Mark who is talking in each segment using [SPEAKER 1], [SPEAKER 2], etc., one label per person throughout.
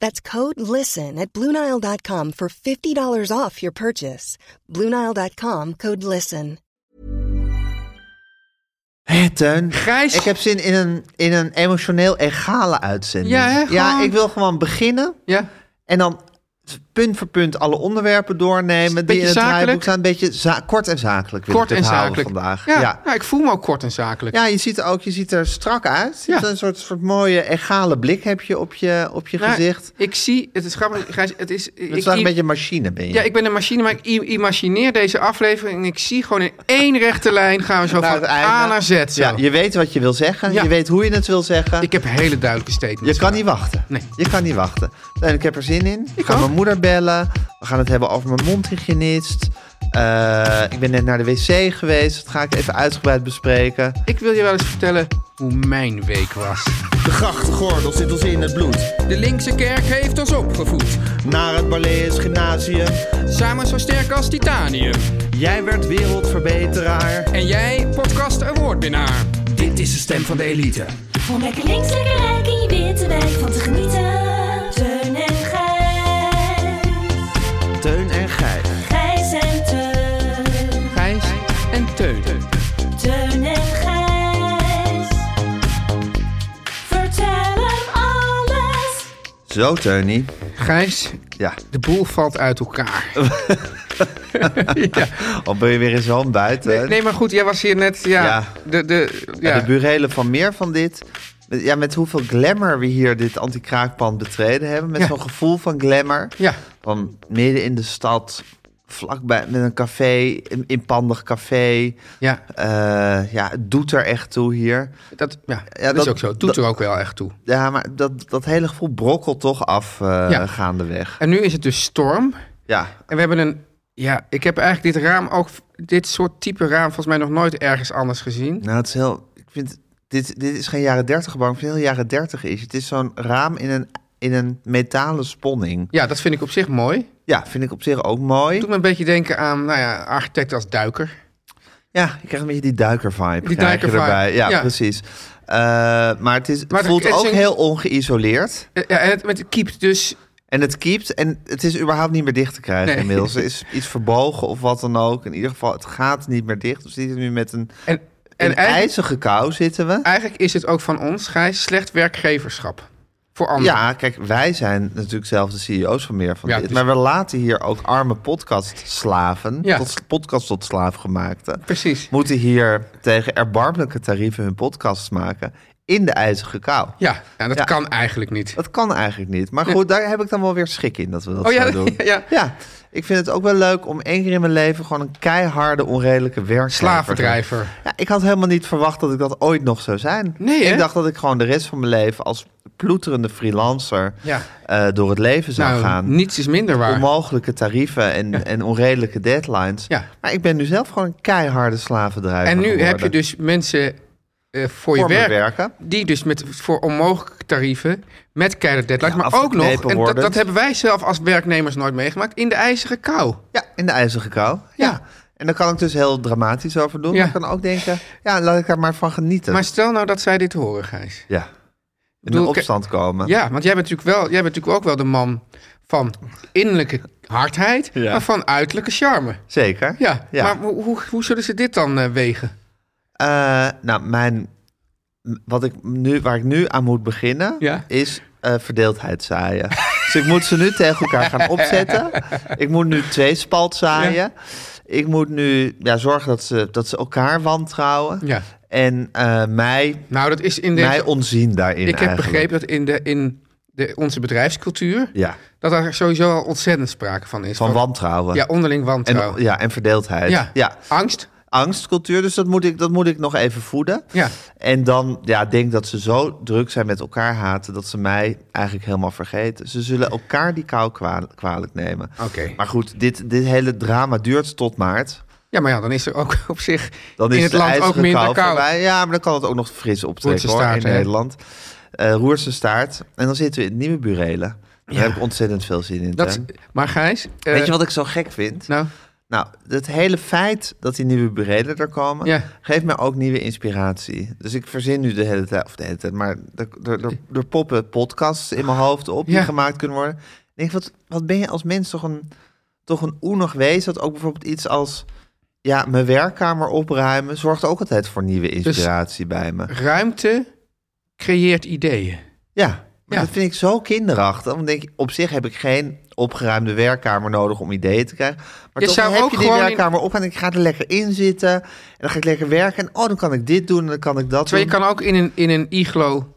[SPEAKER 1] That's code LISTEN at Bluenile.com for $50 off your purchase. Bluenile.com code LISTEN.
[SPEAKER 2] Hé, Teun.
[SPEAKER 3] Gijs.
[SPEAKER 2] Ik heb zin in een, in een emotioneel egale uitzending.
[SPEAKER 3] Ja, hè,
[SPEAKER 2] ja,
[SPEAKER 3] gewoon-
[SPEAKER 2] ik wil gewoon beginnen
[SPEAKER 3] Ja.
[SPEAKER 2] en dan punt voor punt alle onderwerpen doornemen die
[SPEAKER 3] Beetje
[SPEAKER 2] in het
[SPEAKER 3] zakelijk.
[SPEAKER 2] draaiboek staan. Een beetje za- kort en zakelijk wil
[SPEAKER 3] Kort
[SPEAKER 2] ik
[SPEAKER 3] en
[SPEAKER 2] het houden
[SPEAKER 3] zakelijk.
[SPEAKER 2] vandaag.
[SPEAKER 3] Ja.
[SPEAKER 2] ja.
[SPEAKER 3] Nou, ik voel me ook kort en zakelijk.
[SPEAKER 2] Ja, je ziet er ook, je ziet er strak uit. Je
[SPEAKER 3] Ja.
[SPEAKER 2] hebt een soort, soort mooie egale blik heb je op je, op je
[SPEAKER 3] Nou,
[SPEAKER 2] gezicht.
[SPEAKER 3] Ik zie, het is grappig, Gijs, het is...
[SPEAKER 2] Het is wel een beetje een machine ben je.
[SPEAKER 3] Ja, ik ben een machine, maar ik i- imagineer deze aflevering en ik zie gewoon in één rechte lijn gaan we zo
[SPEAKER 2] Naar
[SPEAKER 3] van
[SPEAKER 2] het einde.
[SPEAKER 3] A naar Z. Zo.
[SPEAKER 2] Ja, je weet wat je wil zeggen.
[SPEAKER 3] Ja.
[SPEAKER 2] Je weet hoe je het wil zeggen.
[SPEAKER 3] Ik heb hele duidelijke statements.
[SPEAKER 2] Je kan niet wachten.
[SPEAKER 3] Nee.
[SPEAKER 2] Je kan niet wachten. En ik heb er zin in. Ik ga
[SPEAKER 3] ook.
[SPEAKER 2] mijn moeder bellen. We gaan het hebben over mijn mondhygiënist. Eh, ik ben net naar de wc geweest. Dat ga ik even uitgebreid bespreken.
[SPEAKER 3] Ik wil je wel eens vertellen hoe mijn week was.
[SPEAKER 4] De grachtgordel zit ons in het bloed.
[SPEAKER 5] De linkse kerk heeft ons opgevoed.
[SPEAKER 4] Naar het Balees Gymnasium.
[SPEAKER 5] Samen zo sterk als titanium.
[SPEAKER 4] Jij werd wereldverbeteraar.
[SPEAKER 5] En jij, podcast awardwinnaar.
[SPEAKER 4] Dit is de stem van de elite.
[SPEAKER 6] Om lekker links, lekker rijk in je witte wijk van te genieten. Teun en Gijs.
[SPEAKER 2] Teun en Gijs.
[SPEAKER 6] Gijs en Teun.
[SPEAKER 5] Gijs en Teun.
[SPEAKER 6] Teun en Gijs. Vertel hem alles.
[SPEAKER 2] Zo, Teunie.
[SPEAKER 3] Gijs,
[SPEAKER 2] Ja,
[SPEAKER 3] de boel valt uit elkaar. ja.
[SPEAKER 2] al ben je weer eens hand buiten. hè?
[SPEAKER 3] Nee, maar goed, jij was hier net, ja,
[SPEAKER 2] Ja.
[SPEAKER 3] De, de, ja.
[SPEAKER 2] Ja, de burelen van meer van dit. Met- Ja, met hoeveel glamour we hier dit anti-kraakpand betreden hebben. Met
[SPEAKER 3] Ja.
[SPEAKER 2] zo'n gevoel van glamour.
[SPEAKER 3] Ja.
[SPEAKER 2] Van midden in de stad, vlakbij met een café, een inpandig café.
[SPEAKER 3] ja,
[SPEAKER 2] Eh, ja, het doet er echt toe hier.
[SPEAKER 3] dat, ja,
[SPEAKER 2] Ja,
[SPEAKER 3] dat,
[SPEAKER 2] dat-
[SPEAKER 3] is ook zo. Het Doet
[SPEAKER 2] dat-
[SPEAKER 3] er ook wel echt toe.
[SPEAKER 2] Ja, maar dat, dat hele gevoel brokkelt toch af eh
[SPEAKER 3] Ja.
[SPEAKER 2] gaandeweg.
[SPEAKER 3] En nu is het dus storm.
[SPEAKER 2] Ja,
[SPEAKER 3] En we hebben een. Ja, ik heb eigenlijk dit raam ook. Dit soort type raam volgens mij nog nooit ergens anders gezien.
[SPEAKER 2] nou het is heel... Ik vind, dit, dit is geen jaren dertig gebouw, ik vind het heel jaren dertig is. Het is zo'n raam in een, in een metalen sponning.
[SPEAKER 3] Ja, dat vind ik op zich mooi.
[SPEAKER 2] Ja, vind ik op zich ook mooi.
[SPEAKER 3] Het doet me een beetje denken aan, nou ja, architect als duiker.
[SPEAKER 2] Ja, je krijgt een beetje die duiker-vibe.
[SPEAKER 3] Die
[SPEAKER 2] krijg je
[SPEAKER 3] duiker-vibe,
[SPEAKER 2] erbij. Ja,
[SPEAKER 3] ja.
[SPEAKER 2] precies. Eh, maar het, is, het
[SPEAKER 3] Maar het-
[SPEAKER 2] voelt
[SPEAKER 3] het is
[SPEAKER 2] ook
[SPEAKER 3] een-
[SPEAKER 2] heel ongeïsoleerd.
[SPEAKER 3] Eh, Ja, en het, met het kiept dus.
[SPEAKER 2] En het kiept. En het is überhaupt niet meer dicht te krijgen
[SPEAKER 3] Nee.
[SPEAKER 2] inmiddels. Er is iets verbogen of wat dan ook. In ieder geval, het gaat niet meer dicht. We zitten nu met een,
[SPEAKER 3] En, en
[SPEAKER 2] een
[SPEAKER 3] eigenlijk,
[SPEAKER 2] ijzige kou zitten we.
[SPEAKER 3] eigenlijk is het ook van ons, Gijs, slecht werkgeverschap. Voor anderen.
[SPEAKER 2] Ja, kijk, wij zijn natuurlijk zelf de CEO's van meer van
[SPEAKER 3] Ja,
[SPEAKER 2] dit.
[SPEAKER 3] dus-
[SPEAKER 2] Maar we laten hier ook arme podcastslaven,
[SPEAKER 3] Ja.
[SPEAKER 2] tot, podcast tot slaaf gemaakte,
[SPEAKER 3] Precies.
[SPEAKER 2] moeten hier tegen erbarmelijke tarieven hun podcasts maken in de ijzige kou.
[SPEAKER 3] Ja, ja dat
[SPEAKER 2] Ja.
[SPEAKER 3] kan eigenlijk niet.
[SPEAKER 2] Dat kan eigenlijk niet. Maar goed, daar heb ik dan wel weer schik in dat we dat
[SPEAKER 3] Oh, ja,
[SPEAKER 2] zouden doen.
[SPEAKER 3] ja.
[SPEAKER 2] ik vind het ook wel leuk om één keer in mijn leven gewoon een keiharde, onredelijke werk.
[SPEAKER 3] Slavendrijver.
[SPEAKER 2] Ja, ik had helemaal niet verwacht dat ik dat ooit nog zou zijn.
[SPEAKER 3] Nee, hè?
[SPEAKER 2] ik dacht dat ik gewoon de rest van mijn leven als ploeterende freelancer
[SPEAKER 3] Ja.
[SPEAKER 2] eh, door het leven zou
[SPEAKER 3] Nou,
[SPEAKER 2] gaan.
[SPEAKER 3] niets is minder waar.
[SPEAKER 2] Onmogelijke tarieven en, en onredelijke deadlines.
[SPEAKER 3] Ja.
[SPEAKER 2] Maar ik ben nu zelf gewoon een keiharde slavendrijver.
[SPEAKER 3] En nu heb
[SPEAKER 2] geworden.
[SPEAKER 3] je dus mensen eh, voor je
[SPEAKER 2] Voor mijn
[SPEAKER 3] werk,
[SPEAKER 2] werken.
[SPEAKER 3] die dus met, voor onmogelijke tarieven, met keiharde deadlines,
[SPEAKER 2] Ja,
[SPEAKER 3] maar ook nog,
[SPEAKER 2] afgeknepen
[SPEAKER 3] en dat,
[SPEAKER 2] wordend.
[SPEAKER 3] dat hebben wij zelf als werknemers nooit meegemaakt, in de ijzeren kou.
[SPEAKER 2] Ja, in de ijzige kou. Ja.
[SPEAKER 3] Ja.
[SPEAKER 2] En daar kan ik dus heel dramatisch over doen.
[SPEAKER 3] Ja.
[SPEAKER 2] Maar Ik kan ook denken, ja, laat ik daar maar van genieten.
[SPEAKER 3] Maar stel nou dat zij dit horen, Gijs.
[SPEAKER 2] Ja. in een
[SPEAKER 3] bedoel, ik-
[SPEAKER 2] opstand komen.
[SPEAKER 3] Ja, want jij bent natuurlijk, wel, jij bent natuurlijk ook wel de man van innerlijke hardheid,
[SPEAKER 2] Ja.
[SPEAKER 3] maar van uiterlijke charme.
[SPEAKER 2] Zeker.
[SPEAKER 3] Ja,
[SPEAKER 2] Ja.
[SPEAKER 3] maar hoe, hoe, hoe zullen ze dit dan eh, wegen?
[SPEAKER 2] Eh, nou, mijn, m- wat ik nu, waar ik nu aan moet beginnen,
[SPEAKER 3] Ja.
[SPEAKER 2] is eh, verdeeldheid zaaien. dus ik moet ze nu tegen elkaar gaan opzetten. Ik moet nu twee spalt zaaien. Ik moet nu ja, zorgen dat ze, dat ze elkaar wantrouwen.
[SPEAKER 3] Ja.
[SPEAKER 2] En eh, mij,
[SPEAKER 3] Nou, dat is in de.
[SPEAKER 2] mij onzien daarin
[SPEAKER 3] ik heb
[SPEAKER 2] eigenlijk.
[SPEAKER 3] begrepen dat in, de, in de, onze bedrijfscultuur.
[SPEAKER 2] Ja,
[SPEAKER 3] dat er sowieso al ontzettend sprake van is.
[SPEAKER 2] van wantrouwen.
[SPEAKER 3] Oh. Ja, onderling wantrouwen.
[SPEAKER 2] en, ja, en verdeeldheid.
[SPEAKER 3] ja.
[SPEAKER 2] ja.
[SPEAKER 3] angst.
[SPEAKER 2] angstcultuur. Dus dat moet ik, dat moet ik nog even voeden.
[SPEAKER 3] Ja.
[SPEAKER 2] En dan ja, denk dat ze zo druk zijn met elkaar haten... dat ze mij eigenlijk helemaal vergeten. Ze zullen elkaar die kou kwa- kwalijk nemen.
[SPEAKER 3] Oké.
[SPEAKER 2] Maar goed, dit, dit hele drama duurt tot maart.
[SPEAKER 3] Ja, maar ja, dan is er ook op zich
[SPEAKER 2] Dan is
[SPEAKER 3] in het
[SPEAKER 2] de
[SPEAKER 3] land ook
[SPEAKER 2] ijzeren
[SPEAKER 3] minder
[SPEAKER 2] kou
[SPEAKER 3] koud.
[SPEAKER 2] voorbij. Ja, maar dan kan het ook nog fris optrekken
[SPEAKER 3] Roerse
[SPEAKER 2] hoor,
[SPEAKER 3] staart,
[SPEAKER 2] in
[SPEAKER 3] hè?
[SPEAKER 2] Nederland. Eh Roerse staart. En dan zitten we in het nieuwe burelen. Daar heb ik ontzettend veel zin in.
[SPEAKER 3] Dat,
[SPEAKER 2] Teun.
[SPEAKER 3] maar Gijs, eh,
[SPEAKER 2] Weet je wat ik zo gek vind?
[SPEAKER 3] nou,
[SPEAKER 2] Nou, het hele feit dat die nieuwe burelen er komen,
[SPEAKER 3] Ja.
[SPEAKER 2] geeft mij ook nieuwe inspiratie. Dus ik verzin nu de hele tijd, of de hele tijd, maar er, er, er, er poppen podcasts in mijn hoofd op die
[SPEAKER 3] Ja.
[SPEAKER 2] gemaakt kunnen worden. Ik denk, wat, wat ben je als mens toch een, toch een oenig wezen? Dat ook bijvoorbeeld iets als, ja, mijn werkkamer opruimen, zorgt ook altijd voor nieuwe
[SPEAKER 3] Dus
[SPEAKER 2] inspiratie bij me.
[SPEAKER 3] ruimte creëert ideeën.
[SPEAKER 2] Ja, maar
[SPEAKER 3] Ja.
[SPEAKER 2] dat vind ik zo kinderachtig. Want denk ik, op zich heb ik geen opgeruimde werkkamer nodig om ideeën te krijgen. Maar
[SPEAKER 3] Je
[SPEAKER 2] toch
[SPEAKER 3] zou
[SPEAKER 2] heb
[SPEAKER 3] ook
[SPEAKER 2] je die
[SPEAKER 3] gewoon in-
[SPEAKER 2] werkkamer op en ik ga er lekker in zitten. En dan ga ik lekker werken. En oh, dan kan ik dit doen en dan kan ik dat
[SPEAKER 3] Terwijl je
[SPEAKER 2] doen.
[SPEAKER 3] kan ook in een, in een iglo,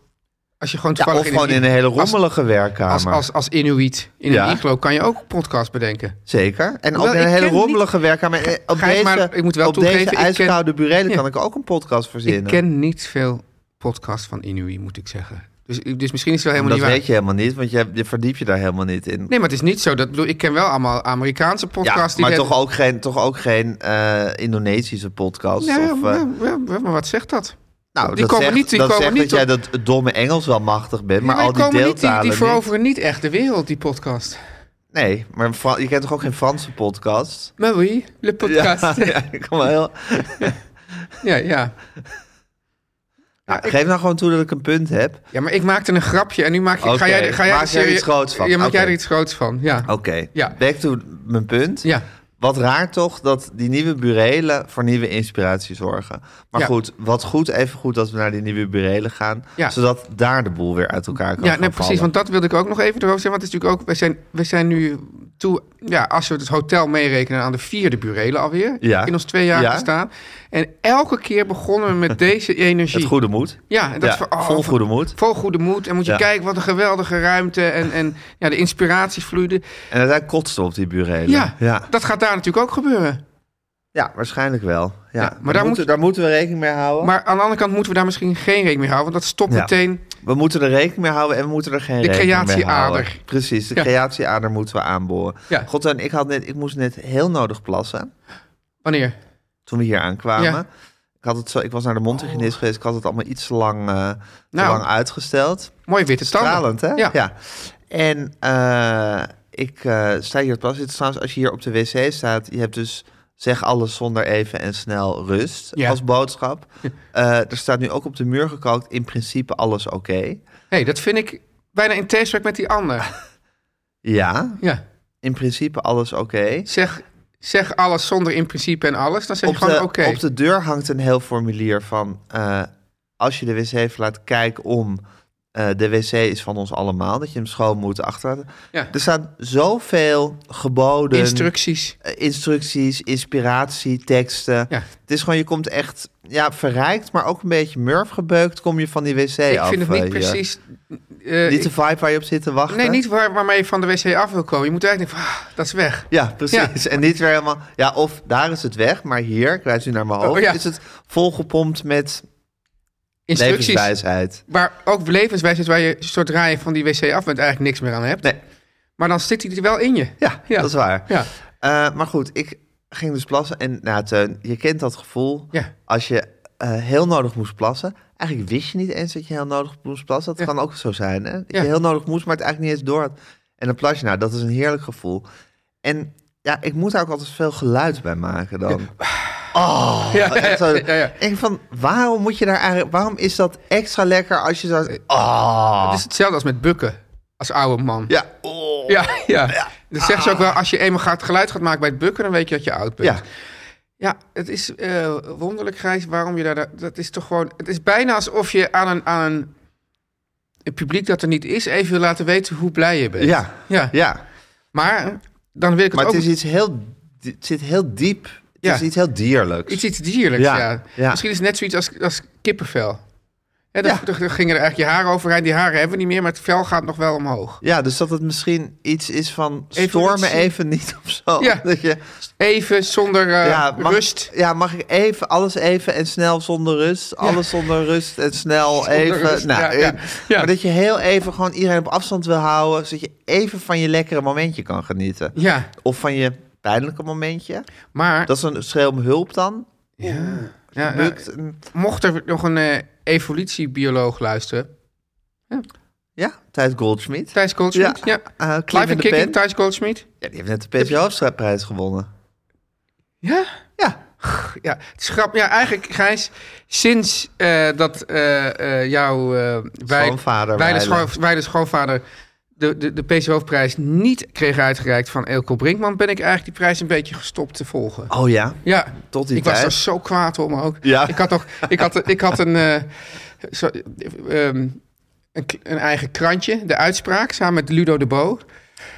[SPEAKER 3] als je gewoon
[SPEAKER 2] Ja,
[SPEAKER 3] toevallig
[SPEAKER 2] of gewoon in een hele rommelige werkkamer.
[SPEAKER 3] Als, als, als Inuit in
[SPEAKER 2] Ja.
[SPEAKER 3] een iglo kan je ook een podcast bedenken.
[SPEAKER 2] Zeker. En ook
[SPEAKER 3] Hoewel,
[SPEAKER 2] in een
[SPEAKER 3] ik
[SPEAKER 2] hele
[SPEAKER 3] ken niet-
[SPEAKER 2] rommelige werkkamer. En Op
[SPEAKER 3] Gijs,
[SPEAKER 2] deze,
[SPEAKER 3] maar ik moet wel
[SPEAKER 2] op
[SPEAKER 3] toegeven,
[SPEAKER 2] deze
[SPEAKER 3] ik ken-
[SPEAKER 2] ijskoude burelen
[SPEAKER 3] Ja.
[SPEAKER 2] kan ik ook een podcast verzinnen.
[SPEAKER 3] Ik ken niet veel podcasts van Inuit, moet ik zeggen. Dus, dus misschien is het wel
[SPEAKER 2] dat
[SPEAKER 3] helemaal
[SPEAKER 2] weet
[SPEAKER 3] niet waar.
[SPEAKER 2] je helemaal niet, want je, je verdiep je daar helemaal niet in.
[SPEAKER 3] Nee, maar het is niet zo. Dat, bedoel, ik ken wel allemaal Amerikaanse
[SPEAKER 2] ja,
[SPEAKER 3] podcasts.
[SPEAKER 2] maar
[SPEAKER 3] die
[SPEAKER 2] toch ook geen, toch ook geen eh, Indonesische podcast.
[SPEAKER 3] Nee,
[SPEAKER 2] of, eh,
[SPEAKER 3] ja, ja, ja, maar wat zegt dat?
[SPEAKER 2] Nou,
[SPEAKER 3] Die
[SPEAKER 2] dat
[SPEAKER 3] komen
[SPEAKER 2] zegt,
[SPEAKER 3] niet- die
[SPEAKER 2] dat,
[SPEAKER 3] komen
[SPEAKER 2] zegt
[SPEAKER 3] niet
[SPEAKER 2] dat jij dat domme Engels wel machtig bent, maar,
[SPEAKER 3] Ja,
[SPEAKER 2] al
[SPEAKER 3] die
[SPEAKER 2] die
[SPEAKER 3] komen niet, die,
[SPEAKER 2] deeltalen
[SPEAKER 3] die
[SPEAKER 2] niet.
[SPEAKER 3] veroveren niet echt de wereld, die podcast.
[SPEAKER 2] Nee, maar Fra- je kent toch ook geen Franse podcast?
[SPEAKER 3] Maar oui, le podcast. Ja,
[SPEAKER 2] Ja, ik kom wel heel...
[SPEAKER 3] ja. ja,
[SPEAKER 2] Nou, geef nou gewoon toe dat ik een punt heb.
[SPEAKER 3] maar ik maakte een grapje en nu maak je,
[SPEAKER 2] Oké,
[SPEAKER 3] ga jij, ga jij
[SPEAKER 2] maak
[SPEAKER 3] er
[SPEAKER 2] jij er
[SPEAKER 3] serie-
[SPEAKER 2] iets groots van.
[SPEAKER 3] Ja, maak jij
[SPEAKER 2] Oké.
[SPEAKER 3] er iets groots van, ja.
[SPEAKER 2] Oké,
[SPEAKER 3] Ja.
[SPEAKER 2] back to mijn punt.
[SPEAKER 3] Ja,
[SPEAKER 2] Wat raar toch dat die nieuwe burelen voor nieuwe inspiratie zorgen. Maar
[SPEAKER 3] Ja.
[SPEAKER 2] goed, wat goed, even goed dat we naar die nieuwe burelen gaan.
[SPEAKER 3] Ja.
[SPEAKER 2] Zodat daar de boel weer uit elkaar kan
[SPEAKER 3] ja
[SPEAKER 2] gaan
[SPEAKER 3] nee, precies,
[SPEAKER 2] vallen.
[SPEAKER 3] want dat wilde ik ook nog even erover zeggen. Want het is natuurlijk ook, we zijn, we zijn nu toe, ja, als we het hotel meerekenen aan de vierde burelen alweer.
[SPEAKER 2] Ja.
[SPEAKER 3] In ons twee jaar
[SPEAKER 2] Ja.
[SPEAKER 3] bestaan. En elke keer begonnen we met deze energie.
[SPEAKER 2] Het goede moed.
[SPEAKER 3] Ja, en dat
[SPEAKER 2] Ja,
[SPEAKER 3] is van, oh,
[SPEAKER 2] vol goede moed.
[SPEAKER 3] Vol goede moed. En moet je
[SPEAKER 2] Ja.
[SPEAKER 3] kijken, wat een geweldige ruimte. En, en ja, de inspiratie vloeide.
[SPEAKER 2] En uiteindelijk kotste op die burelen.
[SPEAKER 3] Ja,
[SPEAKER 2] ja.
[SPEAKER 3] dat gaat daar natuurlijk ook gebeuren.
[SPEAKER 2] Ja, waarschijnlijk wel. Ja.
[SPEAKER 3] Ja,
[SPEAKER 2] maar daar,
[SPEAKER 3] maar daar
[SPEAKER 2] moeten,
[SPEAKER 3] moet-
[SPEAKER 2] daar moeten we rekening mee houden.
[SPEAKER 3] Maar aan de andere kant moeten we daar misschien geen rekening mee houden. Want dat stopt
[SPEAKER 2] Ja.
[SPEAKER 3] meteen.
[SPEAKER 2] we moeten er rekening mee houden en we moeten er geen
[SPEAKER 3] De
[SPEAKER 2] rekening mee
[SPEAKER 3] creatieader.
[SPEAKER 2] houden. Precies, de
[SPEAKER 3] Ja.
[SPEAKER 2] creatieader moeten we aanboren.
[SPEAKER 3] Ja.
[SPEAKER 2] God, en ik, had net, ik moest net heel nodig plassen
[SPEAKER 3] Wanneer?
[SPEAKER 2] toen we hier aankwamen.
[SPEAKER 3] Ja.
[SPEAKER 2] Ik, had het zo, ik was naar de mondhygiënist geweest, ik had het allemaal iets te lang, eh, te
[SPEAKER 3] Nou.
[SPEAKER 2] lang uitgesteld.
[SPEAKER 3] Mooie witte tanden.
[SPEAKER 2] Stralend, hè?
[SPEAKER 3] Ja.
[SPEAKER 2] En eh, ik eh, sta hier te plassen. Het is trouwens, als je hier op de wc staat, je hebt dus zeg alles zonder even en snel rust
[SPEAKER 3] Ja.
[SPEAKER 2] als boodschap. Eh, er staat nu ook op de muur gekookt, in principe alles oké.
[SPEAKER 3] hey, dat vind ik bijna in tegenspraak met die ander.
[SPEAKER 2] Ja,
[SPEAKER 3] Ja.
[SPEAKER 2] in principe alles oké.
[SPEAKER 3] Zeg, zeg alles zonder in principe en alles. Dan zeg je
[SPEAKER 2] Op,
[SPEAKER 3] gewoon
[SPEAKER 2] de-
[SPEAKER 3] oké.
[SPEAKER 2] op de deur hangt een heel formulier van... eh, als je de wc verlaat, kijk om. Eh, de wc is van ons allemaal, dat je hem schoon moet achterlaten.
[SPEAKER 3] Ja.
[SPEAKER 2] Er staan zoveel geboden...
[SPEAKER 3] Instructies.
[SPEAKER 2] eh, instructies, inspiratie, teksten.
[SPEAKER 3] Ja.
[SPEAKER 2] Het is gewoon, je komt echt ja, verrijkt, maar ook een beetje murf gebeukt... kom je van die wc
[SPEAKER 3] Ik
[SPEAKER 2] af.
[SPEAKER 3] vind het
[SPEAKER 2] eh,
[SPEAKER 3] niet
[SPEAKER 2] hier.
[SPEAKER 3] precies... eh,
[SPEAKER 2] Niet de
[SPEAKER 3] ik-
[SPEAKER 2] vibe waar je op zit te wachten.
[SPEAKER 3] nee, niet waar, waarmee je van de wc af wil komen. Je moet eigenlijk denken van, ah, dat is weg.
[SPEAKER 2] Ja, precies. En niet weer helemaal... Ja, of daar is het weg, maar hier, ik wijs nu naar mijn
[SPEAKER 3] Oh,
[SPEAKER 2] hoofd...
[SPEAKER 3] ja.
[SPEAKER 2] is het volgepompt met
[SPEAKER 3] Instructies.
[SPEAKER 2] levenswijsheid.
[SPEAKER 3] Maar ook levenswijze waar je zodra je van die wc af bent eigenlijk niks meer aan hebt.
[SPEAKER 2] Nee.
[SPEAKER 3] Maar dan zit hij er wel in je.
[SPEAKER 2] Ja, dat is waar.
[SPEAKER 3] Ja.
[SPEAKER 2] Eh, maar goed, ik ging dus plassen. En nou, Teun, je kent dat gevoel.
[SPEAKER 3] Ja.
[SPEAKER 2] Als je eh, heel nodig moest plassen. Eigenlijk wist je niet eens dat je heel nodig moest plassen. Dat
[SPEAKER 3] Ja.
[SPEAKER 2] kan ook zo zijn, hè? Dat
[SPEAKER 3] Ja.
[SPEAKER 2] je heel nodig moest, maar het eigenlijk niet eens door had. En dan plas je. Nou, dat is een heerlijk gevoel. En ja, ik moet daar ook altijd veel geluid bij maken dan. Oh,
[SPEAKER 3] Ja, ja,
[SPEAKER 2] En zo,
[SPEAKER 3] ja, ja.
[SPEAKER 2] Ik denk van, waarom moet je daar eigenlijk... Waarom is dat extra lekker als je zo... Oh.
[SPEAKER 3] Het is hetzelfde als met bukken. Als oude man.
[SPEAKER 2] Ja. Oh.
[SPEAKER 3] Ja, ja. Dat zeggen ze ook wel. Als je eenmaal gaat, geluid gaat maken bij het bukken, dan weet je dat je oud bent.
[SPEAKER 2] Ja.
[SPEAKER 3] Ja, het is eh, wonderlijk, Grijs, waarom je daar... Dat is toch gewoon... Het is bijna alsof je aan een, aan een het publiek dat er niet is... even wil laten weten hoe blij je bent.
[SPEAKER 2] Ja.
[SPEAKER 3] ja.
[SPEAKER 2] ja.
[SPEAKER 3] Maar dan wil ik het
[SPEAKER 2] Maar
[SPEAKER 3] ook...
[SPEAKER 2] het is iets heel... Het zit heel diep. Het
[SPEAKER 3] Ja.
[SPEAKER 2] is iets heel dierlijks.
[SPEAKER 3] iets, iets dierlijks, ja.
[SPEAKER 2] Ja, ja.
[SPEAKER 3] Misschien is het net zoiets als, als kippenvel. Ja, dan,
[SPEAKER 2] Ja.
[SPEAKER 3] dan- dan gingen er eigenlijk je haren overheen. Die haren hebben we niet meer, maar het vel gaat nog wel omhoog.
[SPEAKER 2] Ja, dus dat het misschien iets is van...
[SPEAKER 3] Evolutie.
[SPEAKER 2] Stoor me even niet of zo.
[SPEAKER 3] Ja.
[SPEAKER 2] Dat je,
[SPEAKER 3] Even zonder eh,
[SPEAKER 2] ja, mag,
[SPEAKER 3] rust.
[SPEAKER 2] Ja, mag ik even... Alles even en snel zonder rust. Alles zonder rust en snel even...
[SPEAKER 3] rust,
[SPEAKER 2] nou,
[SPEAKER 3] ja, ja,
[SPEAKER 2] eh,
[SPEAKER 3] ja.
[SPEAKER 2] Maar dat je heel even gewoon iedereen op afstand wil houden... zodat je even van je lekkere momentje kan genieten.
[SPEAKER 3] Ja,
[SPEAKER 2] Of van je pijnlijke momentje.
[SPEAKER 3] maar...
[SPEAKER 2] Dat is een schreeuw om hulp dan.
[SPEAKER 3] ja, nou,
[SPEAKER 2] Lukt een-
[SPEAKER 3] mocht er nog een eh, evolutiebioloog luisteren...
[SPEAKER 2] ja, Thijs Goldschmidt.
[SPEAKER 3] Thijs Goldschmidt, ja.
[SPEAKER 2] Eh, Klim
[SPEAKER 3] Live
[SPEAKER 2] in
[SPEAKER 3] en
[SPEAKER 2] de
[SPEAKER 3] Kicking,
[SPEAKER 2] Pen.
[SPEAKER 3] Thijs Goldschmidt.
[SPEAKER 2] Ja, die heeft net de PSV Hoofdstrijdprijs gewonnen.
[SPEAKER 3] Ja?
[SPEAKER 2] Ja,
[SPEAKER 3] Ja, het is grap. Ja, eigenlijk, Gijs, sinds eh, dat eh, eh, jouw eh wij-
[SPEAKER 2] Schoonvader
[SPEAKER 3] wij de
[SPEAKER 2] Weilen.
[SPEAKER 3] schoof- wij de schoonvader de, de, de PC Hoofdprijs niet kreeg uitgereikt van Elko Brinkman, ben ik eigenlijk die prijs een beetje gestopt te volgen.
[SPEAKER 2] Oh ja,
[SPEAKER 3] Ja,
[SPEAKER 2] tot die
[SPEAKER 3] ik was
[SPEAKER 2] tijd.
[SPEAKER 3] er zo kwaad om ook.
[SPEAKER 2] Ja.
[SPEAKER 3] Ik had nog, ik had, ik had een, eh, zo- ehm, een, k- een eigen krantje, de uitspraak, samen met Ludo de Bo.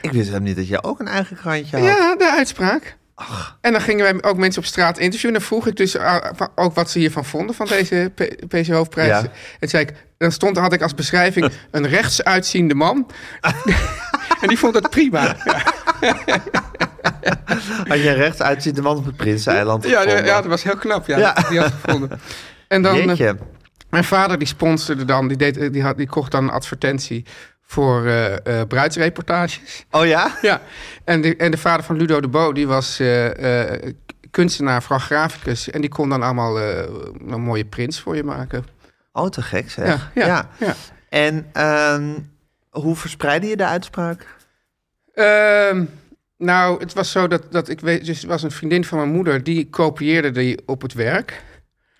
[SPEAKER 2] Ik wist helemaal niet dat jij ook een eigen krantje had.
[SPEAKER 3] Ja, de uitspraak. En dan gingen wij ook mensen op straat interviewen. En dan vroeg ik dus ah, va- ook wat ze hiervan vonden, van deze P- PC Hoofdprijs.
[SPEAKER 2] Ja.
[SPEAKER 3] En toen zei ik, dan stond, had ik als beschrijving een rechtsuitziende man. en die vond dat prima. Ja,
[SPEAKER 2] Had je recht uitziet de man op het Prinseneiland
[SPEAKER 3] ja,
[SPEAKER 2] gevonden.
[SPEAKER 3] ja, dat was heel knap. Ja,
[SPEAKER 2] Ja.
[SPEAKER 3] Die had het gevonden. En dan, eh,
[SPEAKER 2] Jeetje.
[SPEAKER 3] mijn vader die sponsorde dan, die, deed, eh, die, had, die kocht dan een advertentie voor eh, eh, bruidsreportages.
[SPEAKER 2] Oh ja?
[SPEAKER 3] Ja, en de, en de vader van Ludo de Bo, die was eh, eh, kunstenaar, vooral graficus. En die kon dan allemaal eh, een mooie prints voor je maken.
[SPEAKER 2] Oh, te gek zeg.
[SPEAKER 3] Ja, ja, ja.
[SPEAKER 2] En ehm, hoe verspreidde je de uitspraak?
[SPEAKER 3] Ehm, nou, het was zo dat, dat ik weet, dus er was een vriendin van mijn moeder, die kopieerde die op het werk.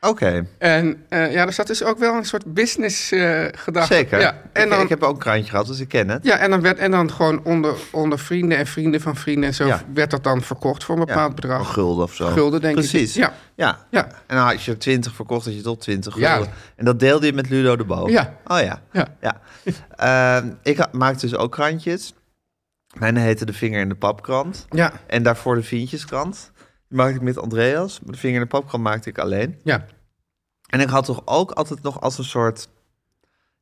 [SPEAKER 2] Oké,
[SPEAKER 3] En eh, ja, dus dat is ook wel een soort business eh, gedachte.
[SPEAKER 2] zeker.
[SPEAKER 3] Ja, en
[SPEAKER 2] ik,
[SPEAKER 3] dan,
[SPEAKER 2] ik heb ook een krantje gehad, dus ik ken het.
[SPEAKER 3] ja, en dan, werd, en dan gewoon onder, onder vrienden en vrienden van vrienden en zo
[SPEAKER 2] Ja.
[SPEAKER 3] werd dat dan verkocht voor een
[SPEAKER 2] Ja, Oh,
[SPEAKER 3] bepaald
[SPEAKER 2] Een
[SPEAKER 3] bedrag.
[SPEAKER 2] gulden of zo.
[SPEAKER 3] Gulden, denk ik.
[SPEAKER 2] Precies.
[SPEAKER 3] Ja.
[SPEAKER 2] ja.
[SPEAKER 3] Ja.
[SPEAKER 2] En dan had je er 20 verkocht, dat je tot 20
[SPEAKER 3] Ja.
[SPEAKER 2] gulden. En dat deelde je met Ludo de Bo.
[SPEAKER 3] Ja.
[SPEAKER 2] Oh ja.
[SPEAKER 3] Ja.
[SPEAKER 2] ja. Ehm, ik ha- maakte dus ook krantjes. Mijn heette De Vinger in de Papkrant.
[SPEAKER 3] Ja,
[SPEAKER 2] En daarvoor De Vientjeskrant. Die maakte ik met Andreas. Maar De Vinger in de Papkrant maakte ik alleen.
[SPEAKER 3] ja.
[SPEAKER 2] En ik had toch ook altijd nog als een soort...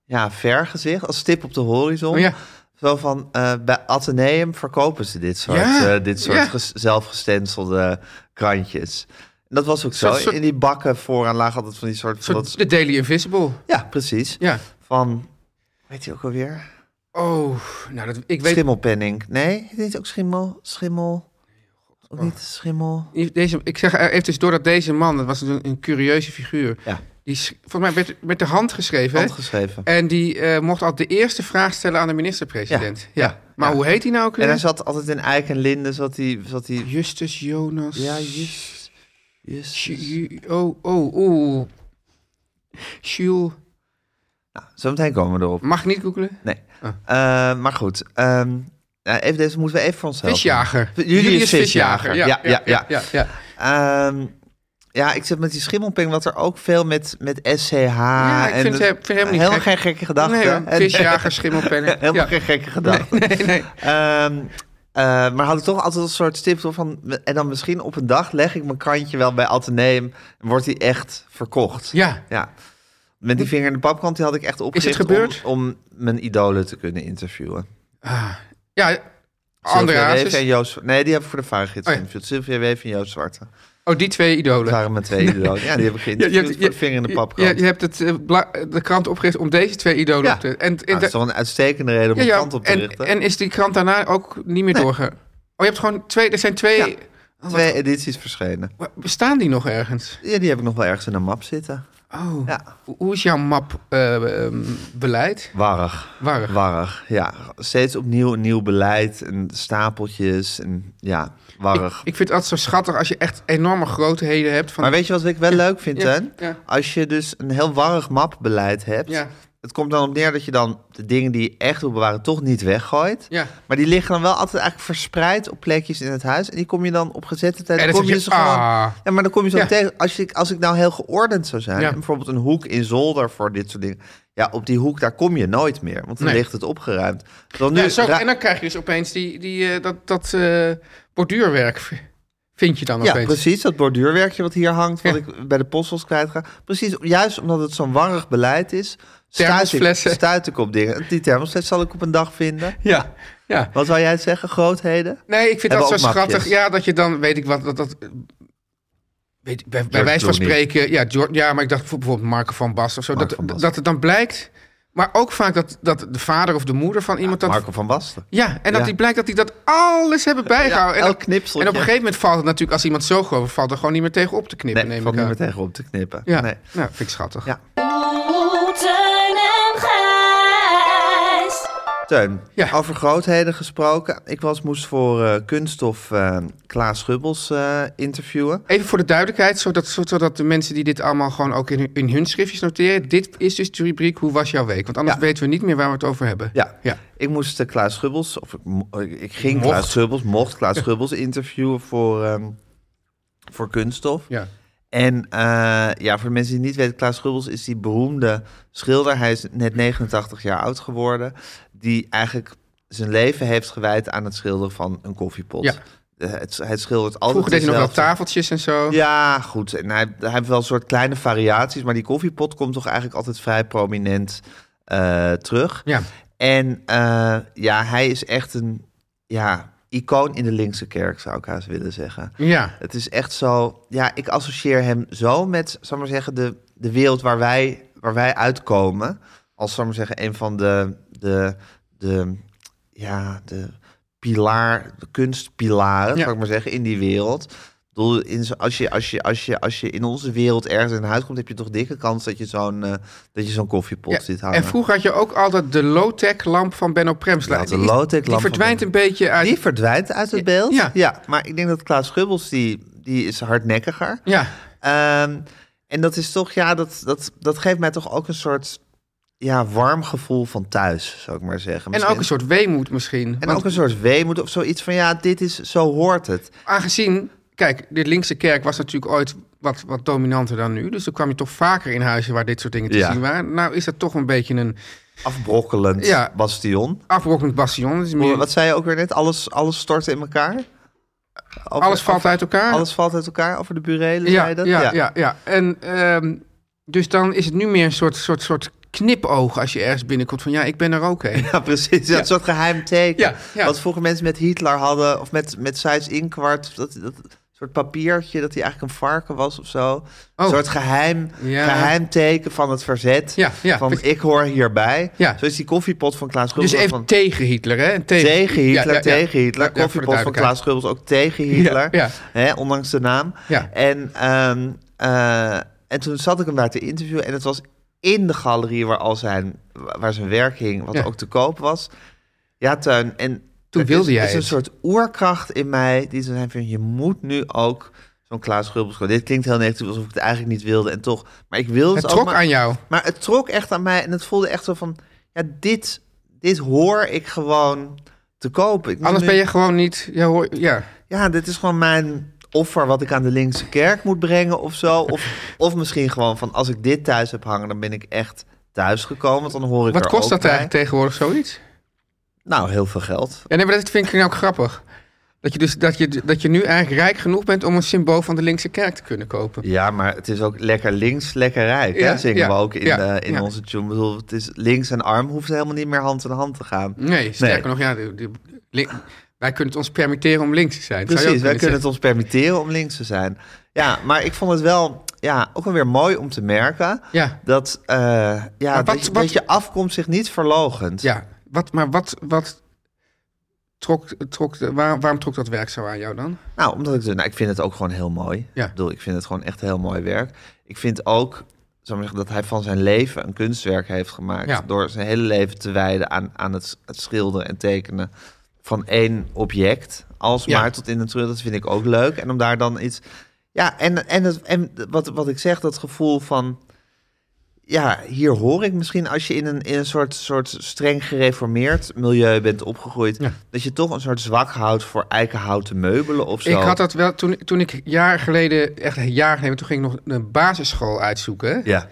[SPEAKER 2] Ja, vergezicht. Als stip op de horizon.
[SPEAKER 3] Oh, ja.
[SPEAKER 2] Zo van, eh, bij Atheneum verkopen ze dit soort,
[SPEAKER 3] Ja,
[SPEAKER 2] eh, dit soort
[SPEAKER 3] ja.
[SPEAKER 2] ges- zelfgestenselde krantjes. En dat was ook zo.
[SPEAKER 3] Zo'n soort-
[SPEAKER 2] In die bakken vooraan lagen altijd van die soort...
[SPEAKER 3] Een
[SPEAKER 2] Van
[SPEAKER 3] soort
[SPEAKER 2] dat,
[SPEAKER 3] de Daily Invisible.
[SPEAKER 2] ja, precies.
[SPEAKER 3] Ja.
[SPEAKER 2] Van, weet je ook alweer?
[SPEAKER 3] Oh, nou, dat, ik weet...
[SPEAKER 2] Schimmelpenning. Nee, heet het ook schimmel? Schimmel? Ook niet schimmel?
[SPEAKER 3] Deze, ik zeg er even dus doordat deze man, dat was dus een, een curieuze figuur,
[SPEAKER 2] Ja,
[SPEAKER 3] die is- volgens mij werd met de hand geschreven. hè?
[SPEAKER 2] handgeschreven.
[SPEAKER 3] En die eh, mocht al de eerste vraag stellen aan de minister-president.
[SPEAKER 2] Ja,
[SPEAKER 3] Ja,
[SPEAKER 2] ja,
[SPEAKER 3] Maar
[SPEAKER 2] ja.
[SPEAKER 3] hoe heet hij nou ook
[SPEAKER 2] En hij
[SPEAKER 3] weer?
[SPEAKER 2] zat altijd in eik en linden, zat hij... Zat hij
[SPEAKER 3] Justus Jonas.
[SPEAKER 2] ja, just, just.
[SPEAKER 3] Ju- Ju- Oh, oh, oh. Jules.
[SPEAKER 2] Zometeen komen we erop.
[SPEAKER 3] Mag ik niet googelen?
[SPEAKER 2] Nee.
[SPEAKER 3] Mm. Ah.
[SPEAKER 2] Eh, maar goed, ehm, nou, even deze moeten we even voor onszelf.
[SPEAKER 3] Visjager.
[SPEAKER 2] doen. Julius, Visjager. Ja, ja, ja. ja,
[SPEAKER 3] ja, ja.
[SPEAKER 2] Ehm, ja, ik zit met die schimmelping, wat er ook veel met, met SCH.
[SPEAKER 3] Ja, ik
[SPEAKER 2] en
[SPEAKER 3] vind
[SPEAKER 2] dat-
[SPEAKER 3] ze- vind helemaal niet
[SPEAKER 2] helemaal
[SPEAKER 3] gek.
[SPEAKER 2] geen gekke gedachten.
[SPEAKER 3] Nee,
[SPEAKER 2] eh, En-
[SPEAKER 3] hoor. visjager, schimmelpennen.
[SPEAKER 2] helemaal
[SPEAKER 3] ja.
[SPEAKER 2] geen gekke gedachten.
[SPEAKER 3] Nee, nee.
[SPEAKER 2] Ehm, eh, maar had ik toch altijd een soort stip op van. En dan misschien op een dag leg ik mijn krantje wel bij Atheneum. En wordt die echt verkocht.
[SPEAKER 3] Ja.
[SPEAKER 2] Ja. Met die vinger in de papkant die had ik echt opgericht
[SPEAKER 3] Hm. gebeurd?
[SPEAKER 2] Om, om mijn idolen te kunnen interviewen.
[SPEAKER 3] Ja, andere
[SPEAKER 2] Sylvia Weef
[SPEAKER 3] hazes.
[SPEAKER 2] en Joost... Nee, die heb ik voor de vaargids
[SPEAKER 3] Oh ja.
[SPEAKER 2] geïnterviewd. Sylvia Weef en Joost Zwarte.
[SPEAKER 3] Oh, die twee
[SPEAKER 2] Dat
[SPEAKER 3] idolen.
[SPEAKER 2] waren mijn twee idolen. Ja, die heb ik
[SPEAKER 3] Ja,
[SPEAKER 2] geïnterviewd
[SPEAKER 3] je hebt-
[SPEAKER 2] voor de vinger in de Nou, papkrant.
[SPEAKER 3] Je, je hebt het, eh, bla- de krant opgericht om deze twee idolen
[SPEAKER 2] Ja.
[SPEAKER 3] op te... En, en,
[SPEAKER 2] Nou, dat is toch een uitstekende reden om
[SPEAKER 3] ja,
[SPEAKER 2] een
[SPEAKER 3] ja,
[SPEAKER 2] kant op te
[SPEAKER 3] en,
[SPEAKER 2] richten.
[SPEAKER 3] en is die krant daarna ook niet meer doorge... Oh, je hebt gewoon twee... Er zijn twee...
[SPEAKER 2] Twee edities verschenen.
[SPEAKER 3] Wa- Bestaan die nog ergens?
[SPEAKER 2] Ja, die heb ik nog wel ergens in een map zitten.
[SPEAKER 3] Oh,
[SPEAKER 2] Ja.
[SPEAKER 3] Hoe- hoe is jouw map-beleid?
[SPEAKER 2] Warrig.
[SPEAKER 3] Warrig.
[SPEAKER 2] Warrig, ja. Steeds opnieuw een nieuw beleid en stapeltjes en ja, warrig.
[SPEAKER 3] Ik vind het altijd zo schattig als je echt enorme grootheden hebt. Van,
[SPEAKER 2] Maar weet je wat ik wel leuk vind,
[SPEAKER 3] Ja,
[SPEAKER 2] hè?
[SPEAKER 3] ja.
[SPEAKER 2] Als je dus een heel warrig mapbeleid hebt...
[SPEAKER 3] Ja.
[SPEAKER 2] het komt dan op neer dat je dan de dingen die je echt wil bewaren... toch niet weggooit.
[SPEAKER 3] Ja.
[SPEAKER 2] Maar die liggen dan wel altijd eigenlijk verspreid op plekjes in het huis. En die kom je dan op gezette tijd...
[SPEAKER 3] En dan
[SPEAKER 2] kom
[SPEAKER 3] zeg je,
[SPEAKER 2] ze gewoon-
[SPEAKER 3] "Ah."
[SPEAKER 2] Ja, maar dan kom je zo
[SPEAKER 3] Ja.
[SPEAKER 2] tegen... Als ik, als ik nou heel geordend zou zijn...
[SPEAKER 3] Ja.
[SPEAKER 2] en bijvoorbeeld een hoek in zolder voor dit soort dingen... ja, op die hoek, daar kom je nooit meer. Want dan
[SPEAKER 3] Nee.
[SPEAKER 2] ligt het opgeruimd. Dan nu
[SPEAKER 3] Ja, zo,
[SPEAKER 2] ra-
[SPEAKER 3] en dan krijg je dus opeens die, die, eh, dat, dat eh, borduurwerk, v- vind je dan
[SPEAKER 2] Ja,
[SPEAKER 3] opeens.
[SPEAKER 2] precies. Dat borduurwerkje wat hier hangt, wat
[SPEAKER 3] Ja.
[SPEAKER 2] ik bij de post was kwijtga. Precies, juist omdat het zo'n warrig beleid is, stuit ik,
[SPEAKER 3] Thermosflessen.
[SPEAKER 2] stuit ik op dingen. Die thermosfles zal ik op een dag vinden.
[SPEAKER 3] Ja, ja.
[SPEAKER 2] Wat zou jij zeggen? Grootheden?
[SPEAKER 3] Nee, ik vind
[SPEAKER 2] Hebben
[SPEAKER 3] dat zo
[SPEAKER 2] ook mapjes.
[SPEAKER 3] schattig. Ja, dat je dan, weet ik wat, dat... dat eh, Weet, ik, bij, bij
[SPEAKER 2] George
[SPEAKER 3] wijze van
[SPEAKER 2] Clooney.
[SPEAKER 3] spreken, ja, George, ja, maar ik dacht voor- bijvoorbeeld Marco van Basten of zo,
[SPEAKER 2] Marco
[SPEAKER 3] dat,
[SPEAKER 2] van Basten.
[SPEAKER 3] dat het dan blijkt, maar ook vaak dat, dat de vader of de moeder van iemand dat
[SPEAKER 2] Marco van Basten.
[SPEAKER 3] Ja, en dat
[SPEAKER 2] Ja.
[SPEAKER 3] die blijkt dat die dat alles hebben bijgehouden.
[SPEAKER 2] Ja,
[SPEAKER 3] en,
[SPEAKER 2] elk
[SPEAKER 3] dat-
[SPEAKER 2] knipseltje.
[SPEAKER 3] en op een gegeven moment valt het natuurlijk, als iemand zo groot valt, er gewoon niet meer tegen op te
[SPEAKER 2] Nee,
[SPEAKER 3] knippen.
[SPEAKER 2] ik
[SPEAKER 3] neem
[SPEAKER 2] valt
[SPEAKER 3] ik
[SPEAKER 2] niet
[SPEAKER 3] aan.
[SPEAKER 2] meer tegen om te knippen.
[SPEAKER 3] Ja,
[SPEAKER 2] Nee.
[SPEAKER 3] nou, vind ik schattig.
[SPEAKER 2] Ja.
[SPEAKER 3] Ja,
[SPEAKER 6] Oeh, Oh, Teun en Gijs.
[SPEAKER 2] Teun,
[SPEAKER 3] Ja.
[SPEAKER 2] over grootheden gesproken. Ik was, moest voor eh, kunststof eh, Klaas Schubbels eh, interviewen.
[SPEAKER 3] Even voor de duidelijkheid, zodat, zodat de mensen die dit allemaal gewoon ook in, hun- in hun schriftjes noteren. Dit is dus de rubriek Hoe was jouw week? Want anders
[SPEAKER 2] Ja.
[SPEAKER 3] weten we niet meer waar we het over hebben.
[SPEAKER 2] Ja.
[SPEAKER 3] ja.
[SPEAKER 2] Ik moest eh, Klaas Schubbels, of ik, mo- ik- ik ging
[SPEAKER 3] Mocht.
[SPEAKER 2] Klaas Schubbels, mocht Klaas Schubbels interviewen voor, ehm, voor kunststof.
[SPEAKER 3] ja.
[SPEAKER 2] En eh, ja, voor de mensen die het niet weten, Klaas Gubbels is die beroemde schilder. Hij is net 89 jaar oud geworden. Die eigenlijk zijn leven heeft gewijd aan het schilderen van een koffiepot.
[SPEAKER 3] Ja.
[SPEAKER 2] Eh, het, hij schildert altijd
[SPEAKER 3] Vroeger deed je nog wel
[SPEAKER 2] dezelfde-
[SPEAKER 3] tafeltjes en zo.
[SPEAKER 2] Ja, goed. En hij, hij heeft wel een soort kleine variaties. Maar die koffiepot komt toch eigenlijk altijd vrij prominent eh, terug.
[SPEAKER 3] Ja.
[SPEAKER 2] En eh, ja, hij is echt een ja, icoon in de linkse kerk, zou ik haast willen zeggen.
[SPEAKER 3] Ja.
[SPEAKER 2] Het is echt zo. Ja, ik associeer hem zo met, zal ik maar zeggen, de, de wereld waar wij, waar wij uitkomen. Als, zal ik maar zeggen, een van de, de, de, ja, de, pilaar, de kunstpilaren,
[SPEAKER 3] Ja.
[SPEAKER 2] zal ik maar zeggen, in die wereld. Ik bedoel, In, zo- als, je, als, je, als, je, als je in onze wereld ergens in huis komt, heb je toch dikke kans dat je zo'n eh, dat je zo'n koffiepot
[SPEAKER 3] Ja,
[SPEAKER 2] ziet hangen.
[SPEAKER 3] En vroeger had je ook altijd de low-tech lamp van Benno Premsla.
[SPEAKER 2] Ja, de
[SPEAKER 3] Die is-
[SPEAKER 2] low-tech lamp
[SPEAKER 3] Die
[SPEAKER 2] van
[SPEAKER 3] verdwijnt
[SPEAKER 2] Benno.
[SPEAKER 3] een beetje uit...
[SPEAKER 2] Die verdwijnt uit het beeld.
[SPEAKER 3] Ja.
[SPEAKER 2] maar ik denk dat Klaas Gubbels, die, die is hardnekkiger.
[SPEAKER 3] Ja.
[SPEAKER 2] Ehm, en dat is toch, ja, dat, dat, dat geeft mij toch ook een soort ja, warm gevoel van thuis, zou ik maar zeggen.
[SPEAKER 3] En
[SPEAKER 2] Misschien-
[SPEAKER 3] ook een soort weemoed misschien.
[SPEAKER 2] en
[SPEAKER 3] Want-
[SPEAKER 2] ook een soort weemoed of zoiets van, ja, dit is, zo hoort het.
[SPEAKER 3] aangezien, kijk, de linkse kerk was natuurlijk ooit wat, wat dominanter dan nu. Dus dan kwam je toch vaker in huizen waar dit soort dingen te
[SPEAKER 2] Ja.
[SPEAKER 3] zien waren. Nou is dat toch een beetje een
[SPEAKER 2] Afbrokkelend
[SPEAKER 3] Ja.
[SPEAKER 2] bastion.
[SPEAKER 3] afbrokkelend bastion. Het is meer-
[SPEAKER 2] Wat zei je ook weer net? Alles, alles stort in elkaar? Over-
[SPEAKER 3] alles valt
[SPEAKER 2] over-
[SPEAKER 3] uit elkaar.
[SPEAKER 2] Alles valt uit elkaar? Over de burelen,
[SPEAKER 3] ja,
[SPEAKER 2] zei je dat?
[SPEAKER 3] Ja, ja. ja, En ehm, dus dan is het nu meer een soort, soort, soort knipoog als je ergens binnenkomt van ja, ik ben er ook een.
[SPEAKER 2] Ja, precies. Dat
[SPEAKER 3] Ja.
[SPEAKER 2] soort geheim teken.
[SPEAKER 3] Ja, ja.
[SPEAKER 2] Wat vroeger mensen met Hitler hadden, of met, met Sijs Inkwart, dat, dat soort papiertje dat hij eigenlijk een varken was of zo. Een
[SPEAKER 3] Oh.
[SPEAKER 2] soort geheim,
[SPEAKER 3] Ja.
[SPEAKER 2] geheim teken van het verzet.
[SPEAKER 3] Ja, ja.
[SPEAKER 2] Van ik hoor hierbij.
[SPEAKER 3] Ja.
[SPEAKER 2] Zo is die koffiepot van Klaas Gubbels.
[SPEAKER 3] Dus even
[SPEAKER 2] van,
[SPEAKER 3] tegen Hitler, hè? En Tegen,
[SPEAKER 2] tegen Hitler,
[SPEAKER 3] Ja, ja, ja.
[SPEAKER 2] tegen Hitler.
[SPEAKER 3] Ja, ja, voor de
[SPEAKER 2] Koffiepot van Klaas
[SPEAKER 3] duidelijkheid.
[SPEAKER 2] Gubbels ook tegen Hitler.
[SPEAKER 3] Ja,
[SPEAKER 2] Hè, ondanks de naam.
[SPEAKER 3] Ja.
[SPEAKER 2] En, ehm, eh, en toen zat ik hem daar te interviewen. En het was in de galerie waar, al zijn, waar zijn werk hing, wat
[SPEAKER 3] Ja.
[SPEAKER 2] ook te koop was. Ja, Tuin. En
[SPEAKER 3] Toen
[SPEAKER 2] er
[SPEAKER 3] wilde
[SPEAKER 2] is,
[SPEAKER 3] jij
[SPEAKER 2] is een
[SPEAKER 3] het.
[SPEAKER 2] soort oerkracht in mij die zo zijn van... je moet nu ook zo'n Klaas Gubbels... Dit klinkt heel negatief, alsof ik het eigenlijk niet wilde. En toch, maar ik wilde het,
[SPEAKER 3] Het
[SPEAKER 2] ook,
[SPEAKER 3] trok
[SPEAKER 2] maar-
[SPEAKER 3] aan jou.
[SPEAKER 2] maar het trok echt aan mij en het voelde echt zo van... Ja, dit, dit hoor ik gewoon te kopen. Ik moet
[SPEAKER 3] Anders
[SPEAKER 2] nu-
[SPEAKER 3] ben je gewoon niet. Ja, hoor, ja.
[SPEAKER 2] Ja, dit is gewoon mijn offer wat ik aan de linkse kerk moet brengen of zo. Of, of misschien gewoon van als ik dit thuis heb hangen... dan ben ik echt thuisgekomen, want dan hoor ik
[SPEAKER 3] Wat
[SPEAKER 2] er
[SPEAKER 3] kost
[SPEAKER 2] ook
[SPEAKER 3] dat
[SPEAKER 2] bij.
[SPEAKER 3] eigenlijk tegenwoordig zoiets?
[SPEAKER 2] Nou, heel veel geld.
[SPEAKER 3] Ja, nee, maar dat vind ik nou ook grappig. Dat je, dus, dat, je, dat je nu eigenlijk rijk genoeg bent om een symbool van de linkse kerk te kunnen kopen.
[SPEAKER 2] Ja, maar het is ook lekker links, lekker rijk. hè?
[SPEAKER 3] Ja,
[SPEAKER 2] Zingen
[SPEAKER 3] ja,
[SPEAKER 2] we ook in,
[SPEAKER 3] ja,
[SPEAKER 2] eh, in
[SPEAKER 3] ja.
[SPEAKER 2] onze tune. Ik bedoel, het is links en arm hoeft helemaal niet meer hand in hand te gaan.
[SPEAKER 3] Nee, sterker nog, ja, de- de- link- wij kunnen het ons permitteren om links te zijn. Zou je ook
[SPEAKER 2] Precies, wij kunnen het
[SPEAKER 3] zeggen.
[SPEAKER 2] ons permitteren om links te zijn. Ja, maar ik vond het wel ja, ook wel weer mooi om te merken
[SPEAKER 3] Ja.
[SPEAKER 2] dat, eh, ja,
[SPEAKER 3] wat-
[SPEAKER 2] dat, je,
[SPEAKER 3] wat-
[SPEAKER 2] dat je afkomst zich niet verlogent.
[SPEAKER 3] Ja, wat, maar wat, wat trok, trok, de- waar- waarom trok dat werk zo aan jou dan?
[SPEAKER 2] Nou, omdat ik, nou, ik vind het ook gewoon heel mooi.
[SPEAKER 3] Ja.
[SPEAKER 2] Ik bedoel, ik vind het gewoon echt heel mooi werk. Ik vind ook zal ik maar zeggen, dat hij van zijn leven een kunstwerk heeft gemaakt.
[SPEAKER 3] Ja.
[SPEAKER 2] Door zijn hele leven te wijden aan, aan het, het schilderen en tekenen van één object. Als maar
[SPEAKER 3] Ja.
[SPEAKER 2] tot in de treur, dat vind ik ook leuk. En om daar dan iets... Ja, en, en, het, en wat, wat ik zeg, dat gevoel van... Ja, hier hoor ik misschien als je in een, in een soort, soort streng gereformeerd milieu bent opgegroeid...
[SPEAKER 3] Ja.
[SPEAKER 2] dat je toch een soort zwak houdt voor eikenhouten meubelen of zo.
[SPEAKER 3] Ik had dat wel toen, toen ik jaar geleden, echt een jaar geleden, toen ging ik nog een basisschool uitzoeken.
[SPEAKER 2] Ja,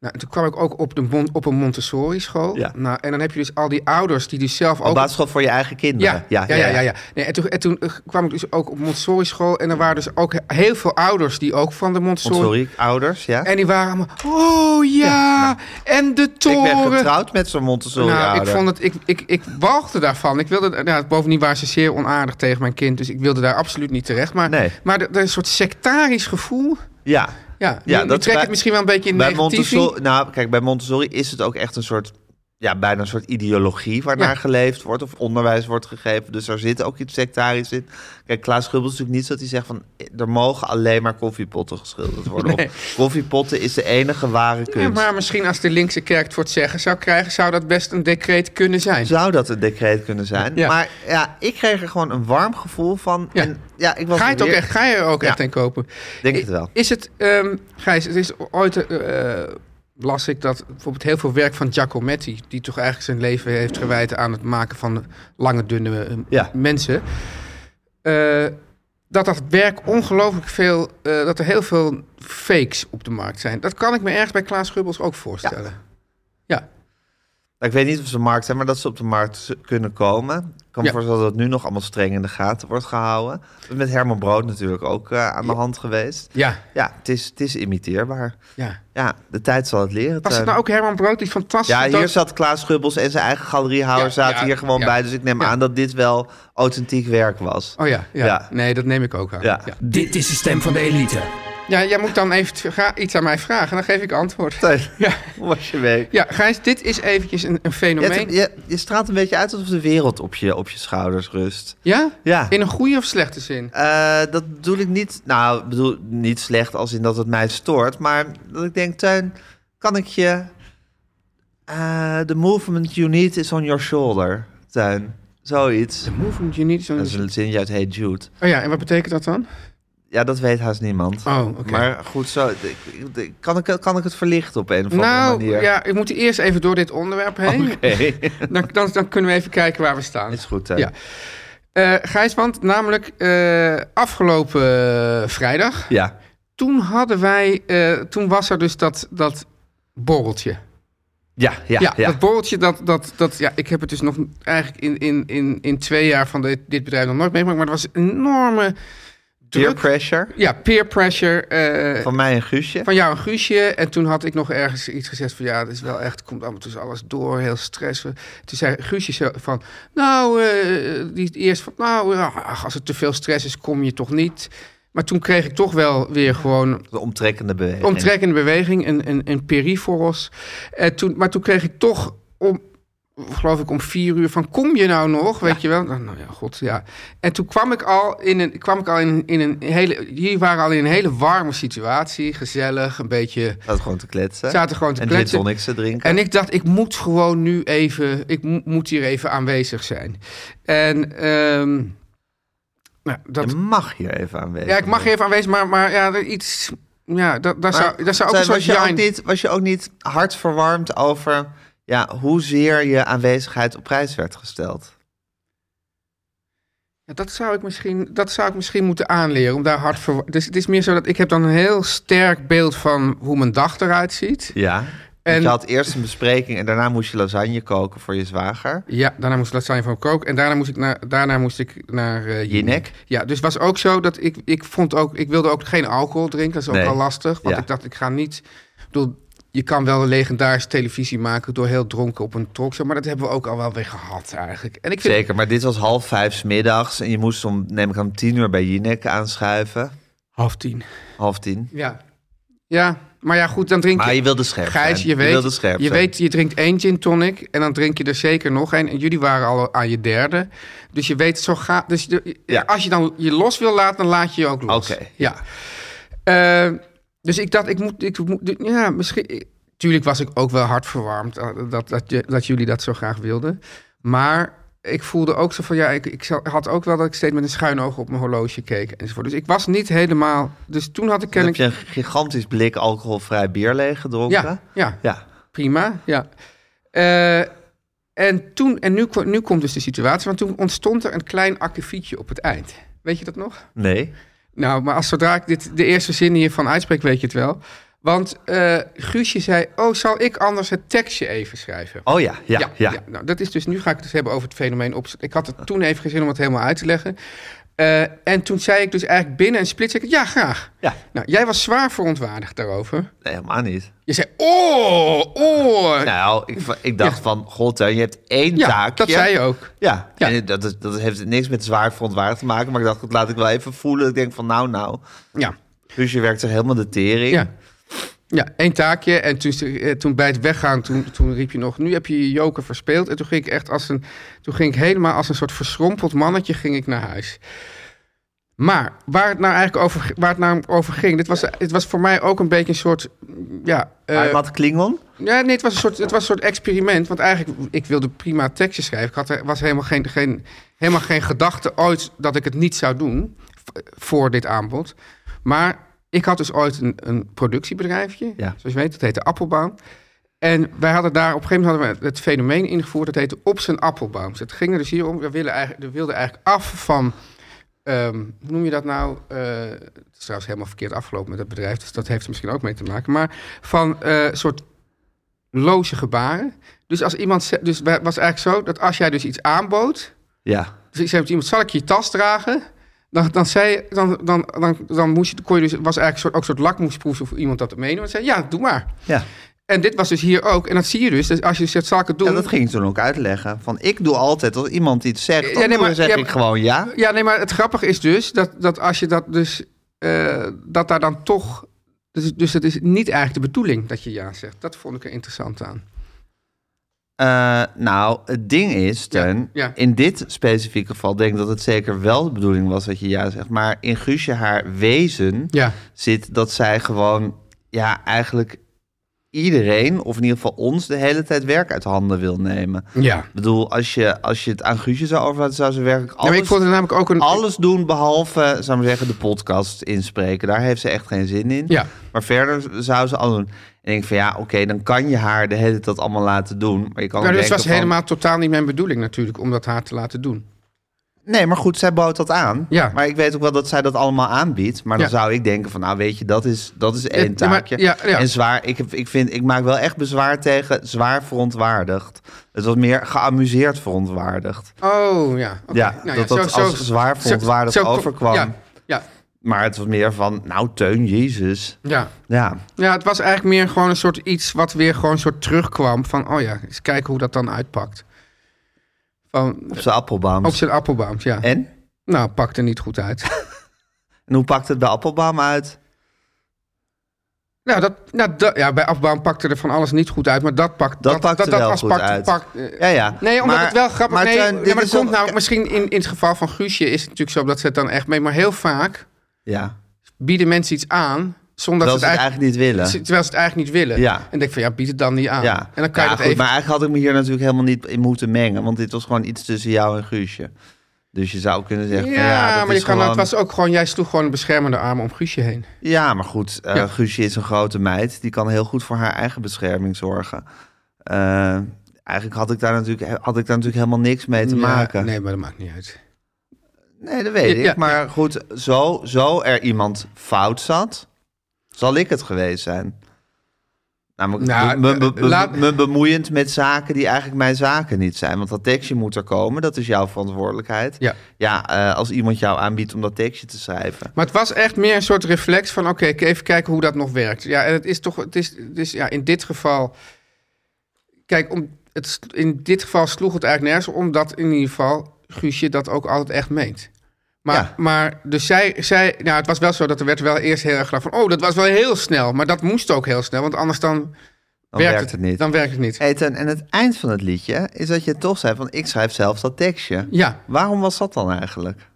[SPEAKER 3] Nou, en toen kwam ik ook op, de mon, op een Montessori-school.
[SPEAKER 2] Ja.
[SPEAKER 3] Nou, en dan heb je dus al die ouders die dus zelf
[SPEAKER 2] op
[SPEAKER 3] ook
[SPEAKER 2] basisschool voor je eigen kinderen.
[SPEAKER 3] Ja, ja, ja. ja, ja, Nee, en toen, en toen eh, kwam ik dus ook op Montessori school. En er waren dus ook he- heel veel ouders die ook van de Montessori...
[SPEAKER 2] Sorry, ouders, ja.
[SPEAKER 3] En die waren allemaal, oh ja, en de
[SPEAKER 2] ik
[SPEAKER 3] toren.
[SPEAKER 2] ben getrouwd met zo'n Montessori
[SPEAKER 3] nou, ik,
[SPEAKER 2] ouder.
[SPEAKER 3] vond het, ik, ik, ik walgde daarvan. Ik wilde, nou, bovendien waren ze zeer onaardig tegen mijn kind. Dus ik wilde daar absoluut niet terecht. Maar,
[SPEAKER 2] Nee.
[SPEAKER 3] maar er, er is een soort sectarisch gevoel.
[SPEAKER 2] Ja.
[SPEAKER 3] Ja,
[SPEAKER 2] Ja,
[SPEAKER 3] nu, nu
[SPEAKER 2] dat
[SPEAKER 3] trek ik
[SPEAKER 2] bij-
[SPEAKER 3] het misschien wel een beetje in
[SPEAKER 2] Bij
[SPEAKER 3] negatief.
[SPEAKER 2] Montessori, nou, kijk, bij Montessori is het ook echt een soort, ja, bijna een soort ideologie waarnaar
[SPEAKER 3] Ja.
[SPEAKER 2] geleefd wordt of onderwijs wordt gegeven. Dus daar zit ook iets sectarisch in. Kijk, Klaas Gubbels is natuurlijk niet zo dat hij zegt van, "Eh, er mogen alleen maar koffiepotten geschilderd worden.
[SPEAKER 3] Nee.
[SPEAKER 2] Of koffiepotten is de enige ware kunst.
[SPEAKER 3] Ja, maar misschien als de linkse kerk het voor het zeggen zou krijgen... zou dat best een decreet kunnen zijn.
[SPEAKER 2] Zou dat een decreet kunnen zijn?
[SPEAKER 3] Ja.
[SPEAKER 2] Maar ja, ik kreeg er gewoon een warm gevoel van.
[SPEAKER 3] Ja.
[SPEAKER 2] En, ja ik was
[SPEAKER 3] Ga je, het ook
[SPEAKER 2] weer-
[SPEAKER 3] echt, ga je er ook
[SPEAKER 2] Ja.
[SPEAKER 3] echt in kopen?
[SPEAKER 2] Denk
[SPEAKER 3] I-
[SPEAKER 2] het wel.
[SPEAKER 3] Is het, ehm, Gijs, het is ooit, eh, eh, las ik dat bijvoorbeeld heel veel werk van Giacometti, die toch eigenlijk zijn leven heeft gewijd aan het maken van lange, dunne eh,
[SPEAKER 2] Ja.
[SPEAKER 3] mensen, eh, dat dat werk ongelooflijk veel, eh, dat er heel veel fakes op de markt zijn. Dat kan ik me ergens bij Klaas Gubbels ook voorstellen. Ja,
[SPEAKER 2] Nou, ik weet niet of ze op de markt zijn, maar dat ze op de markt z- kunnen komen. Ik kan me
[SPEAKER 3] Ja.
[SPEAKER 2] voorstellen dat het nu nog allemaal streng in de gaten wordt gehouden. Dat is Met Herman Brood natuurlijk ook eh, aan de hand geweest.
[SPEAKER 3] ja,
[SPEAKER 2] Ja, het is, het is imiteerbaar.
[SPEAKER 3] ja.
[SPEAKER 2] Ja, de tijd zal het leren.
[SPEAKER 3] Was het
[SPEAKER 2] Teun.
[SPEAKER 3] nou ook Herman Brood die fantastisch...
[SPEAKER 2] Ehm, Ja, hier zat Klaas Schubbels en zijn eigen galeriehouder
[SPEAKER 3] Ja,
[SPEAKER 2] zaten
[SPEAKER 3] ja,
[SPEAKER 2] hier gewoon
[SPEAKER 3] ja.
[SPEAKER 2] bij. Dus ik neem
[SPEAKER 3] Ja.
[SPEAKER 2] aan dat dit wel authentiek werk was.
[SPEAKER 3] Oh ja, ja,
[SPEAKER 2] Ja.
[SPEAKER 3] nee, dat neem ik ook aan.
[SPEAKER 2] Ja.
[SPEAKER 3] Ja.
[SPEAKER 4] Dit is de stem van de elite.
[SPEAKER 3] Ja, jij moet dan even t- ga- iets aan mij vragen en dan geef ik antwoord.
[SPEAKER 2] Teun,
[SPEAKER 3] Ja,
[SPEAKER 2] hoe was je week?
[SPEAKER 3] ja Gijs, dit is eventjes een, een
[SPEAKER 2] Je,
[SPEAKER 3] fenomeen.
[SPEAKER 2] hebt- je, je straalt een beetje uit alsof de wereld op je, op je schouders rust.
[SPEAKER 3] Ja?
[SPEAKER 2] Ja.
[SPEAKER 3] In een goede of slechte zin?
[SPEAKER 2] Eh, dat bedoel ik niet. Nou, ik bedoel niet slecht als in dat het mij stoort. Maar dat ik denk, Teun, kan ik je. eh, the movement you need is on your shoulder, Teun. Zoiets.
[SPEAKER 3] Movement you need
[SPEAKER 2] Dat is
[SPEAKER 3] zo'n...
[SPEAKER 2] een zin uit Hey Jude.
[SPEAKER 3] Oh ja, en wat betekent dat dan?
[SPEAKER 2] Ja, dat weet haast niemand.
[SPEAKER 3] Oh, oké.
[SPEAKER 2] Maar goed, zo, ik- ik- ik- kan, ik, kan ik het verlichten op een of andere
[SPEAKER 3] Nou,
[SPEAKER 2] manier? Oh,
[SPEAKER 3] ja, we moeten eerst even door dit onderwerp heen.
[SPEAKER 2] Oké,
[SPEAKER 3] Dan, dan, dan kunnen we even kijken waar we staan.
[SPEAKER 2] is goed. Teun.
[SPEAKER 3] Ja. Eh Gijs, want namelijk eh, afgelopen eh, vrijdag...
[SPEAKER 2] ja.
[SPEAKER 3] toen hadden wij... eh, toen was er dus dat, dat borreltje.
[SPEAKER 2] Ja, ja,
[SPEAKER 3] Ja,
[SPEAKER 2] ja.
[SPEAKER 3] dat borreltje, dat, dat, dat, ja, ik heb het dus nog eigenlijk in, in, in, in twee jaar van dit- dit bedrijf nog nooit meegemaakt. Maar er was een enorme
[SPEAKER 2] Peer
[SPEAKER 3] druk.
[SPEAKER 2] pressure.
[SPEAKER 3] ja, peer pressure. eh,
[SPEAKER 2] Van mij en Guusje.
[SPEAKER 3] van jou en Guusje. En toen had ik nog ergens iets gezegd van... ja, het is wel echt, het komt allemaal tussen alles door, heel stressvol. Toen zei Guusje zo van... nou, eh, die eerst van... nou, ja, ach, als het te veel stress is, kom je toch niet. Maar toen kreeg ik toch wel weer gewoon
[SPEAKER 2] De omtrekkende beweging.
[SPEAKER 3] omtrekkende beweging, een, een, een periforos. En toen, maar toen kreeg ik toch om, geloof ik, om vier uur van kom je nou nog, weet je wel? Nou, nou ja, god, ja. En toen kwam ik al in een, kwam ik al in, een- in een hele, jullie waren al in een hele warme situatie, gezellig, een beetje,
[SPEAKER 2] Zat gewoon te kletsen.
[SPEAKER 3] zaten gewoon te
[SPEAKER 2] en gin
[SPEAKER 3] kletsen.
[SPEAKER 2] tonics te drinken.
[SPEAKER 3] En ik dacht, ik moet gewoon nu even, ik mo- moet hier even aanwezig zijn. En ehm, nou, dat,
[SPEAKER 2] Je mag hier even aanwezig
[SPEAKER 3] ja, ik mag
[SPEAKER 2] zijn.
[SPEAKER 3] even aanwezig, maar, maar ja, er iets, ja, dat, daar, zou,
[SPEAKER 2] Maar,
[SPEAKER 3] daar zou ook
[SPEAKER 2] Teun,
[SPEAKER 3] een
[SPEAKER 2] was,
[SPEAKER 3] soort
[SPEAKER 2] je
[SPEAKER 3] jijn-
[SPEAKER 2] ook niet, was je ook niet hartverwarmd over ja, hoezeer je aanwezigheid op prijs werd gesteld?
[SPEAKER 3] Ja, dat, zou ik misschien, dat zou ik misschien moeten aanleren. Om daar hard voor. Dus het is meer zo dat ik heb dan een heel sterk beeld van hoe mijn dag eruit ziet.
[SPEAKER 2] Ja. En...
[SPEAKER 3] En-
[SPEAKER 2] Je had eerst een bespreking en daarna moest je lasagne koken voor je zwager.
[SPEAKER 3] Ja, daarna moest ik lasagne van koken. En daarna moest ik naar, daarna moest ik naar eh,
[SPEAKER 2] Jinek.
[SPEAKER 3] Ja, dus was ook zo dat ik, ik vond ook, ik wilde ook geen alcohol drinken. Dat is ook
[SPEAKER 2] Nee.
[SPEAKER 3] wel lastig. Want
[SPEAKER 2] Ja.
[SPEAKER 3] ik dacht, ik ga niet. Ik bedoel, je kan wel een legendarische televisie maken door heel dronken op een talkshow. Maar dat hebben we ook al wel weer gehad eigenlijk. En ik vind,
[SPEAKER 2] Zeker, maar dit was half vijf 's middags en je moest om, neem ik aan, tien uur bij Jinek aanschuiven.
[SPEAKER 3] Half tien.
[SPEAKER 2] Half tien.
[SPEAKER 3] Ja. Ja, maar ja, goed, dan drink
[SPEAKER 2] Maar
[SPEAKER 3] je.
[SPEAKER 2] je wilde scherp
[SPEAKER 3] Gijs,
[SPEAKER 2] zijn.
[SPEAKER 3] je weet,
[SPEAKER 2] wilde
[SPEAKER 3] je,
[SPEAKER 2] scherp zijn.
[SPEAKER 3] weet, je drinkt één gin tonic en dan drink je er zeker nog één. En jullie waren al aan je derde. Dus je weet, zo gaat... Dus de-
[SPEAKER 2] Ja.
[SPEAKER 3] als je dan je los wil laten, dan laat je je ook los.
[SPEAKER 2] Oké.
[SPEAKER 3] Ja. Eh, Dus ik dacht, ik moet, ik moet ja, misschien. ik- Tuurlijk was ik ook wel hard verwarmd eh, dat, dat, je- dat jullie dat zo graag wilden. Maar ik voelde ook zo van, ja, ik, ik zal- had ook wel dat ik steeds met een schuin oog op mijn horloge keek enzovoort. Dus ik was niet helemaal. Dus toen had ik
[SPEAKER 2] Dan heb
[SPEAKER 3] kennelijk.
[SPEAKER 2] je een gigantisch blik alcoholvrij bier leeg gedronken.
[SPEAKER 3] Ja, ja,
[SPEAKER 2] Ja.
[SPEAKER 3] prima. Ja. Eh, en toen, en nu, ko- nu komt dus de situatie, want toen ontstond er een klein akkefietje op het eind. Weet je dat nog?
[SPEAKER 2] Nee.
[SPEAKER 3] Nou, maar als zodra ik dit, de eerste zin hiervan uitspreek, weet je het wel. Want eh, Guusje zei, oh, zal ik anders het tekstje even schrijven?
[SPEAKER 2] Oh ja, ja, ja.
[SPEAKER 3] Nou, dat is dus, nu ga ik het dus hebben over het fenomeen op. Ik had het toen even geen zin om het helemaal uit te leggen. Eh, en toen zei ik dus eigenlijk binnen een split second, ja, graag.
[SPEAKER 2] Ja.
[SPEAKER 3] Nou, jij was zwaar verontwaardigd daarover.
[SPEAKER 2] Nee, helemaal niet.
[SPEAKER 3] Je zei, oh, oh.
[SPEAKER 2] Nou, ik, v- ik dacht van, god, hè, je hebt één
[SPEAKER 3] ja,
[SPEAKER 2] taakje.
[SPEAKER 3] dat zei je ook.
[SPEAKER 2] Ja,
[SPEAKER 3] Ja.
[SPEAKER 2] en dat, is- dat heeft niks met zwaar verontwaardigd te maken. Maar ik dacht, dat laat ik wel even voelen. Ik denk van, nou, nou.
[SPEAKER 3] Ja.
[SPEAKER 2] Dus je werkt er helemaal de tering.
[SPEAKER 3] Ja. Ja, één taakje. En toen, eh, toen bij het weggaan, toen, toen riep je nog... nu heb je je joker verspeeld. En toen ging ik echt als een... toen ging ik helemaal als een soort verschrompeld mannetje ging ik naar huis. Maar waar het nou eigenlijk over, waar het nou over ging... Dit was, het was voor mij ook een beetje een soort... Ja, eh,
[SPEAKER 2] Maar wat Klingon?
[SPEAKER 3] ja, nee, het was, een soort, het was een soort experiment. Want eigenlijk, ik wilde prima tekstjes schrijven. Ik had er, was helemaal geen, geen, helemaal geen gedachte ooit dat ik het niet zou doen v- voor dit aanbod. Maar ik had dus ooit een, een productiebedrijfje.
[SPEAKER 2] Ja.
[SPEAKER 3] Zoals je weet, dat heette Appelbaum. En wij hadden daar op een gegeven moment hadden we het fenomeen ingevoerd. Dat heette op zijn Appelbaum. Het ging er dus hier om. We, willen eigenlijk, we wilden eigenlijk af van... ehm, hoe noem je dat nou? Eh, het is trouwens helemaal verkeerd afgelopen met het bedrijf. Dus dat heeft er misschien ook mee te maken. Maar van eh, soort loze gebaren. Dus als iemand, ze- dus wa- was eigenlijk zo dat als jij dus iets aanbood,
[SPEAKER 2] Ja.
[SPEAKER 3] dus ik zei met iemand, zal ik je tas dragen? Dan, dan zei, dan, dan, dan, dan moest je, kon je dus, was eigenlijk een soort, ook een soort lakmoesproef of iemand dat meeneemt. En zei, ja, doe maar.
[SPEAKER 2] Ja.
[SPEAKER 3] En dit was dus hier ook. En dat zie je dus. Dus als je zegt, zal ik het doen?
[SPEAKER 2] ja, dat ging ik toen ook uitleggen. Van, ik doe altijd, als iemand iets zegt,
[SPEAKER 3] Ja,
[SPEAKER 2] dan
[SPEAKER 3] nee, maar-
[SPEAKER 2] zeg
[SPEAKER 3] ja,
[SPEAKER 2] ik gewoon ja.
[SPEAKER 3] Ja, nee, maar het grappige is dus dat, dat als je dat dus, eh, dat daar dan toch, dus, dus dat is niet eigenlijk de bedoeling dat je ja zegt. Dat vond ik er interessant aan.
[SPEAKER 2] Eh, nou, het ding is, Teun,
[SPEAKER 3] ja.
[SPEAKER 2] in dit specifieke geval denk ik dat het zeker wel de bedoeling was dat je ja zegt. Maar in Guusje haar wezen
[SPEAKER 3] Ja.
[SPEAKER 2] zit dat zij gewoon, ja, eigenlijk iedereen, of in ieder geval ons, de hele tijd werk uit handen wil nemen.
[SPEAKER 3] Ja.
[SPEAKER 2] Ik bedoel, als je, als je het aan Guusje zou overlaten, zou ze werkelijk
[SPEAKER 3] ja
[SPEAKER 2] alles,
[SPEAKER 3] maar ik vond het namelijk ook een...
[SPEAKER 2] alles doen behalve, zou ik maar zeggen, de podcast inspreken. Daar heeft ze echt geen zin in.
[SPEAKER 3] Ja.
[SPEAKER 2] Maar verder zou ze alles doen. En ik denk van ja, oké, dan kan je haar de hele tijd allemaal laten doen. Maar je kan
[SPEAKER 3] Maar
[SPEAKER 2] ook
[SPEAKER 3] dat
[SPEAKER 2] denken
[SPEAKER 3] dus was
[SPEAKER 2] van-
[SPEAKER 3] helemaal totaal niet mijn bedoeling natuurlijk, om dat haar te laten doen.
[SPEAKER 2] Nee, maar goed, zij bood dat aan.
[SPEAKER 3] Ja.
[SPEAKER 2] Maar ik weet ook wel dat zij dat allemaal aanbiedt. Maar dan
[SPEAKER 3] Ja.
[SPEAKER 2] zou ik denken van, nou weet je, dat is, dat is één
[SPEAKER 3] ja, maar-
[SPEAKER 2] taakje.
[SPEAKER 3] ja, ja.
[SPEAKER 2] En zwaar, ik, heb, ik, vind, ik maak wel echt bezwaar tegen zwaar verontwaardigd. Het was meer geamuseerd verontwaardigd.
[SPEAKER 3] Oh, ja. oké.
[SPEAKER 2] Ja, dat dat als zwaar verontwaardigd
[SPEAKER 3] zo- zo-
[SPEAKER 2] overkwam.
[SPEAKER 3] Ja, ja,
[SPEAKER 2] Maar het was meer van, nou Teun, Jezus.
[SPEAKER 3] ja.
[SPEAKER 2] Ja,
[SPEAKER 3] ja, het was eigenlijk meer gewoon een soort iets wat weer gewoon een soort terugkwam van, oh ja, eens kijken hoe dat dan uitpakt. Van,
[SPEAKER 2] op zijn appelbaam.
[SPEAKER 3] op zijn appelbaams, ja.
[SPEAKER 2] En?
[SPEAKER 3] Nou, pakte niet goed uit.
[SPEAKER 2] En hoe pakt het bij appelbaam uit?
[SPEAKER 3] nou, dat, nou dat, ja, bij appelbaam pakte er van alles niet goed uit, maar dat pakt...
[SPEAKER 2] Dat pakte wel
[SPEAKER 3] als
[SPEAKER 2] goed
[SPEAKER 3] pakt-
[SPEAKER 2] uit.
[SPEAKER 3] pakt, eh,
[SPEAKER 2] Ja, ja.
[SPEAKER 3] Nee, omdat
[SPEAKER 2] Maar-
[SPEAKER 3] het wel grappig...
[SPEAKER 2] maar
[SPEAKER 3] nee,
[SPEAKER 2] Teun,
[SPEAKER 3] ja,
[SPEAKER 2] dit
[SPEAKER 3] maar
[SPEAKER 2] is
[SPEAKER 3] dat komt
[SPEAKER 2] wel-
[SPEAKER 3] nou... Misschien in, in het geval van Guusje is het natuurlijk zo dat ze het dan echt mee... Maar heel vaak
[SPEAKER 2] Ja,
[SPEAKER 3] bieden mensen iets aan
[SPEAKER 2] terwijl
[SPEAKER 3] zonder dat
[SPEAKER 2] ze
[SPEAKER 3] ze het
[SPEAKER 2] het
[SPEAKER 3] eigenlijk...
[SPEAKER 2] eigenlijk niet willen.
[SPEAKER 3] Ze- Terwijl ze het eigenlijk niet willen.
[SPEAKER 2] Ja.
[SPEAKER 3] En denk ik van ja, bied het dan niet aan.
[SPEAKER 2] Ja.
[SPEAKER 3] En dan kan
[SPEAKER 2] Ja,
[SPEAKER 3] je dat
[SPEAKER 2] goed,
[SPEAKER 3] even.
[SPEAKER 2] Maar eigenlijk had ik me hier natuurlijk helemaal niet in moeten mengen. Want dit was gewoon iets tussen jou en Guusje. Dus je zou kunnen zeggen... van,
[SPEAKER 3] ja,
[SPEAKER 2] ja dat
[SPEAKER 3] maar
[SPEAKER 2] is
[SPEAKER 3] je kan,
[SPEAKER 2] gewoon...
[SPEAKER 3] het was ook gewoon, jij sloeg gewoon een beschermende arm om Guusje heen.
[SPEAKER 2] Ja, maar goed. eh,
[SPEAKER 3] Ja.
[SPEAKER 2] Guusje is een grote meid. Die kan heel goed voor haar eigen bescherming zorgen. Eh, eigenlijk had ik, daar natuurlijk, had ik daar natuurlijk helemaal niks mee te
[SPEAKER 3] Ja,
[SPEAKER 2] maken. Nee.
[SPEAKER 3] Nee, maar dat maakt niet uit.
[SPEAKER 2] dat weet
[SPEAKER 3] Ja, ja.
[SPEAKER 2] ik. Maar goed, zo, zo er iemand fout zat... zal ik het geweest zijn. Namelijk
[SPEAKER 3] Nou,
[SPEAKER 2] me, me- me-
[SPEAKER 3] laat-
[SPEAKER 2] me bemoeiend met zaken die eigenlijk mijn zaken niet zijn. Want dat tekstje moet er komen, dat is jouw verantwoordelijkheid.
[SPEAKER 3] Ja.
[SPEAKER 2] Ja, eh, als iemand jou aanbiedt om dat tekstje te schrijven.
[SPEAKER 3] Maar het was echt meer een soort reflex van: oké, ik even kijken hoe dat nog werkt. Ja, en het is toch, het is, het is ja, in dit geval. Kijk, om, het, s- in dit geval sloeg het eigenlijk nergens, op, omdat in ieder geval Guusje dat ook altijd echt meent. Maar,
[SPEAKER 2] Ja.
[SPEAKER 3] maar dus zij, zij, nou, het was wel zo dat er werd wel eerst heel erg gedaan van: oh, dat was wel heel snel. Maar dat moest ook heel snel, want anders dan,
[SPEAKER 2] Dan werkt het, niet.
[SPEAKER 3] Dan werkt het niet.
[SPEAKER 2] Hey, ten- en het eind van het liedje is dat je toch zei van ik schrijf zelf dat tekstje.
[SPEAKER 3] Ja,
[SPEAKER 2] Waarom was dat dan eigenlijk?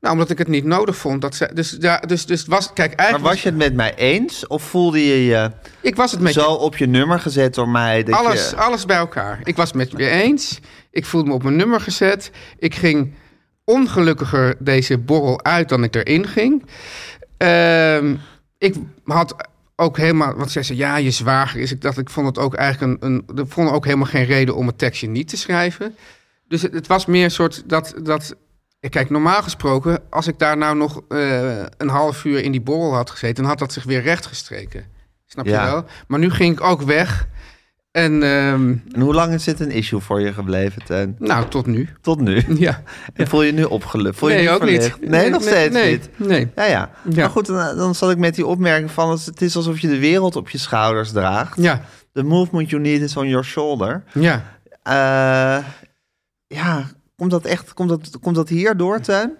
[SPEAKER 3] Nou, omdat ik het niet nodig vond. Dat ze, dus, ja, dus, dus het was, kijk,
[SPEAKER 2] Maar
[SPEAKER 3] eigenlijk
[SPEAKER 2] was je het met mij eens? Of voelde je je
[SPEAKER 3] ik was het met
[SPEAKER 2] zo op je nummer gezet door mij? Dat
[SPEAKER 3] alles,
[SPEAKER 2] je,
[SPEAKER 3] alles bij elkaar. Ik was het met je eens. Ik voelde me op mijn nummer gezet. Ik ging ongelukkiger deze borrel uit dan ik erin ging. Ehm, ik had ook helemaal, want zij zei, ja, je zwager is. Ik dacht, ik vond het ook eigenlijk een, een ik vond ook helemaal geen reden om het tekstje niet te schrijven. Dus het, het was meer een soort dat, dat, eh, kijk, normaal gesproken, als ik daar nou nog eh, een half uur in die borrel had gezeten, dan had dat zich weer rechtgestreken. Snap
[SPEAKER 2] Ja.
[SPEAKER 3] je wel? Maar nu ging ik ook weg. En ehm,
[SPEAKER 2] En hoe lang is dit een issue voor je gebleven, Teun?
[SPEAKER 3] nou, tot nu.
[SPEAKER 2] Tot nu.
[SPEAKER 3] Ja.
[SPEAKER 2] En voel je nu opgelucht? Voel je
[SPEAKER 3] nee,
[SPEAKER 2] nu
[SPEAKER 3] ook niet.
[SPEAKER 2] verlicht? Nee, nog steeds
[SPEAKER 3] nee,
[SPEAKER 2] niet.
[SPEAKER 3] Nee.
[SPEAKER 2] Ja, ja.
[SPEAKER 3] Ja.
[SPEAKER 2] Maar goed, dan, dan zat ik met die opmerking van... het is alsof je de wereld op je schouders draagt.
[SPEAKER 3] Ja,
[SPEAKER 2] The movement you need is on your shoulder.
[SPEAKER 3] ja.
[SPEAKER 2] Eh, ja, komt dat echt komt dat, komt dat hier door, Teun?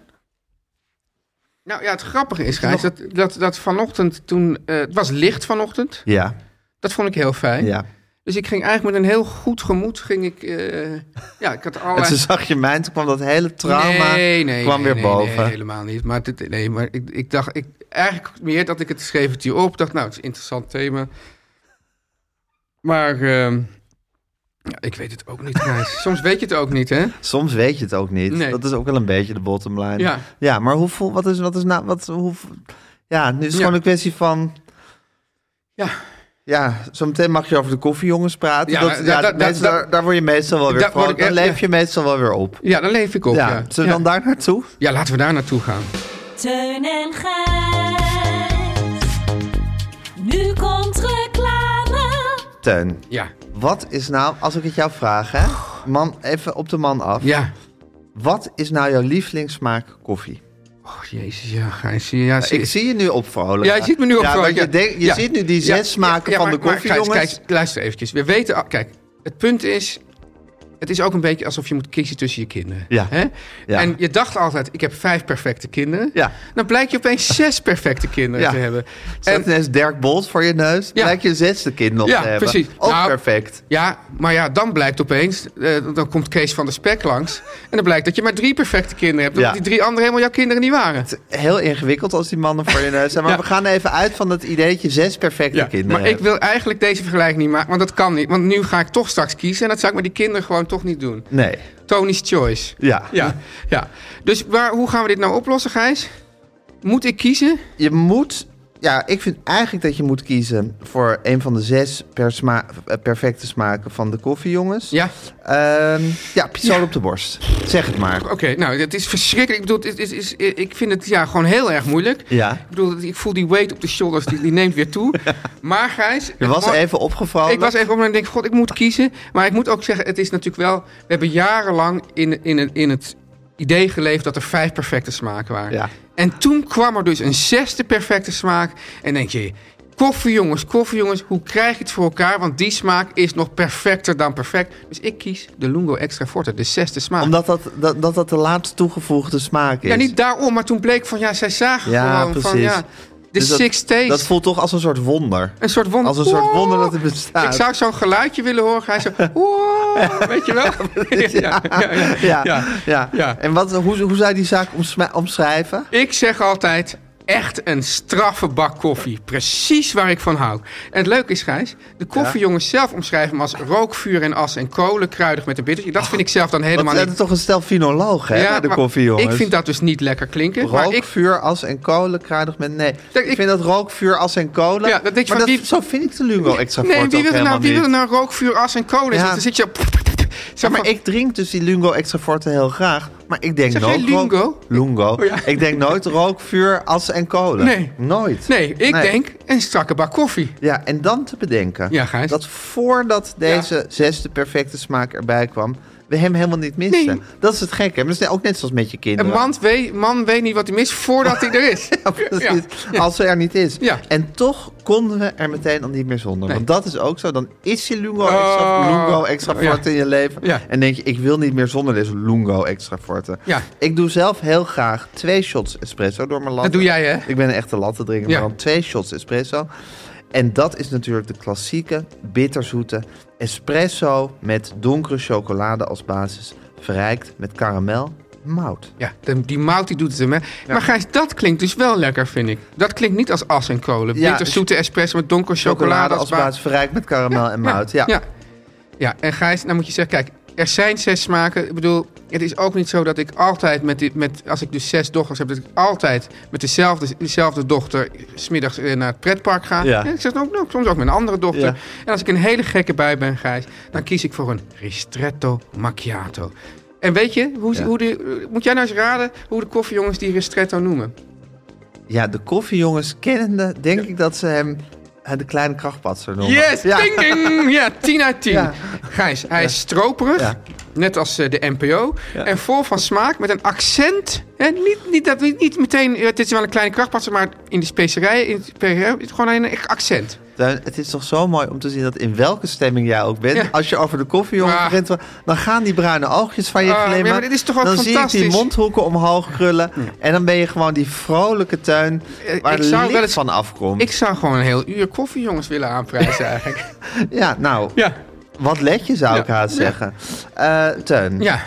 [SPEAKER 3] Nou ja, het grappige is, Gijs, dat, dat, dat vanochtend toen... eh, het was licht vanochtend.
[SPEAKER 2] Ja,
[SPEAKER 3] Dat vond ik heel fijn.
[SPEAKER 2] ja.
[SPEAKER 3] Dus ik ging eigenlijk met een heel goed gemoed... ging ik... eh, ja, ik had
[SPEAKER 2] En
[SPEAKER 3] allerlei...
[SPEAKER 2] toen zag je mij en toen kwam dat hele trauma...
[SPEAKER 3] nee, nee,
[SPEAKER 2] kwam
[SPEAKER 3] nee,
[SPEAKER 2] weer
[SPEAKER 3] nee,
[SPEAKER 2] boven.
[SPEAKER 3] Nee, helemaal niet. Maar, dit, nee, maar ik, ik dacht... Ik, eigenlijk meer dat ik het schreef het hier op. dacht, nou, het is een interessant thema. Maar... ehm, ja, ik weet het ook niet, Gijs. Soms weet je het ook niet, hè?
[SPEAKER 2] Soms weet je het ook niet.
[SPEAKER 3] Nee.
[SPEAKER 2] Dat is ook wel een beetje de bottom line.
[SPEAKER 3] Ja.
[SPEAKER 2] ja maar hoe voel, wat is, wat is nou, wat, hoe, ja, nu is het
[SPEAKER 3] Ja.
[SPEAKER 2] gewoon een kwestie van,
[SPEAKER 3] Ja.
[SPEAKER 2] ja, zometeen mag je over de koffiejongens praten.
[SPEAKER 3] Ja,
[SPEAKER 2] dat,
[SPEAKER 3] da-
[SPEAKER 2] ja,
[SPEAKER 3] da- da-
[SPEAKER 2] mensen-
[SPEAKER 3] da-
[SPEAKER 2] daar, daar word je meestal wel weer
[SPEAKER 3] Daar word
[SPEAKER 2] van.
[SPEAKER 3] ik
[SPEAKER 2] Dan
[SPEAKER 3] echt-
[SPEAKER 2] leef
[SPEAKER 3] ja.
[SPEAKER 2] je meestal wel weer op.
[SPEAKER 3] Ja, dan leef ik op,
[SPEAKER 2] ja,
[SPEAKER 3] ja.
[SPEAKER 2] zullen we dan daar naartoe?
[SPEAKER 3] Ja, laten we daar naartoe gaan.
[SPEAKER 6] Teun en Gijs. Nu komt reclame.
[SPEAKER 2] Teun,
[SPEAKER 3] Ja,
[SPEAKER 2] wat is nou, als ik het jou vraag, hè? Man, even op de man af.
[SPEAKER 3] ja.
[SPEAKER 2] Wat is nou jouw lievelingssmaak koffie?
[SPEAKER 3] Oh, jezus, ja, Gijs. Ja, zie-
[SPEAKER 2] Ik zie je nu opvrolijken.
[SPEAKER 3] Ja, je ziet me nu op
[SPEAKER 2] Ja,
[SPEAKER 3] vrouw,
[SPEAKER 2] want
[SPEAKER 3] ja.
[SPEAKER 2] Je, denkt- je
[SPEAKER 3] Ja.
[SPEAKER 2] ziet nu die
[SPEAKER 3] Ja,
[SPEAKER 2] zes
[SPEAKER 3] ja,
[SPEAKER 2] smaken
[SPEAKER 3] ja,
[SPEAKER 2] van
[SPEAKER 3] maar-
[SPEAKER 2] de koffie,
[SPEAKER 3] maar, Gijs,
[SPEAKER 2] jongens.
[SPEAKER 3] Kijk, luister eventjes. We weten... al- Kijk, het punt is... Het is ook een beetje alsof je moet kiezen tussen je kinderen.
[SPEAKER 2] Ja.
[SPEAKER 3] Hè?
[SPEAKER 2] Ja.
[SPEAKER 3] En je dacht altijd, ik heb vijf perfecte kinderen.
[SPEAKER 2] Ja.
[SPEAKER 3] Dan blijkt je opeens zes perfecte kinderen
[SPEAKER 2] Ja.
[SPEAKER 3] te hebben.
[SPEAKER 2] Zet ineens Dirk Bolt voor je neus.
[SPEAKER 3] Ja.
[SPEAKER 2] Lijkt je zesde kind nog
[SPEAKER 3] Ja,
[SPEAKER 2] te hebben.
[SPEAKER 3] precies.
[SPEAKER 2] Ook
[SPEAKER 3] Nou,
[SPEAKER 2] perfect.
[SPEAKER 3] Ja, maar ja, dan blijkt opeens, eh, dan komt Kees van de Spek langs. En dan blijkt dat je maar drie perfecte kinderen hebt. Omdat
[SPEAKER 2] Ja.
[SPEAKER 3] die drie anderen helemaal jouw kinderen niet waren.
[SPEAKER 2] Heel ingewikkeld als die mannen voor je neus zijn. Maar
[SPEAKER 3] Ja.
[SPEAKER 2] we gaan even uit van dat idee dat je zes perfecte kinderen
[SPEAKER 3] maar ik
[SPEAKER 2] hebt.
[SPEAKER 3] wil eigenlijk deze vergelijking niet maken, want dat kan niet. Want nu ga ik toch straks kiezen en dat zou ik met die kinderen gewoon toch niet doen.
[SPEAKER 2] Nee.
[SPEAKER 3] Tony's Choice.
[SPEAKER 2] Ja.
[SPEAKER 3] Ja, ja. Dus waar, hoe gaan we dit nou oplossen, Gijs? Moet ik kiezen?
[SPEAKER 2] Je moet... Ja, ik vind eigenlijk dat je moet kiezen voor een van de zes per sma- eh, perfecte smaken van de koffie, jongens.
[SPEAKER 3] Ja.
[SPEAKER 2] Ehm, ja, pistool op de borst. Zeg het maar.
[SPEAKER 3] Oké, nou, het is verschrikkelijk. Ik bedoel, het is, is, ik vind het ja, gewoon heel erg moeilijk.
[SPEAKER 2] Ja.
[SPEAKER 3] Ik bedoel, ik voel die weight op de shoulders, die, die neemt weer toe. Maar Gijs...
[SPEAKER 2] Je
[SPEAKER 3] het
[SPEAKER 2] was
[SPEAKER 3] mo-
[SPEAKER 2] even opgevallen.
[SPEAKER 3] Ik was even om en denk, god, ik moet kiezen. Maar ik moet ook zeggen, het is natuurlijk wel... We hebben jarenlang in, in, in het idee geleefd dat er vijf perfecte smaken waren.
[SPEAKER 2] Ja.
[SPEAKER 3] En toen kwam er dus een zesde perfecte smaak. En denk je, koffie jongens, koffie jongens, hoe krijg je het voor elkaar? Want die smaak is nog perfecter dan perfect. Dus ik kies de Lungo Extra Forte, de zesde smaak.
[SPEAKER 2] Omdat dat, dat, dat, dat de laatst toegevoegde smaak is.
[SPEAKER 3] Ja, niet daarom, maar toen bleek van, ja, zij zagen
[SPEAKER 2] Ja,
[SPEAKER 3] gewoon van,
[SPEAKER 2] precies.
[SPEAKER 3] ja... De
[SPEAKER 2] Dus dat-
[SPEAKER 3] Six Taste.
[SPEAKER 2] Dat voelt toch als een soort wonder.
[SPEAKER 3] Een soort wonder.
[SPEAKER 2] Als een soort
[SPEAKER 3] Wow.
[SPEAKER 2] wonder dat het bestaat.
[SPEAKER 3] Ik zou zo'n geluidje willen horen. Hij zo, wow, weet je wel? Ja, ja, ja,
[SPEAKER 2] ja, ja,
[SPEAKER 3] ja. ja.
[SPEAKER 2] En wat, hoe, hoe zou je die zaak omsma- omschrijven?
[SPEAKER 3] Ik zeg altijd, echt een straffe bak koffie. Precies waar ik van hou. En het leuke is, Gijs, de koffiejongens zelf omschrijven hem als rook, vuur en as en kolen, kruidig met een bittertje. Dat vind ik zelf dan
[SPEAKER 2] Want
[SPEAKER 3] helemaal
[SPEAKER 2] we
[SPEAKER 3] niet...
[SPEAKER 2] hebben toch een stel finoloog, hè, bij de
[SPEAKER 3] maar
[SPEAKER 2] koffie, jongens.
[SPEAKER 3] Ik vind dat dus niet lekker klinken.
[SPEAKER 2] Rook,
[SPEAKER 3] maar ik,
[SPEAKER 2] vuur, as en kolen, kruidig met... Nee, ik,
[SPEAKER 3] Kijk, ik-
[SPEAKER 2] vind dat rook, vuur, as en kolen...
[SPEAKER 3] Ja, dat denk je
[SPEAKER 2] maar
[SPEAKER 3] van
[SPEAKER 2] dat,
[SPEAKER 3] wie-
[SPEAKER 2] zo vind ik de Lungo extra
[SPEAKER 3] nee,
[SPEAKER 2] fort
[SPEAKER 3] wie
[SPEAKER 2] ook
[SPEAKER 3] wil er
[SPEAKER 2] helemaal
[SPEAKER 3] nou, wie
[SPEAKER 2] niet.
[SPEAKER 3] wil er nou rook, vuur, as en kolen?
[SPEAKER 2] Ja.
[SPEAKER 3] Dan zit je...
[SPEAKER 2] Ja,
[SPEAKER 3] Zeg
[SPEAKER 2] maar ik drink dus die Lungo extra forte heel graag. Maar ik denk
[SPEAKER 3] Zeg
[SPEAKER 2] nooit...
[SPEAKER 3] jij
[SPEAKER 2] rook-
[SPEAKER 3] Lungo?
[SPEAKER 2] Lungo.
[SPEAKER 3] Oh, ja.
[SPEAKER 2] Ik denk nooit rook, vuur, as en kolen.
[SPEAKER 3] Nee.
[SPEAKER 2] Nooit.
[SPEAKER 3] Nee, ik
[SPEAKER 2] Nee.
[SPEAKER 3] denk een strakke bak koffie.
[SPEAKER 2] Ja, en dan te bedenken
[SPEAKER 3] Ja, Gijs.
[SPEAKER 2] dat voordat deze zesde perfecte smaak erbij kwam, we hem helemaal niet misten.
[SPEAKER 3] Nee.
[SPEAKER 2] Dat is het gekke. Maar dat is ook net zoals met je
[SPEAKER 3] Een
[SPEAKER 2] kinderen.
[SPEAKER 3] man weet, man weet niet wat hij mist voordat hij er is.
[SPEAKER 2] Ja, precies. Als ze er niet is.
[SPEAKER 3] Ja.
[SPEAKER 2] En toch konden we er meteen al niet meer zonder.
[SPEAKER 3] Nee.
[SPEAKER 2] Want dat is ook zo. Dan is je Lungo
[SPEAKER 3] Oh.
[SPEAKER 2] extra, lungo extra
[SPEAKER 3] Ja.
[SPEAKER 2] forte in je leven.
[SPEAKER 3] Ja.
[SPEAKER 2] En denk je, ik wil niet meer zonder deze Lungo extra forte.
[SPEAKER 3] Ja.
[SPEAKER 2] Ik doe zelf heel graag twee shots espresso door mijn latte.
[SPEAKER 3] doe jij, hè?
[SPEAKER 2] Ik ben een echte latte drinker.
[SPEAKER 3] Ja.
[SPEAKER 2] Maar dan twee shots espresso. En dat is natuurlijk de klassieke, bitterzoete espresso met donkere chocolade als basis. Verrijkt met karamel, Mout.
[SPEAKER 3] Ja, de- die mout die doet het hem, hè. Maar Gijs, dat klinkt dus wel lekker, vind ik. Dat klinkt niet als as en kolen.
[SPEAKER 2] Ja, dus-
[SPEAKER 3] Bitter zoete espresso met donker
[SPEAKER 2] Chocolade als
[SPEAKER 3] basis.
[SPEAKER 2] basis verrijkt met karamel en mout. Ja.
[SPEAKER 3] Ja. Ja, en Gijs, dan moet je zeggen, kijk, er zijn zes smaken. Ik bedoel, het is ook niet zo dat ik altijd met, die, met als ik dus zes dochters heb, dat ik altijd met dezelfde, dezelfde dochter smiddags eh, naar het pretpark ga.
[SPEAKER 2] Ja.
[SPEAKER 3] En ik zeg dan ook, nou, soms ook met een andere dochter.
[SPEAKER 2] Ja.
[SPEAKER 3] En als ik een hele gekke bui ben, Gijs, dan kies ik voor een ristretto macchiato. En weet je, hoe, ze-
[SPEAKER 2] Ja.
[SPEAKER 3] hoe de, moet jij nou eens raden hoe de koffiejongens die ristretto noemen?
[SPEAKER 2] Ja, de koffiejongens kennende, denk ik dat ze hem eh, de kleine krachtpatser noemen.
[SPEAKER 3] Yes,
[SPEAKER 2] Ja.
[SPEAKER 3] ding ding! Ja, 10 uit 10.
[SPEAKER 2] Ja.
[SPEAKER 3] Gijs, hij is stroperig,
[SPEAKER 2] Ja.
[SPEAKER 3] net als eh, de NPO.
[SPEAKER 2] Ja.
[SPEAKER 3] En vol van smaak, met een accent. En niet, niet, dat, niet, niet meteen, eh, dit is wel een kleine krachtpatser, maar in de specerijen, in de specerijen, het is gewoon een echt accent.
[SPEAKER 2] Tuin, het is toch zo mooi om te zien dat in welke stemming jij ook bent.
[SPEAKER 3] Ja.
[SPEAKER 2] Als je over de koffiejongen
[SPEAKER 3] Ah.
[SPEAKER 2] begint, dan gaan die bruine oogjes van je
[SPEAKER 3] Ah,
[SPEAKER 2] glimmen.
[SPEAKER 3] ja, maar dit is toch ook
[SPEAKER 2] dan zie ik die
[SPEAKER 3] fantastisch?
[SPEAKER 2] mondhoeken omhoog krullen. En dan ben je gewoon die vrolijke tuin
[SPEAKER 3] Eh,
[SPEAKER 2] waar
[SPEAKER 3] ik
[SPEAKER 2] de
[SPEAKER 3] zou
[SPEAKER 2] licht
[SPEAKER 3] wel eens-
[SPEAKER 2] van afkomt.
[SPEAKER 3] Ik zou gewoon een heel uur koffiejongens willen aanprijzen eigenlijk.
[SPEAKER 2] Ja, nou,
[SPEAKER 3] ja,
[SPEAKER 2] wat let je zou
[SPEAKER 3] Ja.
[SPEAKER 2] ik haast zeggen. Eh Teun,
[SPEAKER 3] ja.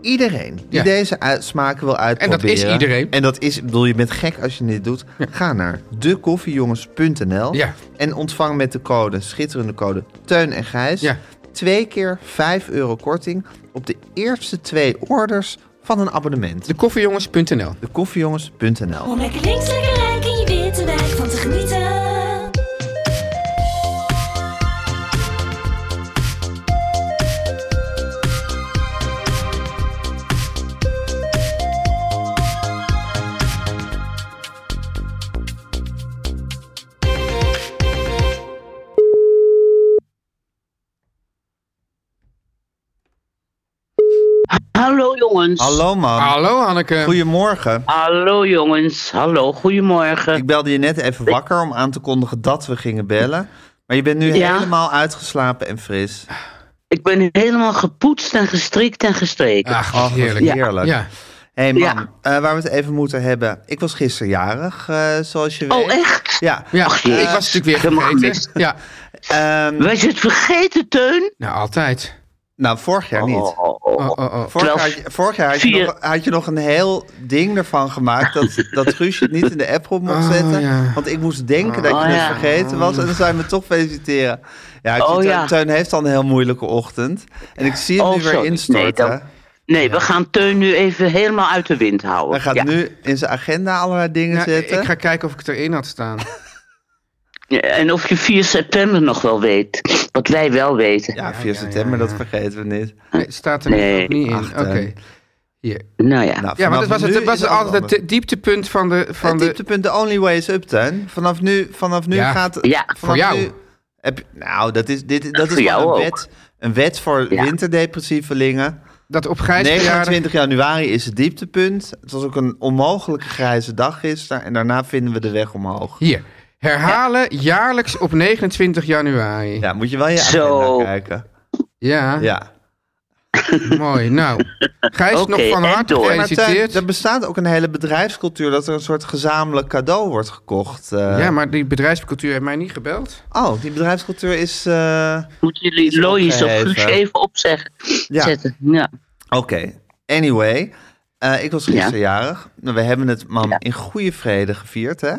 [SPEAKER 2] iedereen die
[SPEAKER 3] Ja.
[SPEAKER 2] deze uit- smaken wil uitproberen.
[SPEAKER 3] is iedereen.
[SPEAKER 2] En dat is, ik bedoel, je bent gek als je dit doet. Ga naar dekoffiejongens.nl
[SPEAKER 3] Ja.
[SPEAKER 2] en ontvang met de code, schitterende code, Teun en Gijs.
[SPEAKER 3] Ja.
[SPEAKER 2] Twee keer 5 euro korting op de eerste twee orders van een abonnement.
[SPEAKER 3] Dekoffiejongens.nl
[SPEAKER 2] Dekoffiejongens.nl
[SPEAKER 6] Om lekker links, lekker rijk in je witte wijk van te genieten.
[SPEAKER 7] Hallo jongens.
[SPEAKER 2] Hallo man,
[SPEAKER 3] Hallo Hanneke.
[SPEAKER 2] goedemorgen.
[SPEAKER 7] Hallo, jongens. Hallo, goedemorgen.
[SPEAKER 2] Ik belde je net even wakker om aan te kondigen dat we gingen bellen. Maar je bent nu
[SPEAKER 7] Ja.
[SPEAKER 2] helemaal uitgeslapen en fris.
[SPEAKER 7] Ik ben helemaal gepoetst en gestrikt en gestreken.
[SPEAKER 3] Ach,
[SPEAKER 2] Oh,
[SPEAKER 3] wat
[SPEAKER 2] wat
[SPEAKER 3] heerlijk.
[SPEAKER 2] heerlijk.
[SPEAKER 3] Ja.
[SPEAKER 2] Hé hey man,
[SPEAKER 7] Ja.
[SPEAKER 2] eh, waar we het even moeten hebben. Ik was gisteren jarig, eh, zoals je weet.
[SPEAKER 7] oh, echt?
[SPEAKER 2] Ja.
[SPEAKER 3] Ja,
[SPEAKER 7] Ach,
[SPEAKER 3] ik
[SPEAKER 7] jee.
[SPEAKER 3] was natuurlijk weer
[SPEAKER 7] Helemaal
[SPEAKER 3] vergeten.
[SPEAKER 7] gemist.
[SPEAKER 3] Ja,
[SPEAKER 2] Ehm,
[SPEAKER 7] Was je het vergeten, Teun?
[SPEAKER 3] nou altijd.
[SPEAKER 2] nou, vorig jaar niet.
[SPEAKER 7] Oh, oh, oh.
[SPEAKER 3] Oh, oh, oh.
[SPEAKER 2] Vorig
[SPEAKER 7] Terwijl-
[SPEAKER 2] jaar, had je- vorig jaar had, je
[SPEAKER 7] Vier-
[SPEAKER 2] nog, had je nog een heel ding ervan gemaakt dat, dat Guusje het niet in de app op mocht
[SPEAKER 3] Oh,
[SPEAKER 2] zetten.
[SPEAKER 3] ja.
[SPEAKER 2] Want ik moest denken dat je
[SPEAKER 7] Oh,
[SPEAKER 2] het
[SPEAKER 7] ja.
[SPEAKER 2] vergeten was. En dan zou je me toch feliciteren. Ja, ik
[SPEAKER 7] Oh,
[SPEAKER 2] zie, Teun-
[SPEAKER 7] ja.
[SPEAKER 2] Teun heeft al een heel moeilijke ochtend. En ik zie hem
[SPEAKER 7] Oh,
[SPEAKER 2] nu weer
[SPEAKER 7] sorry.
[SPEAKER 2] instorten.
[SPEAKER 7] Nee, dan- Nee, we gaan Teun nu even helemaal uit de wind houden.
[SPEAKER 2] Hij gaat
[SPEAKER 7] Ja.
[SPEAKER 2] nu in zijn agenda allerlei dingen
[SPEAKER 3] Ja,
[SPEAKER 2] zetten.
[SPEAKER 3] ik ga kijken of ik het erin had staan.
[SPEAKER 7] Ja, En of je 4 september nog wel weet. Wat wij wel weten.
[SPEAKER 2] Ja, 4
[SPEAKER 3] ja, ja,
[SPEAKER 2] september,
[SPEAKER 3] ja.
[SPEAKER 2] dat vergeten we niet.
[SPEAKER 3] Nee, het staat er
[SPEAKER 7] Nee.
[SPEAKER 3] ook niet in.
[SPEAKER 2] Ah. Ach,
[SPEAKER 3] Oké.
[SPEAKER 2] Teun.
[SPEAKER 3] Hier.
[SPEAKER 7] Nou ja.
[SPEAKER 2] Nou,
[SPEAKER 3] Ja,
[SPEAKER 2] vanaf
[SPEAKER 3] want het was,
[SPEAKER 2] nu
[SPEAKER 3] het was
[SPEAKER 2] is
[SPEAKER 3] altijd
[SPEAKER 2] anders.
[SPEAKER 3] het di- dieptepunt van de... Van
[SPEAKER 2] het
[SPEAKER 3] de
[SPEAKER 2] dieptepunt, de only way is up, Teun. Vanaf nu, vanaf nu
[SPEAKER 3] Ja.
[SPEAKER 2] gaat...
[SPEAKER 7] Ja.
[SPEAKER 2] vanaf
[SPEAKER 3] Voor jou.
[SPEAKER 2] nu heb je- nou, dat is, dit, dat
[SPEAKER 7] Voor
[SPEAKER 2] is wel
[SPEAKER 7] jou
[SPEAKER 2] een
[SPEAKER 7] ook.
[SPEAKER 2] wet. Een wet voor
[SPEAKER 7] Ja.
[SPEAKER 2] winterdepressievelingen.
[SPEAKER 3] dat op Gijs verjaardag...
[SPEAKER 2] 29 januari is het dieptepunt. Het was ook een onmogelijke grijze dag gisteren. En daarna vinden we de weg omhoog.
[SPEAKER 3] Hier. Herhalen jaarlijks op 29 januari. Ja,
[SPEAKER 2] Ja, moet je wel je agenda
[SPEAKER 7] Zo.
[SPEAKER 2] kijken. Ja.
[SPEAKER 3] mooi. Nou, Gijs
[SPEAKER 7] Oké,
[SPEAKER 3] nog van
[SPEAKER 7] en
[SPEAKER 3] harte
[SPEAKER 7] door.
[SPEAKER 2] Maar Teun,
[SPEAKER 3] gefeliciteerd.
[SPEAKER 2] er bestaat ook een hele bedrijfscultuur... dat er een soort gezamenlijk cadeau wordt gekocht. eh.
[SPEAKER 3] Ja, maar die bedrijfscultuur heeft mij niet gebeld.
[SPEAKER 2] Oh, die bedrijfscultuur is... eh,
[SPEAKER 7] Moeten
[SPEAKER 2] Is
[SPEAKER 7] jullie Lois of
[SPEAKER 2] opgeheven.
[SPEAKER 7] Guus even opzeggen?
[SPEAKER 2] Ja.
[SPEAKER 7] Zetten. Ja.
[SPEAKER 2] Oké, anyway. eh, ik was gisteren jarig. Nou, We hebben het, mam,
[SPEAKER 7] Ja.
[SPEAKER 2] in goede vrede gevierd, hè?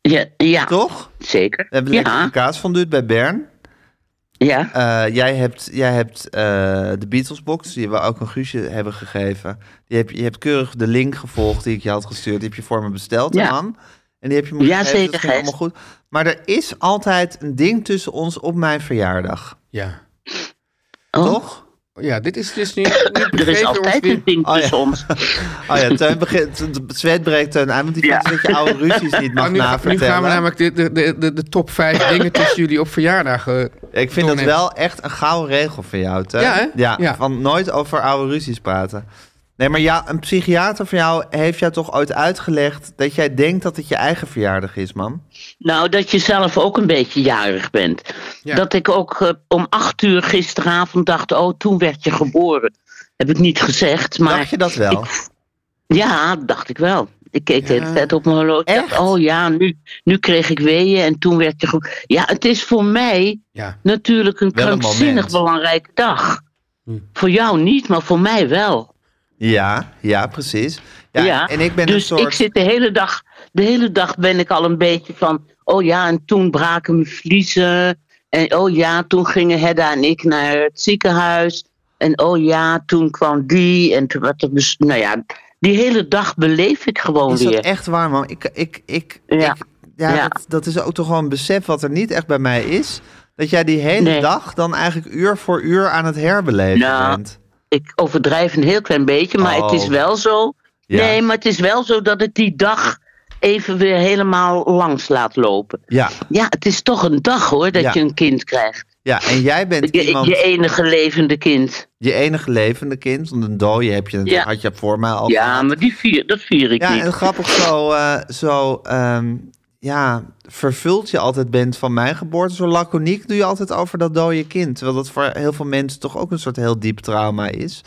[SPEAKER 7] Ja, ja
[SPEAKER 2] Toch?
[SPEAKER 7] zeker.
[SPEAKER 2] We hebben lekker
[SPEAKER 7] ja,
[SPEAKER 2] een kaas bij Bern.
[SPEAKER 7] ja.
[SPEAKER 2] Eh, jij hebt, jij hebt eh, de Beatles box, die we ook een Guusje hebben gegeven. Die heb, je je hebt keurig de link gevolgd die ik je had gestuurd. Die heb je voor me besteld,
[SPEAKER 7] Ja.
[SPEAKER 2] mam. En die heb je me
[SPEAKER 7] Ja,
[SPEAKER 2] gegeven, dat
[SPEAKER 7] zeker,
[SPEAKER 2] ging
[SPEAKER 7] Gijs.
[SPEAKER 2] allemaal goed. Maar er is altijd een ding tussen ons op mijn verjaardag.
[SPEAKER 3] Ja.
[SPEAKER 7] Oh.
[SPEAKER 2] Toch?
[SPEAKER 3] Ja, dit is dus nu... nu
[SPEAKER 7] Er is
[SPEAKER 3] begeven we ons
[SPEAKER 7] altijd een
[SPEAKER 3] weer...
[SPEAKER 7] ding
[SPEAKER 2] Oh, ja.
[SPEAKER 7] tussen ons.
[SPEAKER 2] Oh ja, Teun begint, het zweet breekt Teun aan, want die
[SPEAKER 7] Ja.
[SPEAKER 2] vindt dat je oude ruzies niet mag
[SPEAKER 3] Oh, nu, ga- nu
[SPEAKER 2] navertellen.
[SPEAKER 3] gaan we namelijk de, de, de, de, de top 5 dingen tussen jullie op verjaardag. eh,
[SPEAKER 2] Ik vind dat
[SPEAKER 3] doornemen.
[SPEAKER 2] wel echt een gouden regel van jou, Teun.
[SPEAKER 3] Ja, hè?
[SPEAKER 2] Ja,
[SPEAKER 3] Ja.
[SPEAKER 2] van nooit over oude ruzies praten. Nee, maar ja, een psychiater van jou heeft jou toch ooit uitgelegd... dat jij denkt dat het je eigen verjaardag is, man?
[SPEAKER 7] Nou, dat je zelf ook een beetje jarig bent.
[SPEAKER 3] Ja.
[SPEAKER 7] Dat ik ook eh, om acht uur gisteravond dacht, oh, toen werd je geboren. Heb ik niet gezegd, maar...
[SPEAKER 2] Dacht je dat wel?
[SPEAKER 7] ik- ja, dacht ik wel. Ik keek de hele tijd op mijn horloge. Ik dacht,
[SPEAKER 2] Echt?
[SPEAKER 7] oh ja, nu, nu kreeg ik weeën en toen werd je geboren. Ja, het is voor mij
[SPEAKER 3] Ja.
[SPEAKER 7] natuurlijk een
[SPEAKER 2] Wel een
[SPEAKER 7] krankzinnig
[SPEAKER 2] moment.
[SPEAKER 7] belangrijke dag.
[SPEAKER 3] Hm.
[SPEAKER 7] Voor jou niet, maar voor mij wel.
[SPEAKER 2] Ja, ja, precies. Ja,
[SPEAKER 7] ja.
[SPEAKER 2] En ik ben
[SPEAKER 7] dus
[SPEAKER 2] een soort...
[SPEAKER 7] ik zit de hele dag, de hele dag ben ik al een beetje van, oh ja, en toen braken mijn vliezen. En oh ja, toen gingen Hedda en ik naar het ziekenhuis. En oh ja, toen kwam die. En toen werd er, dus, nou ja, die hele dag beleef ik gewoon
[SPEAKER 2] Is dat
[SPEAKER 7] weer.
[SPEAKER 2] echt waar, man? Ik, ik, ik,
[SPEAKER 7] Ja.
[SPEAKER 2] ik- ja,
[SPEAKER 7] Ja.
[SPEAKER 2] Dat, dat is ook toch gewoon een besef wat er niet echt bij mij is. Dat jij die hele
[SPEAKER 7] Nee.
[SPEAKER 2] dag dan eigenlijk uur voor uur aan het herbeleven
[SPEAKER 7] Nou,
[SPEAKER 2] bent.
[SPEAKER 7] Ik overdrijf een heel klein beetje, maar het is
[SPEAKER 2] Oh.
[SPEAKER 7] wel zo.
[SPEAKER 2] Ja.
[SPEAKER 7] Nee, maar het is wel zo dat ik die dag even weer helemaal langs laat lopen.
[SPEAKER 2] Ja,
[SPEAKER 7] Ja, het is toch een dag hoor dat
[SPEAKER 2] Ja.
[SPEAKER 7] je een kind krijgt.
[SPEAKER 2] ja, en jij bent
[SPEAKER 7] Je,
[SPEAKER 2] iemand,
[SPEAKER 7] je
[SPEAKER 2] je,
[SPEAKER 7] enige levende kind.
[SPEAKER 2] enige levende kind, want een dode heb je,
[SPEAKER 7] Ja.
[SPEAKER 2] had je voor mij al
[SPEAKER 7] ja,
[SPEAKER 2] gehad.
[SPEAKER 7] maar die vier, dat vier ik
[SPEAKER 2] Ja,
[SPEAKER 7] niet.
[SPEAKER 2] en grappig zo, eh, zo ehm, ja, vervuld je altijd bent van mijn geboorte. Zo laconiek doe je altijd over dat dode kind. Terwijl dat voor heel veel mensen toch ook een soort heel diep trauma is.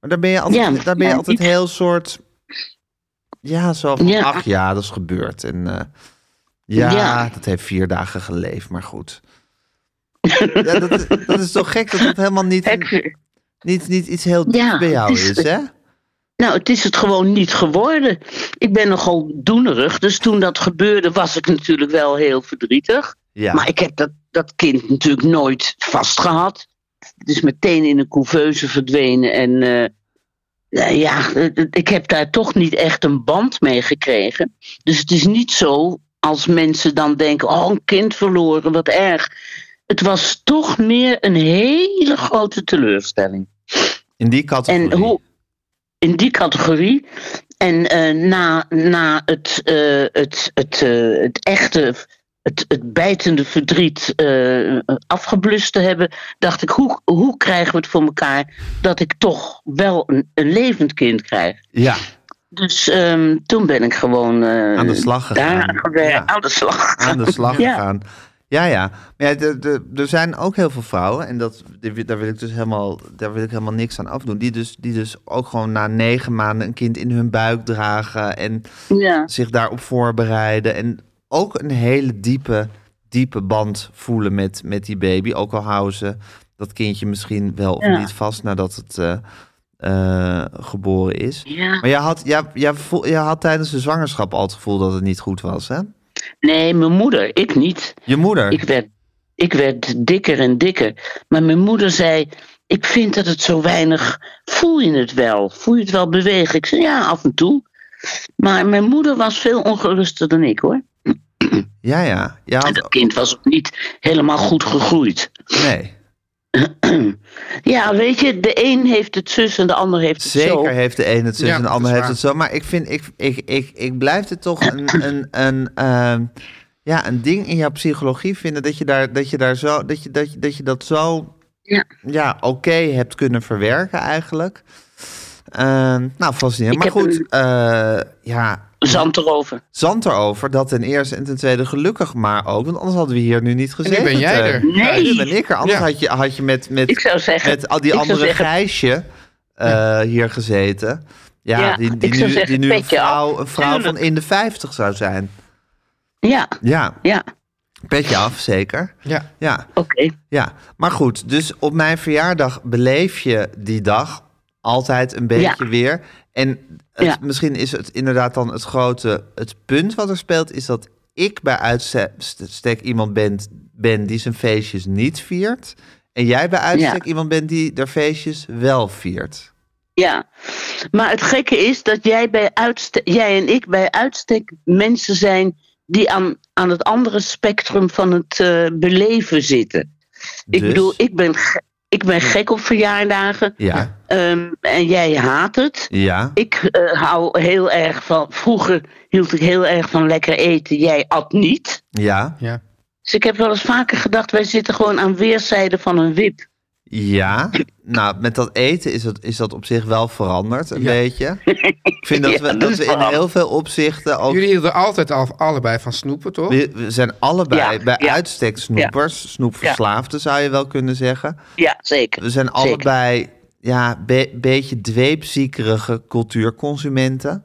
[SPEAKER 2] Maar daar ben je altijd,
[SPEAKER 7] Ja,
[SPEAKER 2] daar ben je
[SPEAKER 7] ja,
[SPEAKER 2] altijd
[SPEAKER 7] diep.
[SPEAKER 2] heel soort... Ja, zo van,
[SPEAKER 7] Ja.
[SPEAKER 2] ach ja, dat is gebeurd. En eh, ja,
[SPEAKER 7] Ja.
[SPEAKER 2] dat heeft vier dagen geleefd, maar goed. ja, dat, is- dat is toch gek dat dat helemaal niet, een-
[SPEAKER 7] Hek-
[SPEAKER 2] niet, niet iets heel dieps
[SPEAKER 7] Ja,
[SPEAKER 2] bij jou
[SPEAKER 7] het is-
[SPEAKER 2] is, hè?
[SPEAKER 7] Nou, het is het gewoon niet geworden. Ik ben nogal doenerig, dus toen dat gebeurde was ik natuurlijk wel heel verdrietig.
[SPEAKER 2] Ja.
[SPEAKER 7] Maar ik heb dat, dat kind natuurlijk nooit vastgehad. Het is meteen in een couveuse verdwenen en eh, nou ja, het- het- ik heb daar toch niet echt een band mee gekregen. Dus het is niet zo als mensen dan denken, oh een kind verloren, wat erg. Het was toch meer een hele grote teleurstelling.
[SPEAKER 2] In die categorie.
[SPEAKER 7] En hoe, in die categorie. En eh, na, na het, eh, het, het, eh, het echte, het, het bijtende verdriet eh, afgeblust te hebben, dacht ik, hoe, hoe krijgen we het voor elkaar dat ik toch wel een, een levend kind krijg?
[SPEAKER 2] Ja,
[SPEAKER 7] Dus ehm, toen ben ik gewoon eh,
[SPEAKER 2] Aan de slag gegaan.
[SPEAKER 7] daaraan gewerkt.
[SPEAKER 2] Ja.
[SPEAKER 7] Aan de slag.
[SPEAKER 2] aan de slag
[SPEAKER 7] Ja.
[SPEAKER 2] gegaan. Ja, ja. Maar ja, de- de- er zijn ook heel veel vrouwen, en dat, die- daar wil ik dus helemaal, daar wil ik helemaal niks aan afdoen, die dus, die dus ook gewoon na negen maanden een kind in hun buik dragen en
[SPEAKER 7] Ja.
[SPEAKER 2] zich daarop voorbereiden. En ook een hele diepe, diepe band voelen met, met die baby. Ook al houden ze dat kindje misschien wel of
[SPEAKER 7] Ja.
[SPEAKER 2] niet vast nadat het eh, eh, geboren is.
[SPEAKER 7] Ja.
[SPEAKER 2] Maar jij had, jij, jij, voel- jij had tijdens de zwangerschap al het gevoel dat het niet goed was, hè?
[SPEAKER 7] Nee, mijn moeder, ik niet.
[SPEAKER 2] Je moeder.
[SPEAKER 7] Ik werd, ik werd dikker en dikker. Maar mijn moeder zei: Ik vind dat het zo weinig. Voel je het wel? Voel je het wel bewegen? Ik zei: Ja, af en toe. Maar mijn moeder was veel ongeruster dan ik hoor.
[SPEAKER 2] Ja, ja. Je
[SPEAKER 7] En
[SPEAKER 2] had-
[SPEAKER 7] dat kind was ook niet helemaal goed gegroeid.
[SPEAKER 2] Nee.
[SPEAKER 7] Ja, weet je, de een heeft het zus en de ander heeft het zo.
[SPEAKER 2] Zeker heeft de een het zus
[SPEAKER 3] Ja,
[SPEAKER 2] en de
[SPEAKER 3] dat
[SPEAKER 2] ander
[SPEAKER 3] is
[SPEAKER 2] heeft
[SPEAKER 3] waar.
[SPEAKER 2] het zo. Maar ik vind, ik, ik, ik, ik blijf het toch een, een, een, ehm, ja, een ding in jouw psychologie vinden dat je daar, dat je daar zo, dat je dat, je, dat, je dat zo
[SPEAKER 7] Ja.
[SPEAKER 2] ja, oké hebt kunnen verwerken eigenlijk. Ehm, nou, fascinerend.
[SPEAKER 7] Ik
[SPEAKER 2] Maar
[SPEAKER 7] heb
[SPEAKER 2] goed, eh, ja,
[SPEAKER 7] Zand erover.
[SPEAKER 2] zand erover. Dat ten eerste en ten tweede gelukkig maar ook. Want anders hadden we hier nu niet gezeten.
[SPEAKER 3] ben jij
[SPEAKER 2] Teun.
[SPEAKER 3] er.
[SPEAKER 2] Ja, nu
[SPEAKER 7] Nee.
[SPEAKER 2] ben ik er. Anders
[SPEAKER 3] Ja.
[SPEAKER 2] had, je, had je met, met,
[SPEAKER 7] Ik zou zeggen-
[SPEAKER 2] met al die
[SPEAKER 7] ik zou
[SPEAKER 2] andere
[SPEAKER 7] zeggen-
[SPEAKER 2] Gijsje eh, hier gezeten. Ja,
[SPEAKER 7] Ja,
[SPEAKER 2] die, die
[SPEAKER 7] ik
[SPEAKER 2] nu,
[SPEAKER 7] zou zeggen,
[SPEAKER 2] die nu een
[SPEAKER 7] petje af.
[SPEAKER 2] vrouw, een vrouw van
[SPEAKER 7] Tuurlijk.
[SPEAKER 2] in de 50 zou zijn.
[SPEAKER 7] Ja,
[SPEAKER 2] Ja,
[SPEAKER 7] ja,
[SPEAKER 2] petje af, zeker.
[SPEAKER 3] Ja.
[SPEAKER 2] Ja,
[SPEAKER 7] oké.
[SPEAKER 2] ja. Maar goed, dus op mijn verjaardag beleef je die dag altijd een beetje
[SPEAKER 7] Ja.
[SPEAKER 2] weer. En het-
[SPEAKER 7] Ja.
[SPEAKER 2] misschien is het inderdaad dan het grote... Het punt wat er speelt is dat ik bij uitstek iemand ben, ben die zijn feestjes niet viert. En jij bij uitstek iemand bent die er feestjes wel viert.
[SPEAKER 7] Ja, maar het gekke is dat jij, bij uitstek, jij en ik bij uitstek mensen zijn die aan, aan het andere spectrum van het eh, beleven zitten. Ik
[SPEAKER 2] Dus?
[SPEAKER 7] bedoel, ik ben, ge- ik ben gek op verjaardagen
[SPEAKER 2] Ja,
[SPEAKER 7] ehm, en jij haat het.
[SPEAKER 2] ja,
[SPEAKER 7] Ik eh, hou heel erg van, vroeger hield ik heel erg van lekker eten, jij at niet.
[SPEAKER 2] ja,
[SPEAKER 3] Ja.
[SPEAKER 7] Dus ik heb wel eens vaker gedacht, wij zitten gewoon aan weerszijden van een wip.
[SPEAKER 2] ja. Nou, met dat eten is dat, is dat op zich wel veranderd, een beetje. Ik vind dat,
[SPEAKER 7] Ja,
[SPEAKER 2] we,
[SPEAKER 7] dat
[SPEAKER 2] dat
[SPEAKER 7] is
[SPEAKER 2] we in
[SPEAKER 7] veranderd.
[SPEAKER 2] heel veel opzichten ook
[SPEAKER 3] Jullie hielden altijd al, allebei van snoepen, toch?
[SPEAKER 2] We, we zijn allebei
[SPEAKER 7] Ja,
[SPEAKER 2] bij
[SPEAKER 7] ja.
[SPEAKER 2] uitstek snoepers, snoepverslaafden zou je wel kunnen zeggen.
[SPEAKER 7] Ja, zeker.
[SPEAKER 2] We zijn allebei ja, be- beetje dweepziekerige cultuurconsumenten.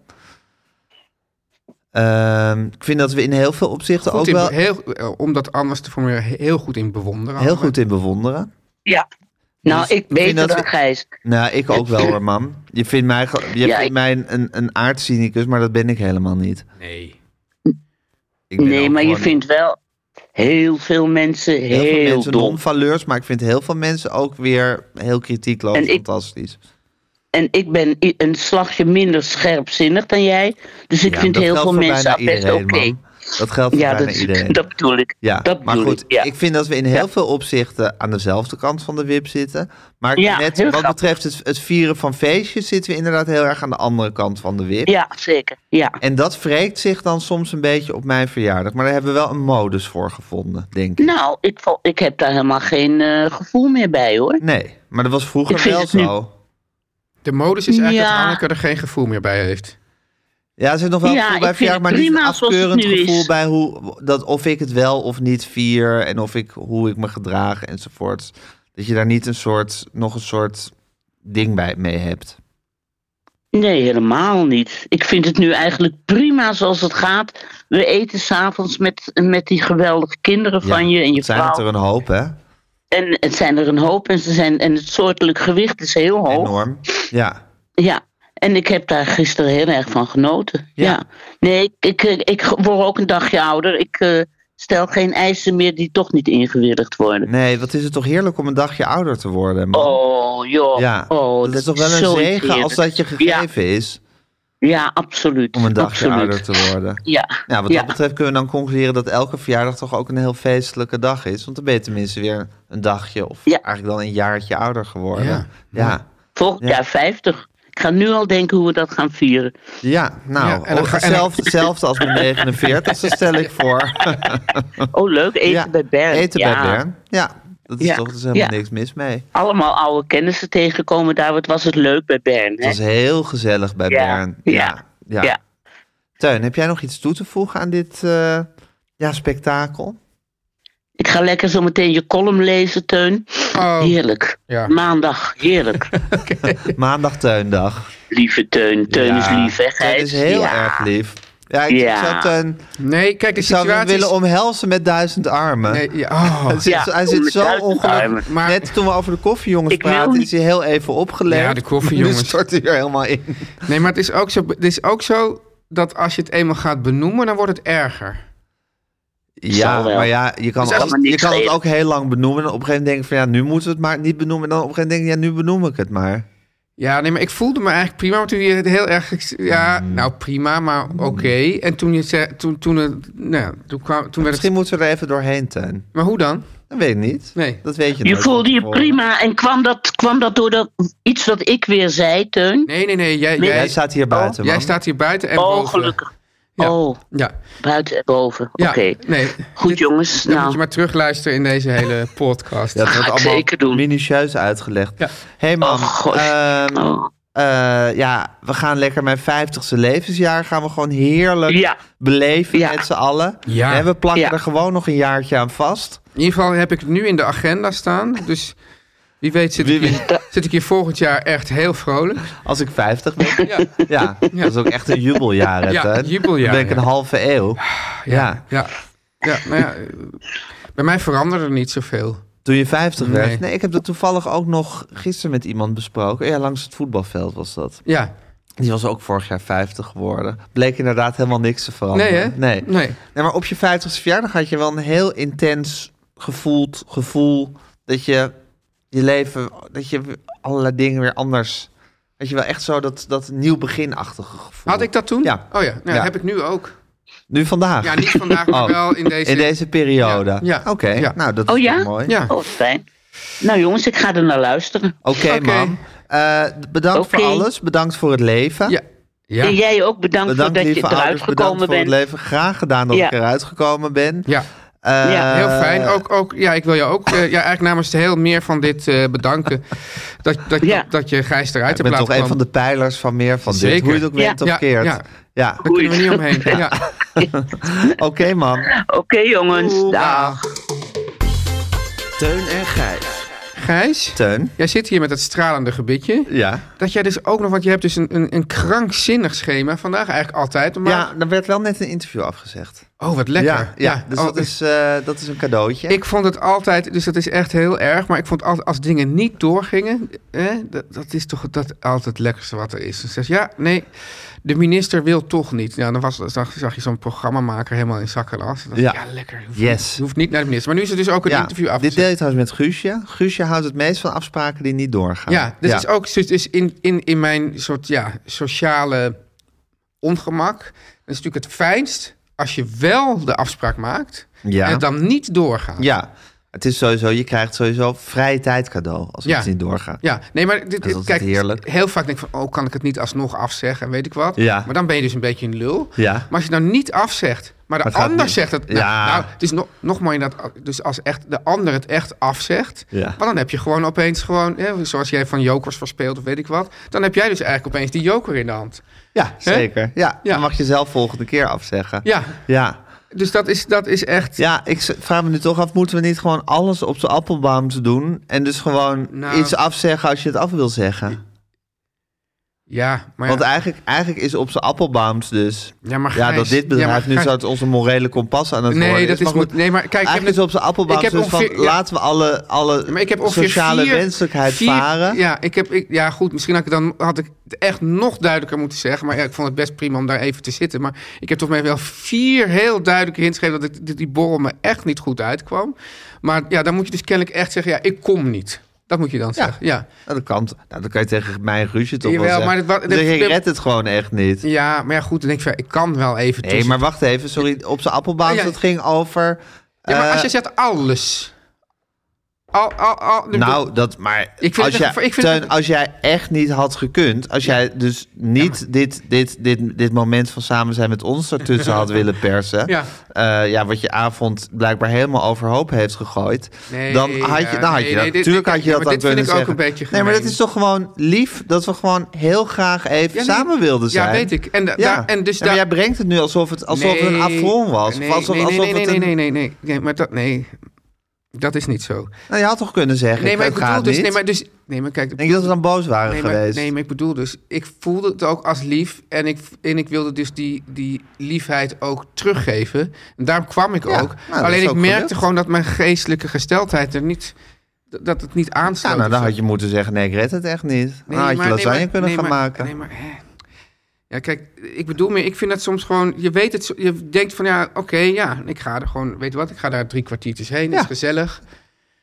[SPEAKER 2] Ehm, ik vind dat we in heel veel opzichten
[SPEAKER 3] Goed
[SPEAKER 2] ook
[SPEAKER 3] in-
[SPEAKER 2] wel
[SPEAKER 3] heel, eh, om dat anders te formuleren, heel goed in bewonderen.
[SPEAKER 2] heel
[SPEAKER 3] allebei.
[SPEAKER 2] goed in bewonderen.
[SPEAKER 7] Ja. Nou,
[SPEAKER 2] Dus
[SPEAKER 7] ik
[SPEAKER 2] ik vind
[SPEAKER 7] weet dat,
[SPEAKER 2] dat-
[SPEAKER 7] Gijs.
[SPEAKER 2] Nou, ik ook wel hoor, mam. Je vindt mij, ge- je
[SPEAKER 7] Ja,
[SPEAKER 2] vindt
[SPEAKER 7] ik-
[SPEAKER 2] mij een, een, een aardcynicus, maar dat ben ik helemaal niet.
[SPEAKER 5] Nee.
[SPEAKER 2] Ik ben
[SPEAKER 7] Nee,
[SPEAKER 2] ook
[SPEAKER 7] maar je
[SPEAKER 2] gewoon
[SPEAKER 7] vindt wel heel veel mensen heel,
[SPEAKER 2] heel, veel mensen
[SPEAKER 7] dom.
[SPEAKER 2] non-valeurs, maar ik vind heel veel mensen ook weer heel kritiekloos
[SPEAKER 7] En
[SPEAKER 2] en
[SPEAKER 7] ik-
[SPEAKER 2] fantastisch.
[SPEAKER 7] En ik ben i- een slagje minder scherpzinnig dan jij. Dus ik
[SPEAKER 2] Ja,
[SPEAKER 7] vind
[SPEAKER 2] dat
[SPEAKER 7] heel
[SPEAKER 2] geldt
[SPEAKER 7] veel
[SPEAKER 2] voor
[SPEAKER 7] mensen
[SPEAKER 2] bijna
[SPEAKER 7] best oké.
[SPEAKER 2] iedereen, mam. Dat geldt voor
[SPEAKER 7] Ja,
[SPEAKER 2] bijna
[SPEAKER 7] dat,
[SPEAKER 2] iedereen.
[SPEAKER 7] dat bedoel ik.
[SPEAKER 2] Ja,
[SPEAKER 7] dat
[SPEAKER 2] maar
[SPEAKER 7] bedoel
[SPEAKER 2] goed,
[SPEAKER 7] ik, ja.
[SPEAKER 2] ik vind dat we in heel veel opzichten aan dezelfde kant van de wip zitten. Maar
[SPEAKER 7] Ja,
[SPEAKER 2] net
[SPEAKER 7] heel
[SPEAKER 2] wat
[SPEAKER 7] grappig.
[SPEAKER 2] betreft het, het vieren van feestjes zitten we inderdaad heel erg aan de andere kant van de wip.
[SPEAKER 7] Ja, zeker. Ja.
[SPEAKER 2] En dat wreekt zich dan soms een beetje op mijn verjaardag. Maar daar hebben we wel een modus voor gevonden, denk ik.
[SPEAKER 7] Nou, ik, val- ik heb daar helemaal geen eh, gevoel meer bij hoor.
[SPEAKER 2] Nee, maar dat was vroeger
[SPEAKER 7] Ik vind
[SPEAKER 2] wel
[SPEAKER 7] het nu-
[SPEAKER 2] zo.
[SPEAKER 3] De modus is eigenlijk
[SPEAKER 7] Ja.
[SPEAKER 3] dat Hanneke er geen gevoel meer bij heeft.
[SPEAKER 2] Ja, er zit nog wel
[SPEAKER 7] Ja,
[SPEAKER 2] een gevoel bij
[SPEAKER 7] ik vind
[SPEAKER 2] verjaardag, maar
[SPEAKER 7] het
[SPEAKER 2] niet een
[SPEAKER 7] prima zoals het
[SPEAKER 2] afkeurend
[SPEAKER 7] nu
[SPEAKER 2] gevoel
[SPEAKER 7] is.
[SPEAKER 2] bij hoe, dat of ik het wel of niet vier en of ik, hoe ik me gedraag enzovoort. Dat je daar niet een soort, nog een soort ding bij mee hebt.
[SPEAKER 7] Nee, helemaal niet. Ik vind het nu eigenlijk prima zoals het gaat. We eten s'avonds met, met die geweldige kinderen
[SPEAKER 2] Ja,
[SPEAKER 7] van je en je
[SPEAKER 2] het zijn
[SPEAKER 7] vrouw.
[SPEAKER 2] het er een hoop, hè?
[SPEAKER 7] En het zijn er een hoop en, ze zijn, en het soortelijk gewicht is heel hoog.
[SPEAKER 2] Enorm. Ja.
[SPEAKER 7] Ja, en ik heb daar gisteren heel erg van genoten. Ja. Nee, ik, ik, ik, ik word ook een dagje ouder. Ik eh, stel geen eisen meer die toch niet ingewilligd worden.
[SPEAKER 2] Nee, wat is het toch heerlijk om een dagje ouder te worden. man.
[SPEAKER 7] Oh, joh.
[SPEAKER 2] ja.
[SPEAKER 7] oh,
[SPEAKER 2] dat, is toch wel
[SPEAKER 7] zo
[SPEAKER 2] een zegen
[SPEAKER 7] irriterend.
[SPEAKER 2] als dat je gegeven is
[SPEAKER 7] Ja, absoluut.
[SPEAKER 2] om een dagje
[SPEAKER 7] absoluut.
[SPEAKER 2] ouder te worden.
[SPEAKER 7] Ja,
[SPEAKER 2] Nou, wat
[SPEAKER 7] ja.
[SPEAKER 2] dat betreft kunnen we dan concluderen dat elke verjaardag toch ook een heel feestelijke dag is. Want dan ben je tenminste weer een dagje of
[SPEAKER 7] Ja.
[SPEAKER 2] eigenlijk dan een jaartje ouder geworden.
[SPEAKER 3] Ja.
[SPEAKER 2] Ja, ja.
[SPEAKER 7] volgend
[SPEAKER 2] Ja.
[SPEAKER 7] jaar 50. Ik ga nu al denken hoe we dat gaan vieren.
[SPEAKER 2] nou,
[SPEAKER 3] Ja, en dan
[SPEAKER 2] ook
[SPEAKER 3] ga- en dan-
[SPEAKER 2] zelf- hetzelfde als mijn 49 dat stel ik voor.
[SPEAKER 7] Oh, leuk, eten
[SPEAKER 2] Ja,
[SPEAKER 7] bij Bern.
[SPEAKER 2] Eten
[SPEAKER 7] ja.
[SPEAKER 2] bij Bern. Ja, dat is
[SPEAKER 7] Ja.
[SPEAKER 2] toch er is helemaal
[SPEAKER 7] Ja.
[SPEAKER 2] niks mis mee.
[SPEAKER 7] Allemaal oude kennissen tegenkomen daar. Wat was het leuk bij Bern,
[SPEAKER 2] Het
[SPEAKER 7] hè?
[SPEAKER 2] was heel gezellig bij
[SPEAKER 7] Ja,
[SPEAKER 2] Bern.
[SPEAKER 7] ja,
[SPEAKER 2] Ja, ja.
[SPEAKER 7] ja.
[SPEAKER 2] Teun, heb jij nog iets toe te voegen aan dit eh, ja, spektakel?
[SPEAKER 7] Ik ga lekker zo meteen je column lezen, Teun.
[SPEAKER 3] Oh,
[SPEAKER 7] Heerlijk.
[SPEAKER 3] ja.
[SPEAKER 7] Maandag, heerlijk.
[SPEAKER 2] Maandag Teundag.
[SPEAKER 7] Lieve Teun, Teun
[SPEAKER 2] Ja,
[SPEAKER 7] is lief, hè
[SPEAKER 2] Teun
[SPEAKER 7] Gijs?
[SPEAKER 2] is heel
[SPEAKER 7] Ja.
[SPEAKER 2] erg lief. Ja, ik
[SPEAKER 7] Ja.
[SPEAKER 2] zou Teun
[SPEAKER 3] Nee, kijk, de
[SPEAKER 2] ik zou hem
[SPEAKER 3] situatie
[SPEAKER 2] willen
[SPEAKER 3] is...
[SPEAKER 2] omhelzen met duizend armen.
[SPEAKER 3] Nee, ja, oh.
[SPEAKER 2] Hij zit,
[SPEAKER 7] Ja,
[SPEAKER 2] hij zit
[SPEAKER 7] met
[SPEAKER 2] zo
[SPEAKER 7] duizend
[SPEAKER 2] ongelukkig.
[SPEAKER 7] armen.
[SPEAKER 3] Maar-
[SPEAKER 2] Net toen we over de koffiejongens
[SPEAKER 7] Ik wil
[SPEAKER 2] praten,
[SPEAKER 7] niet-
[SPEAKER 2] is hij heel even opgelegd.
[SPEAKER 3] Ja, de koffiejongens.
[SPEAKER 2] Nu stort hij er helemaal in.
[SPEAKER 3] Nee, maar het is, ook zo, het is ook zo dat als je het eenmaal gaat benoemen, dan wordt het erger.
[SPEAKER 2] Ja,
[SPEAKER 7] Zal wel.
[SPEAKER 2] maar ja, je kan,
[SPEAKER 7] Dus als-
[SPEAKER 2] alles-
[SPEAKER 7] maar niks
[SPEAKER 2] je kan het
[SPEAKER 7] geven.
[SPEAKER 2] ook heel lang benoemen. En op een gegeven moment denk ik van ja, nu moeten we het maar niet benoemen. En dan op een gegeven moment denk ik, ja, nu benoem ik het maar.
[SPEAKER 3] Ja, nee, maar ik voelde me eigenlijk prima. Maar toen je het heel erg... Ja,
[SPEAKER 2] Mm.
[SPEAKER 3] nou prima, maar oké. En toen je zei... Toen, toen, het, nou, toen, kwam, toen werd het...
[SPEAKER 2] Misschien moeten we er even doorheen, Teun.
[SPEAKER 3] Maar hoe dan?
[SPEAKER 2] Dat weet ik niet.
[SPEAKER 3] Nee.
[SPEAKER 2] Dat weet je
[SPEAKER 7] Je
[SPEAKER 2] nooit
[SPEAKER 7] voelde je
[SPEAKER 2] van tevoren.
[SPEAKER 7] prima en kwam dat, kwam dat door dat, iets wat ik weer zei, Teun?
[SPEAKER 3] Nee, nee, nee. Jij,
[SPEAKER 7] Nee.
[SPEAKER 2] Jij
[SPEAKER 3] jij,
[SPEAKER 2] staat hier buiten, man.
[SPEAKER 3] jij staat hier buiten en
[SPEAKER 7] Oh,
[SPEAKER 3] boven.
[SPEAKER 7] gelukkig.
[SPEAKER 3] Ja.
[SPEAKER 7] Oh,
[SPEAKER 3] Ja.
[SPEAKER 7] buiten en boven.
[SPEAKER 3] ja.
[SPEAKER 7] Oké.
[SPEAKER 3] Nee.
[SPEAKER 7] Goed,
[SPEAKER 3] Dit-
[SPEAKER 7] jongens.
[SPEAKER 3] Dan moet je
[SPEAKER 7] Nou,
[SPEAKER 3] maar terugluisteren in deze hele podcast.
[SPEAKER 2] Ja, dat wordt
[SPEAKER 7] Ga ik
[SPEAKER 2] allemaal
[SPEAKER 7] zeker doen.
[SPEAKER 2] minutieus uitgelegd.
[SPEAKER 3] Ja.
[SPEAKER 2] hey man,
[SPEAKER 7] Oh, gosh.
[SPEAKER 2] ehm,
[SPEAKER 7] oh,
[SPEAKER 2] eh, ja, we gaan lekker mijn 50ste levensjaar gaan we gewoon heerlijk
[SPEAKER 7] Ja.
[SPEAKER 2] beleven
[SPEAKER 7] Ja.
[SPEAKER 2] met z'n allen.
[SPEAKER 3] Ja.
[SPEAKER 2] Hè, we plakken
[SPEAKER 7] Ja.
[SPEAKER 2] er gewoon nog een jaartje aan vast.
[SPEAKER 3] In ieder geval heb ik het nu in de agenda staan. Dus wie weet zit,
[SPEAKER 2] Wie
[SPEAKER 3] ik, hier, zit ik hier volgend jaar echt heel vrolijk.
[SPEAKER 2] Als ik 50 ben.
[SPEAKER 3] Ja,
[SPEAKER 2] Ja, dat is ook echt een jubeljaar. hè,
[SPEAKER 3] Ja,
[SPEAKER 2] Teun?
[SPEAKER 3] jubeljaar,
[SPEAKER 2] Dan ben ik
[SPEAKER 3] ja.
[SPEAKER 2] een halve eeuw. Ja.
[SPEAKER 3] ja. ja nou ja, eh, bij mij veranderde er niet zoveel.
[SPEAKER 2] Toen je 50
[SPEAKER 3] Nee.
[SPEAKER 2] werd. Nee, ik heb dat toevallig ook nog gisteren met iemand besproken. Ja, langs het voetbalveld was dat.
[SPEAKER 3] Ja,
[SPEAKER 2] Die was ook vorig jaar 50 geworden. Bleek inderdaad helemaal niks te veranderen.
[SPEAKER 3] nee hè?
[SPEAKER 2] Nee.
[SPEAKER 3] nee.
[SPEAKER 2] Nee, maar op je 50ste verjaardag had je wel een heel intens gevoeld gevoel dat je je leven, dat je allerlei dingen weer anders. Dat je wel echt zo dat, dat nieuw beginachtige gevoel.
[SPEAKER 3] Had ik dat toen?
[SPEAKER 2] Ja.
[SPEAKER 3] Oh ja, nou,
[SPEAKER 2] Ja.
[SPEAKER 3] heb ik nu ook.
[SPEAKER 2] Nu vandaag.
[SPEAKER 3] Ja, niet vandaag, maar
[SPEAKER 2] Oh.
[SPEAKER 3] wel in deze...
[SPEAKER 2] In deze periode.
[SPEAKER 3] Ja, ja.
[SPEAKER 2] Oké,
[SPEAKER 3] Ja.
[SPEAKER 2] nou dat is
[SPEAKER 7] Oh, ja?
[SPEAKER 2] toch mooi.
[SPEAKER 3] Ja,
[SPEAKER 7] oh, fijn. Nou jongens, ik ga er naar luisteren.
[SPEAKER 2] Oké,
[SPEAKER 3] Oké.
[SPEAKER 2] mam. Eh, bedankt voor
[SPEAKER 7] Oké.
[SPEAKER 2] alles. Bedankt voor het leven.
[SPEAKER 3] ja.
[SPEAKER 7] En
[SPEAKER 3] ja.
[SPEAKER 7] jij ook bedankt,
[SPEAKER 2] Bedankt
[SPEAKER 7] dat je
[SPEAKER 2] lieve
[SPEAKER 7] eruit
[SPEAKER 2] ouders. Bedankt
[SPEAKER 7] gekomen
[SPEAKER 2] voor het
[SPEAKER 7] bent.
[SPEAKER 2] leven. Graag gedaan dat
[SPEAKER 7] Ja.
[SPEAKER 2] ik eruit gekomen ben.
[SPEAKER 3] ja.
[SPEAKER 2] Eh,
[SPEAKER 7] Ja,
[SPEAKER 3] Heel fijn. Ook, ook, ja, ik wil jou ook eh, ja, eigenlijk namens heel meer van dit eh, bedanken. Dat, dat,
[SPEAKER 7] Ja.
[SPEAKER 3] dat, je Gijs eruit
[SPEAKER 2] Ik
[SPEAKER 3] hebt
[SPEAKER 2] ben
[SPEAKER 3] laten
[SPEAKER 2] toch een
[SPEAKER 3] komen.
[SPEAKER 2] van de pijlers van meer van dit.
[SPEAKER 3] Zeker.
[SPEAKER 2] Hoe je het ook
[SPEAKER 7] Ja.
[SPEAKER 2] bent of
[SPEAKER 3] Ja,
[SPEAKER 2] keert.
[SPEAKER 3] ja.
[SPEAKER 2] Ja.
[SPEAKER 3] Daar kunnen we niet omheen. Ja.
[SPEAKER 2] Oké, man.
[SPEAKER 7] Oké jongens, dag.
[SPEAKER 2] Teun en Gijs.
[SPEAKER 3] Gijs,
[SPEAKER 2] Teun?
[SPEAKER 3] jij zit hier met dat stralende gebitje.
[SPEAKER 2] Ja.
[SPEAKER 3] Dat jij dus ook nog, want je hebt dus een, een, een krankzinnig schema vandaag eigenlijk altijd. Maar
[SPEAKER 2] Ja, er werd wel net een interview afgezegd.
[SPEAKER 3] Oh, wat lekker.
[SPEAKER 2] Ja, ja, dus
[SPEAKER 3] Oh,
[SPEAKER 2] dat, is, eh, dat is een cadeautje.
[SPEAKER 3] Ik vond het altijd, dus dat is echt heel erg. Maar ik vond altijd, als dingen niet doorgingen, hè, dat, dat is toch dat altijd het lekkerste wat er is. Dan zegt ze, ja, nee, de minister wil toch niet. Nou, dan was, zag, zag je zo'n programmamaker helemaal in zakken en as. Dan dacht
[SPEAKER 2] Ja.
[SPEAKER 3] ik, ja, lekker. Je hoeft,
[SPEAKER 2] Yes.
[SPEAKER 3] je hoeft niet naar de minister. Maar nu is het dus ook een
[SPEAKER 2] ja,
[SPEAKER 3] interview af.
[SPEAKER 2] dit deed ik trouwens met Guusje. Guusje houdt het meest van afspraken die niet doorgaan.
[SPEAKER 3] Ja, dit is ook dus dus in, in, in mijn soort ja, sociale ongemak. Dat is natuurlijk het fijnst als je wel de afspraak maakt en
[SPEAKER 2] Ja.
[SPEAKER 3] het dan niet doorgaat.
[SPEAKER 2] Ja, het is sowieso, je krijgt sowieso vrije tijd cadeau als
[SPEAKER 3] Ja.
[SPEAKER 2] het niet doorgaat.
[SPEAKER 3] Ja, nee, maar dit,
[SPEAKER 2] Dat is
[SPEAKER 3] dit-
[SPEAKER 2] altijd
[SPEAKER 3] kijk,
[SPEAKER 2] heerlijk.
[SPEAKER 3] heel vaak denk ik van, oh, kan ik het niet alsnog afzeggen en weet ik wat.
[SPEAKER 2] Ja.
[SPEAKER 3] Maar dan ben je dus een beetje een lul.
[SPEAKER 2] Ja.
[SPEAKER 3] Maar als je het nou niet afzegt, maar
[SPEAKER 2] Maar
[SPEAKER 3] de
[SPEAKER 2] het gaat
[SPEAKER 3] ander
[SPEAKER 2] niet.
[SPEAKER 3] zegt het. Nou,
[SPEAKER 2] Ja.
[SPEAKER 3] nou, het is nog, nog mooier dat, dus als echt de ander het echt afzegt,
[SPEAKER 2] Ja.
[SPEAKER 3] maar dan heb je gewoon opeens gewoon, hè, zoals jij van jokers verspeelt of weet ik wat, dan heb jij dus eigenlijk opeens die joker in de hand.
[SPEAKER 2] Ja, zeker. Ja,
[SPEAKER 3] Ja.
[SPEAKER 2] dan mag je zelf volgende keer afzeggen.
[SPEAKER 3] Ja,
[SPEAKER 2] Ja.
[SPEAKER 3] dus dat is, dat is echt.
[SPEAKER 2] Ja, ik z- vraag me nu toch af, moeten we niet gewoon alles op de appelbaum te doen? En dus gewoon
[SPEAKER 3] Nou.
[SPEAKER 2] iets afzeggen als je het af wil zeggen.
[SPEAKER 3] Ja, maar,
[SPEAKER 2] Want eigenlijk, eigenlijk is op zijn appelbaams dus...
[SPEAKER 3] Ja, maar
[SPEAKER 2] ja, dat
[SPEAKER 3] Gijs-
[SPEAKER 2] dit
[SPEAKER 3] ja,
[SPEAKER 2] bedrijf
[SPEAKER 3] maar
[SPEAKER 2] nu
[SPEAKER 3] Gijs-
[SPEAKER 2] zou het onze morele kompas aan het
[SPEAKER 3] Nee,
[SPEAKER 2] worden
[SPEAKER 3] dat is
[SPEAKER 2] goed,
[SPEAKER 3] moet- nee, maar kijk, ik heb
[SPEAKER 2] eigenlijk is
[SPEAKER 3] net-
[SPEAKER 2] op zijn appelbaams
[SPEAKER 3] ik heb
[SPEAKER 2] dus van...
[SPEAKER 3] ongeveer- ja.
[SPEAKER 2] laten we alle, alle
[SPEAKER 3] maar ik heb ongeveer
[SPEAKER 2] sociale
[SPEAKER 3] vier-
[SPEAKER 2] wenselijkheid
[SPEAKER 3] vier-
[SPEAKER 2] varen.
[SPEAKER 3] Ja, ik heb, ik, ja, goed. Misschien had ik, dan, had ik het echt nog duidelijker moeten zeggen. Maar ja, ik vond het best prima om daar even te zitten. Maar ik heb toch mij wel vier heel duidelijke hints gegeven... dat ik, dat die borrel me echt niet goed uitkwam. Maar ja, dan moet je dus kennelijk echt zeggen... ja, ik kom niet. Dat moet je dan
[SPEAKER 2] Ja.
[SPEAKER 3] zeggen. Ja,
[SPEAKER 2] Nou, dat kan. Nou, dan kan je tegen mij en Guusje toch
[SPEAKER 3] Jawel,
[SPEAKER 2] wel
[SPEAKER 3] maar
[SPEAKER 2] zeggen.
[SPEAKER 3] het wa-
[SPEAKER 2] Dan zeg je,
[SPEAKER 3] het-
[SPEAKER 2] ik red het gewoon echt niet.
[SPEAKER 3] ja maar ja, goed. Dan denk ik, van, ja, ik kan wel even
[SPEAKER 2] Nee,
[SPEAKER 3] tussen-
[SPEAKER 2] maar wacht even. Sorry, op zijn appelbaans,
[SPEAKER 3] Oh, ja.
[SPEAKER 2] dat ging over...
[SPEAKER 3] Ja, maar als
[SPEAKER 2] eh,
[SPEAKER 3] je zegt alles... Al, al, al,
[SPEAKER 2] Nou, dat, maar
[SPEAKER 3] Ik vind
[SPEAKER 2] als,
[SPEAKER 3] het echt-
[SPEAKER 2] jij,
[SPEAKER 3] ik vind het-
[SPEAKER 2] Teun, als jij echt niet had gekund, als jij dus niet dit, dit, dit, dit moment van samen zijn met ons ertussen had willen persen,
[SPEAKER 3] Ja.
[SPEAKER 2] eh, ja, wat je avond blijkbaar helemaal overhoop heeft gegooid,
[SPEAKER 3] Nee,
[SPEAKER 2] dan had je,
[SPEAKER 3] ja,
[SPEAKER 2] nou, had je
[SPEAKER 3] nee,
[SPEAKER 2] dat,
[SPEAKER 3] nee, dit-
[SPEAKER 2] natuurlijk
[SPEAKER 3] dit-
[SPEAKER 2] had je
[SPEAKER 3] ja,
[SPEAKER 2] dat
[SPEAKER 3] maar
[SPEAKER 2] aan
[SPEAKER 3] dit vind
[SPEAKER 2] kunnen
[SPEAKER 3] ik ook
[SPEAKER 2] zeggen.
[SPEAKER 3] een beetje
[SPEAKER 2] nee, maar dat
[SPEAKER 3] gemeen.
[SPEAKER 2] is toch gewoon lief dat we gewoon heel graag even
[SPEAKER 3] Ja, nee.
[SPEAKER 2] samen wilden zijn.
[SPEAKER 3] Ja, weet ik. En da- daar- en dus
[SPEAKER 2] Ja, maar
[SPEAKER 3] daar-
[SPEAKER 2] jij brengt het nu alsof het, alsof het een
[SPEAKER 3] Nee.
[SPEAKER 2] affront was.
[SPEAKER 3] Nee,
[SPEAKER 2] of alsof,
[SPEAKER 3] nee, nee,
[SPEAKER 2] alsof
[SPEAKER 3] nee,
[SPEAKER 2] het
[SPEAKER 3] nee,
[SPEAKER 2] een-
[SPEAKER 3] nee, nee, nee, nee, maar dat, nee, dat is niet zo.
[SPEAKER 2] Nou, je had toch kunnen zeggen,
[SPEAKER 3] Nee, maar ik
[SPEAKER 2] het gaat
[SPEAKER 3] bedoel dus,
[SPEAKER 2] niet.
[SPEAKER 3] nee, maar dus, nee, maar kijk,
[SPEAKER 2] Denk je dat we dan boos waren
[SPEAKER 3] nee, maar,
[SPEAKER 2] geweest?
[SPEAKER 3] nee, maar ik bedoel dus, ik voelde het ook als lief en ik, en ik wilde dus die, die liefheid ook teruggeven. En daarom kwam ik
[SPEAKER 2] Ja,
[SPEAKER 3] ook.
[SPEAKER 2] nou, dat
[SPEAKER 3] Alleen
[SPEAKER 2] is
[SPEAKER 3] ik
[SPEAKER 2] ook
[SPEAKER 3] merkte
[SPEAKER 2] gelukt.
[SPEAKER 3] gewoon dat mijn geestelijke gesteldheid er niet, dat- dat het niet
[SPEAKER 2] Ja,
[SPEAKER 3] aansloot.
[SPEAKER 2] nou,
[SPEAKER 3] of
[SPEAKER 2] dan
[SPEAKER 3] zo.
[SPEAKER 2] had je moeten zeggen, nee, ik red het echt niet. dan had je
[SPEAKER 3] maar-
[SPEAKER 2] lasagne
[SPEAKER 3] maar-
[SPEAKER 2] kunnen
[SPEAKER 3] nee,
[SPEAKER 2] gaan
[SPEAKER 3] maar-
[SPEAKER 2] maken.
[SPEAKER 3] Nee, maar, hè. ja, kijk, ik bedoel meer, ik vind dat soms gewoon... Je weet het, zo- je denkt van ja, oké, ja, ik ga er gewoon... Weet je wat, ik ga daar drie kwartiertjes heen,
[SPEAKER 2] Ja.
[SPEAKER 3] is gezellig.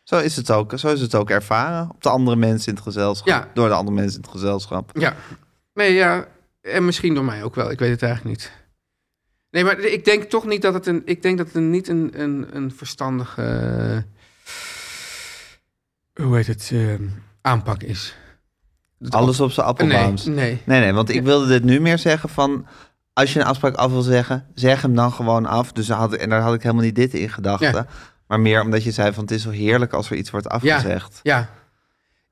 [SPEAKER 2] Zo is het ook. Zo is het ook ervaren op de andere mensen in het gezelschap.
[SPEAKER 3] Ja.
[SPEAKER 2] Door de andere mensen in het gezelschap.
[SPEAKER 3] Ja. Nee, ja, en misschien door mij ook wel, ik weet het eigenlijk niet. Nee, maar ik denk toch niet dat het een... Ik denk dat het een- niet een, een, een verstandige... eh, Hoe heet het? eh, aanpak is. Dat-
[SPEAKER 2] Alles op zijn
[SPEAKER 3] Nee,
[SPEAKER 2] appelbaams. Nee.
[SPEAKER 3] nee.
[SPEAKER 2] nee, want ik wilde dit nu meer zeggen van... Als je een afspraak af wil zeggen, zeg hem dan gewoon af. Dus dan had, ik- en daar had ik helemaal niet dit in gedachten.
[SPEAKER 3] Ja.
[SPEAKER 2] Maar meer omdat je zei van het is zo heerlijk als er iets wordt afgezegd.
[SPEAKER 3] Ja.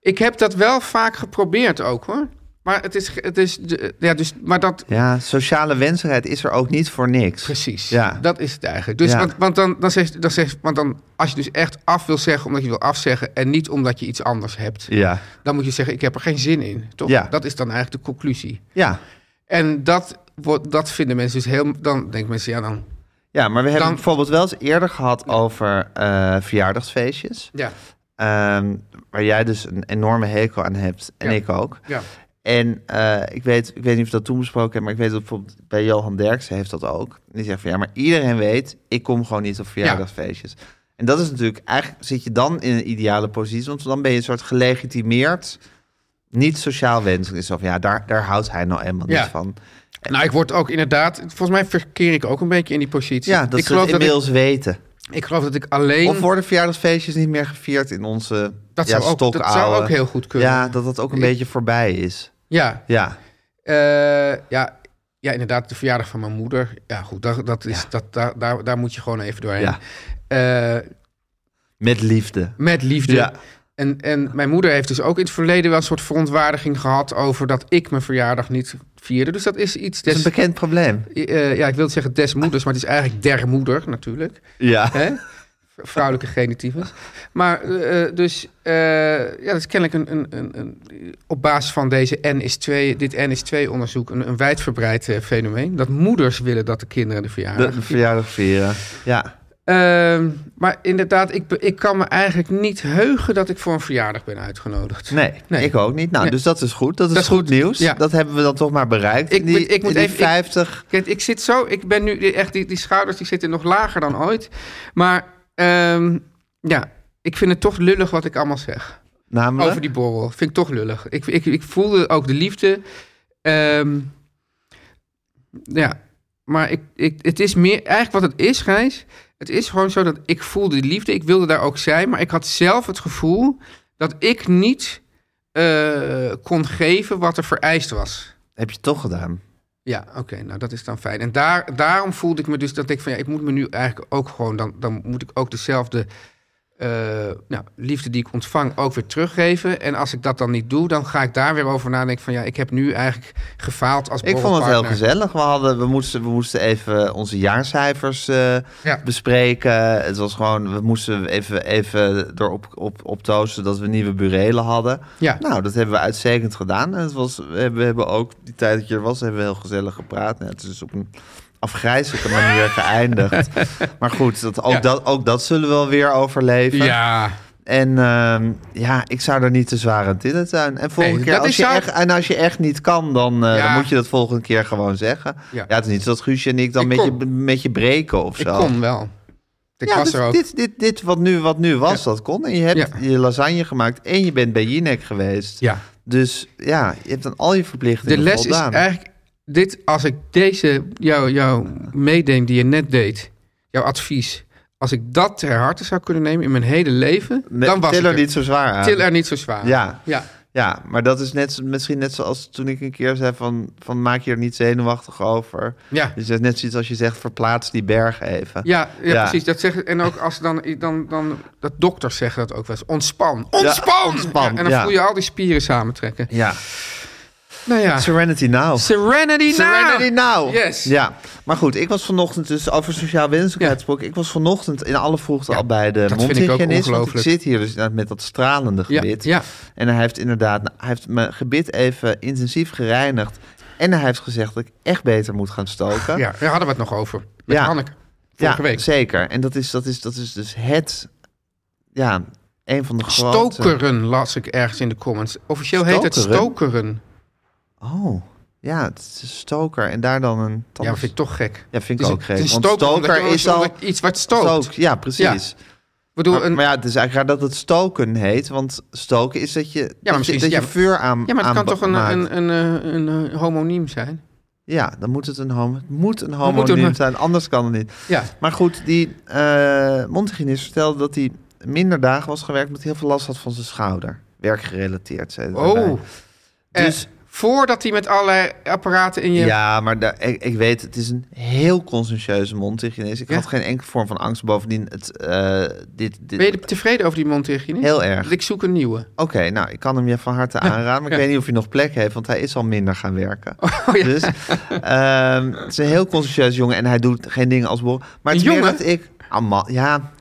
[SPEAKER 3] Ik heb dat wel vaak geprobeerd ook hoor. Maar het is. Het is de- ja, dus, maar dat.
[SPEAKER 2] Ja, sociale wensenheid is er ook niet voor niks.
[SPEAKER 3] Precies.
[SPEAKER 2] Ja.
[SPEAKER 3] Dat is het eigenlijk. Dus,
[SPEAKER 2] Ja.
[SPEAKER 3] want, want dan, dan zegt, dan zegt, want dan, als je dus echt af wil zeggen omdat je wil afzeggen en niet omdat je iets anders hebt,
[SPEAKER 2] Ja,
[SPEAKER 3] dan moet je zeggen: ik heb er geen zin in. Toch?
[SPEAKER 2] Ja.
[SPEAKER 3] Dat is dan eigenlijk de conclusie.
[SPEAKER 2] ja.
[SPEAKER 3] En dat, wordt, dat vinden mensen dus heel. Dan denken mensen: ja, dan.
[SPEAKER 2] ja maar we hebben het
[SPEAKER 3] Dan-
[SPEAKER 2] bijvoorbeeld wel eens eerder gehad over eh, verjaardagsfeestjes.
[SPEAKER 3] Ja.
[SPEAKER 2] Ehm, waar jij dus een enorme hekel aan hebt en
[SPEAKER 3] Ja.
[SPEAKER 2] ik ook.
[SPEAKER 3] Ja.
[SPEAKER 2] En eh, ik, weet, ik weet niet of we dat toen besproken hebben, maar ik weet dat bijvoorbeeld bij Johan Derksen heeft dat ook. Die zegt van ja, maar iedereen weet, ik kom gewoon niet op verjaardagsfeestjes. En dat is natuurlijk, eigenlijk zit je dan in een ideale positie, want dan ben je een soort gelegitimeerd, niet sociaal wenselijk. Is zo van ja, daar, daar houdt hij nou helemaal
[SPEAKER 3] Ja.
[SPEAKER 2] niet van.
[SPEAKER 3] Nou, ik word ook inderdaad. Volgens mij verkeer ik ook een beetje in die positie.
[SPEAKER 2] Ja, dat
[SPEAKER 3] ik,
[SPEAKER 2] ze het
[SPEAKER 3] geloof dat ik,
[SPEAKER 2] inmiddels weten.
[SPEAKER 3] ik geloof dat ik alleen.
[SPEAKER 2] Of worden verjaardagsfeestjes niet meer gevierd in onze
[SPEAKER 3] Dat
[SPEAKER 2] ja,
[SPEAKER 3] zou ook- dat zou
[SPEAKER 2] stokoude-
[SPEAKER 3] ook heel goed kunnen.
[SPEAKER 2] Ja, dat dat ook een
[SPEAKER 3] Ik-
[SPEAKER 2] beetje voorbij is.
[SPEAKER 3] Ja.
[SPEAKER 2] Ja.
[SPEAKER 3] Eh, ja, ja, inderdaad, de verjaardag van mijn moeder. Ja, goed, dat, dat is, Dat, daar, daar, daar moet je gewoon even doorheen.
[SPEAKER 2] Ja.
[SPEAKER 3] Eh,
[SPEAKER 2] Met liefde.
[SPEAKER 3] met liefde.
[SPEAKER 2] Ja.
[SPEAKER 3] En, en mijn moeder heeft dus ook in het verleden wel een soort verontwaardiging gehad over dat ik mijn verjaardag niet vierde. Dus dat is iets
[SPEAKER 2] Dat is
[SPEAKER 3] des.
[SPEAKER 2] een bekend probleem.
[SPEAKER 3] eh, ja, ik wil zeggen des moeders, maar het is eigenlijk der moeder natuurlijk.
[SPEAKER 2] Ja.
[SPEAKER 3] Hè? vrouwelijke genitivus. Maar eh, dus, eh, ja, dat is kennelijk een, een, een, een- op basis van deze N is 2, dit N is 2 onderzoek een, een wijdverbreid eh, fenomeen. Dat moeders willen dat de kinderen de verjaardag
[SPEAKER 2] De, de verjaardag vieren. Ja.
[SPEAKER 3] Ehm, maar inderdaad, ik, be- ik kan me eigenlijk niet heugen dat ik voor een verjaardag ben uitgenodigd.
[SPEAKER 2] Nee,
[SPEAKER 3] Nee.
[SPEAKER 2] ik ook niet. Nou,
[SPEAKER 3] Nee.
[SPEAKER 2] dus dat is goed. Dat is,
[SPEAKER 3] Dat is
[SPEAKER 2] goed,
[SPEAKER 3] goed.
[SPEAKER 2] nieuws.
[SPEAKER 3] Ja.
[SPEAKER 2] Dat hebben we dan toch maar bereikt.
[SPEAKER 3] Ik
[SPEAKER 2] in die,
[SPEAKER 3] moet- ik moet
[SPEAKER 2] in die
[SPEAKER 3] even- ik-
[SPEAKER 2] 50.
[SPEAKER 3] Kijk, ik zit zo, ik ben nu echt, die, die schouders die zitten nog lager dan ooit. Maar ehm, ja, ik vind het toch lullig wat ik allemaal zeg.
[SPEAKER 2] Namelijk.
[SPEAKER 3] Over die borrel. Vind ik toch lullig. Ik, ik, ik voelde ook de liefde. Ehm, ja, maar ik, ik, het is meer... Eigenlijk wat het is, Gijs... Het is gewoon zo dat ik voelde die liefde. Ik wilde daar ook zijn. Maar ik had zelf het gevoel dat ik niet eh, kon geven wat er vereist was.
[SPEAKER 2] Heb je toch gedaan?
[SPEAKER 3] Ja, oké. nou, dat is dan fijn. En daar, daarom voelde ik me dus dat ik van... Ja, ik moet me nu eigenlijk ook gewoon... Dan, dan moet ik ook dezelfde eh, nou, liefde die ik ontvang ook weer teruggeven. En als ik dat dan niet doe, dan ga ik daar weer over nadenken van... Ja, ik heb nu eigenlijk gefaald als
[SPEAKER 2] Ik vond het heel
[SPEAKER 3] borrelpartner.
[SPEAKER 2] gezellig. We, hadden, we, moesten, we moesten even onze jaarcijfers eh,
[SPEAKER 3] Ja.
[SPEAKER 2] bespreken. Het was gewoon, we moesten even, even erop op, op toosten dat we nieuwe burelen hadden.
[SPEAKER 3] Ja.
[SPEAKER 2] Nou, dat hebben we uitstekend gedaan. En het was, we, hebben, we hebben ook, die tijd dat je er was, hebben we heel gezellig gepraat. Nou, het is dus op een afgrijzelijke manier geëindigd. Maar goed, dat, ook,
[SPEAKER 3] Ja.
[SPEAKER 2] dat, ook dat zullen we wel weer overleven.
[SPEAKER 3] Ja,
[SPEAKER 2] En ehm, ja, ik zou er niet te zwaar aan tillen zijn. En, volgende
[SPEAKER 3] Nee,
[SPEAKER 2] keer,
[SPEAKER 3] dat
[SPEAKER 2] als
[SPEAKER 3] is
[SPEAKER 2] je
[SPEAKER 3] zou-
[SPEAKER 2] echt, en als je echt niet kan, dan, eh,
[SPEAKER 3] Ja.
[SPEAKER 2] dan moet je dat volgende keer gewoon zeggen. Ja,
[SPEAKER 3] Ja.
[SPEAKER 2] het is niet zo dat Guusje en ik dan
[SPEAKER 3] Ik
[SPEAKER 2] met je,
[SPEAKER 3] kom.
[SPEAKER 2] met je breken of
[SPEAKER 3] ik
[SPEAKER 2] zo.
[SPEAKER 3] kon wel. Ik
[SPEAKER 2] ja,
[SPEAKER 3] was
[SPEAKER 2] dus
[SPEAKER 3] er ook.
[SPEAKER 2] Dit, dit, dit wat nu, wat nu was, dat kon. En je hebt
[SPEAKER 3] Ja.
[SPEAKER 2] je lasagne gemaakt en je bent bij Jinek geweest.
[SPEAKER 3] Ja.
[SPEAKER 2] Dus ja, je hebt dan al je
[SPEAKER 3] De
[SPEAKER 2] verplichtingen
[SPEAKER 3] les is
[SPEAKER 2] voldaan.
[SPEAKER 3] eigenlijk... Dit, als ik deze, jouw jou meedeem die je net deed... Jouw advies... Als ik dat ter harte zou kunnen nemen in mijn hele leven...
[SPEAKER 2] Nee,
[SPEAKER 3] dan was
[SPEAKER 2] til
[SPEAKER 3] ik
[SPEAKER 2] er
[SPEAKER 3] er.
[SPEAKER 2] niet zo zwaar aan.
[SPEAKER 3] Til er niet zo zwaar.
[SPEAKER 2] Ah, Ja.
[SPEAKER 3] Ja.
[SPEAKER 2] Ja, maar dat is net, misschien net zoals toen ik een keer zei van, van maak je er niet zenuwachtig over.
[SPEAKER 3] Ja.
[SPEAKER 2] Dus dat is net zoiets als je zegt verplaats die berg even.
[SPEAKER 3] Ja, ja,
[SPEAKER 2] Ja.
[SPEAKER 3] precies. Dat zeggen, en ook als dan, dan, dan dat dokters zeggen dat ook wel eens. Ontspan, ontspan!
[SPEAKER 2] ontspan,
[SPEAKER 3] Ja, en dan
[SPEAKER 2] ja.
[SPEAKER 3] voel je al die spieren samentrekken.
[SPEAKER 2] Ja.
[SPEAKER 3] Nou ja,
[SPEAKER 2] Serenity Now.
[SPEAKER 3] serenity now!
[SPEAKER 2] Serenity Now.
[SPEAKER 3] Yes.
[SPEAKER 2] Ja. Maar goed, ik was vanochtend dus over sociaal wenselijkheid
[SPEAKER 3] Ja.
[SPEAKER 2] gesproken. Ik was vanochtend in alle vroegte
[SPEAKER 3] Ja,
[SPEAKER 2] al bij de
[SPEAKER 3] dat vind ik ook
[SPEAKER 2] mondhygiënist. Want ik
[SPEAKER 3] ongelooflijk.
[SPEAKER 2] zit hier dus inderdaad met dat stralende
[SPEAKER 3] Ja,
[SPEAKER 2] gebit.
[SPEAKER 3] ja.
[SPEAKER 2] En hij heeft inderdaad, nou, hij heeft mijn gebit even intensief gereinigd. En hij heeft gezegd dat ik echt beter moet gaan stoken.
[SPEAKER 3] Ja, daar hadden we het nog over. Met
[SPEAKER 2] Ja.
[SPEAKER 3] Hanneke. Vorige
[SPEAKER 2] Ja,
[SPEAKER 3] week.
[SPEAKER 2] zeker. En dat is, dat is, dat is dus het, ja, een van de grote...
[SPEAKER 3] Stokeren las ik ergens in de comments. Officieel heet het
[SPEAKER 2] eh. Stokeren?
[SPEAKER 3] stokeren.
[SPEAKER 2] Oh, ja, het is een stoker. En daar dan een
[SPEAKER 3] Ja,
[SPEAKER 2] tandarts-
[SPEAKER 3] dat vind ik toch gek.
[SPEAKER 2] Ja, vind ik
[SPEAKER 3] Het is-
[SPEAKER 2] ook
[SPEAKER 3] het
[SPEAKER 2] gek.
[SPEAKER 3] is
[SPEAKER 2] Want
[SPEAKER 3] een stoker,
[SPEAKER 2] stoker
[SPEAKER 3] omdat je-
[SPEAKER 2] is al...
[SPEAKER 3] omdat je iets wat stookt.
[SPEAKER 2] Stook, ja, precies.
[SPEAKER 3] Ik bedoel,
[SPEAKER 2] maar,
[SPEAKER 3] een,
[SPEAKER 2] maar ja, het is eigenlijk raar dat het stoken heet. Want stoken is dat je, dat je-
[SPEAKER 3] misschien is-
[SPEAKER 2] dat je
[SPEAKER 3] ja,
[SPEAKER 2] vuur aan
[SPEAKER 3] ja, maar het kan
[SPEAKER 2] aan
[SPEAKER 3] toch een,
[SPEAKER 2] maakt.
[SPEAKER 3] een, een, eh, een, eh, homoniem zijn?
[SPEAKER 2] Ja, dan moet het een homo... Het moet een
[SPEAKER 3] moet
[SPEAKER 2] homoniem
[SPEAKER 3] een-
[SPEAKER 2] zijn, anders kan het niet.
[SPEAKER 3] Ja.
[SPEAKER 2] Maar goed, die eh mondhygiënist vertelde dat hij minder dagen was gewerkt... omdat hij heel veel last had van zijn schouder. Werkgerelateerd, zei hij daarbij.
[SPEAKER 3] Oh.
[SPEAKER 2] Dus-
[SPEAKER 3] Dus voordat hij met allerlei apparaten in je...
[SPEAKER 2] Ja, maar da- ik, ik weet, het is een heel conscientieuze mondhygiënist. Ik
[SPEAKER 3] Ja?
[SPEAKER 2] had geen enkele vorm van angst. Bovendien, het, eh, dit, dit,
[SPEAKER 3] Ben je tevreden over die mondhygiënist?
[SPEAKER 2] heel erg.
[SPEAKER 3] Ik zoek een nieuwe.
[SPEAKER 2] Oké, nou, ik kan hem je van harte aanraden. Maar ik weet niet of hij nog plek heeft, want hij is al minder gaan werken.
[SPEAKER 3] Oh, ja.
[SPEAKER 2] Dus ehm, het is een heel conscientieus jongen en hij doet geen dingen als borrel. Maar het
[SPEAKER 3] Een
[SPEAKER 2] is meer
[SPEAKER 3] jongen?
[SPEAKER 2] dat ik... Ah, man, ja,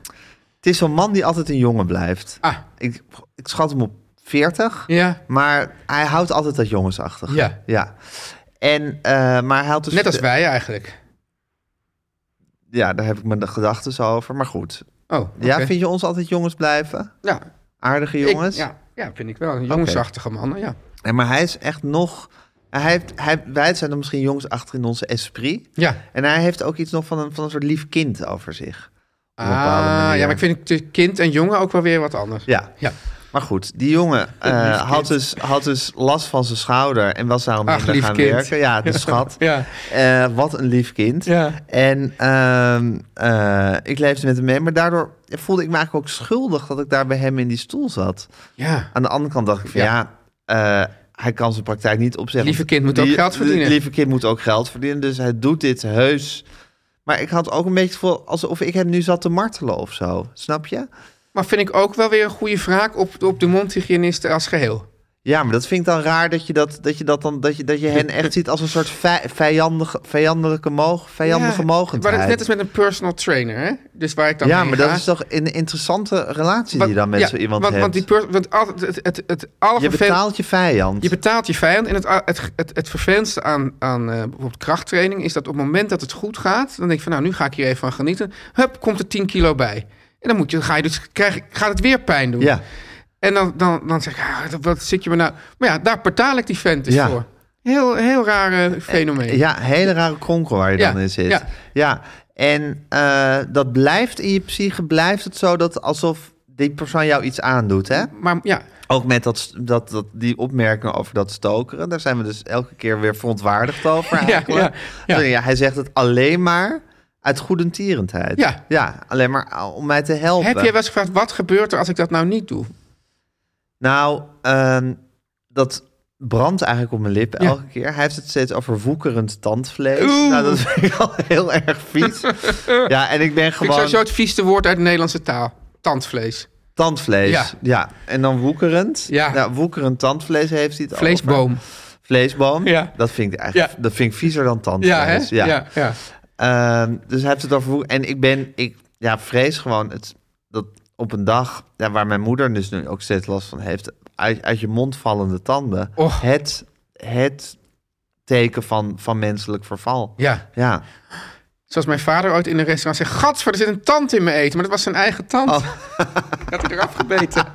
[SPEAKER 2] het is zo'n man die altijd een jongen blijft.
[SPEAKER 3] Ah,
[SPEAKER 2] Ik, ik schat hem op 40.
[SPEAKER 3] ja.
[SPEAKER 2] Maar hij houdt altijd dat jongensachtige.
[SPEAKER 3] Ja.
[SPEAKER 2] ja. En, eh, maar hij had dus...
[SPEAKER 3] Net als wij eigenlijk.
[SPEAKER 2] Ja, daar heb ik mijn gedachten over. Maar goed.
[SPEAKER 3] Oh, oké.
[SPEAKER 2] Ja, vind je ons altijd jongens blijven?
[SPEAKER 3] Ja,
[SPEAKER 2] Aardige
[SPEAKER 3] ik-
[SPEAKER 2] jongens?
[SPEAKER 3] ja, ja, vind ik wel. Een jongensachtige man, ja.
[SPEAKER 2] En maar hij is echt nog... Hij heeft, hij, wij zijn dan misschien jongens achter in onze esprit.
[SPEAKER 3] Ja.
[SPEAKER 2] En hij heeft ook iets nog van een, van een soort lief kind over zich. Op
[SPEAKER 3] Ah,
[SPEAKER 2] een bepaalde manier.
[SPEAKER 3] ja, maar ik vind het kind en jongen ook wel weer wat anders.
[SPEAKER 2] Ja.
[SPEAKER 3] Ja.
[SPEAKER 2] Maar goed, die jongen eh,
[SPEAKER 3] lief
[SPEAKER 2] had,
[SPEAKER 3] kind.
[SPEAKER 2] dus, had dus last van zijn schouder en was daarom
[SPEAKER 3] Ach,
[SPEAKER 2] minder
[SPEAKER 3] lief
[SPEAKER 2] gaan
[SPEAKER 3] kind.
[SPEAKER 2] werken. Ja, de schat.
[SPEAKER 3] Ja.
[SPEAKER 2] Eh, wat een lief kind.
[SPEAKER 3] Ja.
[SPEAKER 2] En ehm, eh, ik leefde met hem mee, maar daardoor voelde ik me eigenlijk ook schuldig dat ik daar bij hem in die stoel zat.
[SPEAKER 3] Ja.
[SPEAKER 2] Aan de andere kant dacht ik van ja,
[SPEAKER 3] Ja.
[SPEAKER 2] eh, hij kan zijn praktijk niet opzeggen.
[SPEAKER 3] Lieve kind moet
[SPEAKER 2] Die-
[SPEAKER 3] ook geld verdienen.
[SPEAKER 2] Lieve kind moet ook geld verdienen, dus hij doet dit heus. Maar ik had ook een beetje het gevoel alsof ik hem nu zat te martelen of zo. Snap je?
[SPEAKER 3] Maar vind ik ook wel weer een goede vraag op, op de mondhygiënisten als geheel.
[SPEAKER 2] Ja, maar dat vind ik dan raar dat je dat, dat je dat dan dat je, dat je hen echt ziet als een soort vij- vijandige, vijandelijke moog, vijandige
[SPEAKER 3] Ja, Maar
[SPEAKER 2] mogendheid.
[SPEAKER 3] dat is net als met een personal trainer, hè? Dus waar ik dan
[SPEAKER 2] ja,
[SPEAKER 3] heen
[SPEAKER 2] maar dat
[SPEAKER 3] ga.
[SPEAKER 2] is toch een interessante relatie die je dan met
[SPEAKER 3] ja,
[SPEAKER 2] zo iemand
[SPEAKER 3] want,
[SPEAKER 2] hebt.
[SPEAKER 3] Want, die pers- want altijd, het, het, het
[SPEAKER 2] je
[SPEAKER 3] allervervel-
[SPEAKER 2] betaalt je vijand.
[SPEAKER 3] Je betaalt je vijand. En het, het, het, het vervelendste aan, aan eh, bijvoorbeeld krachttraining is dat op het moment dat het goed gaat, dan denk je van nou, nu ga ik hier even van genieten. Hup, komt er 10 kilo bij. En dan, moet je, dan ga je dus, krijg, gaat het weer pijn doen.
[SPEAKER 2] ja,
[SPEAKER 3] En dan, dan, dan zeg ik, ah, wat zit je me nou... Maar ja, daar betaal ik die vent dus
[SPEAKER 2] Ja.
[SPEAKER 3] voor. Heel, heel raar eh, fenomeen.
[SPEAKER 2] ja, hele rare kronkel waar je
[SPEAKER 3] Ja,
[SPEAKER 2] dan in zit.
[SPEAKER 3] ja.
[SPEAKER 2] Ja, en eh, dat blijft in je psyche, blijft het zo dat alsof die persoon jou iets aandoet, hè?
[SPEAKER 3] Maar ja,
[SPEAKER 2] Ook met dat, dat, dat, die opmerkingen over dat stokeren. Daar zijn we dus elke keer weer verontwaardigd over eigenlijk. Dus ja,
[SPEAKER 3] ja, ja.
[SPEAKER 2] hij zegt het alleen maar uit goedentierendheid.
[SPEAKER 3] Ja.
[SPEAKER 2] ja, alleen maar eh, om mij te helpen.
[SPEAKER 3] heb jij wel eens gevraagd, wat gebeurt er als ik dat nou niet doe?
[SPEAKER 2] Nou, ehm, dat brandt eigenlijk op mijn lippen
[SPEAKER 3] Ja.
[SPEAKER 2] elke keer. Hij heeft het steeds over woekerend tandvlees.
[SPEAKER 3] Oeh.
[SPEAKER 2] Nou, dat vind ik al heel erg vies. ja, en ik ben
[SPEAKER 3] Vind Ik
[SPEAKER 2] gewoon...
[SPEAKER 3] zou zo het vieste woord uit de Nederlandse taal. Tandvlees.
[SPEAKER 2] Tandvlees,
[SPEAKER 3] Ja.
[SPEAKER 2] ja. En dan woekerend.
[SPEAKER 3] Ja.
[SPEAKER 2] Nou, woekerend tandvlees heeft hij het over.
[SPEAKER 3] Vleesboom.
[SPEAKER 2] Vleesboom.
[SPEAKER 3] Ja.
[SPEAKER 2] Dat vind ik eigenlijk
[SPEAKER 3] Ja.
[SPEAKER 2] dat vind ik viezer dan
[SPEAKER 3] Ja, hè?
[SPEAKER 2] tandvlees.
[SPEAKER 3] Ja, ja. ja.
[SPEAKER 2] Ehm, dus hij heeft het over woe- En ik ben, ik ja, vrees gewoon het, dat op een dag ja, waar mijn moeder dus nu ook steeds last van heeft, uit, uit je mond vallende tanden,
[SPEAKER 3] Och.
[SPEAKER 2] het, het teken van, van menselijk verval. Ja.
[SPEAKER 3] Zoals mijn vader ooit in een restaurant zei... Gadver, er zit een tand in mijn eten. Maar dat was zijn eigen tand.
[SPEAKER 2] Oh.
[SPEAKER 3] Dat hij eraf gebeten.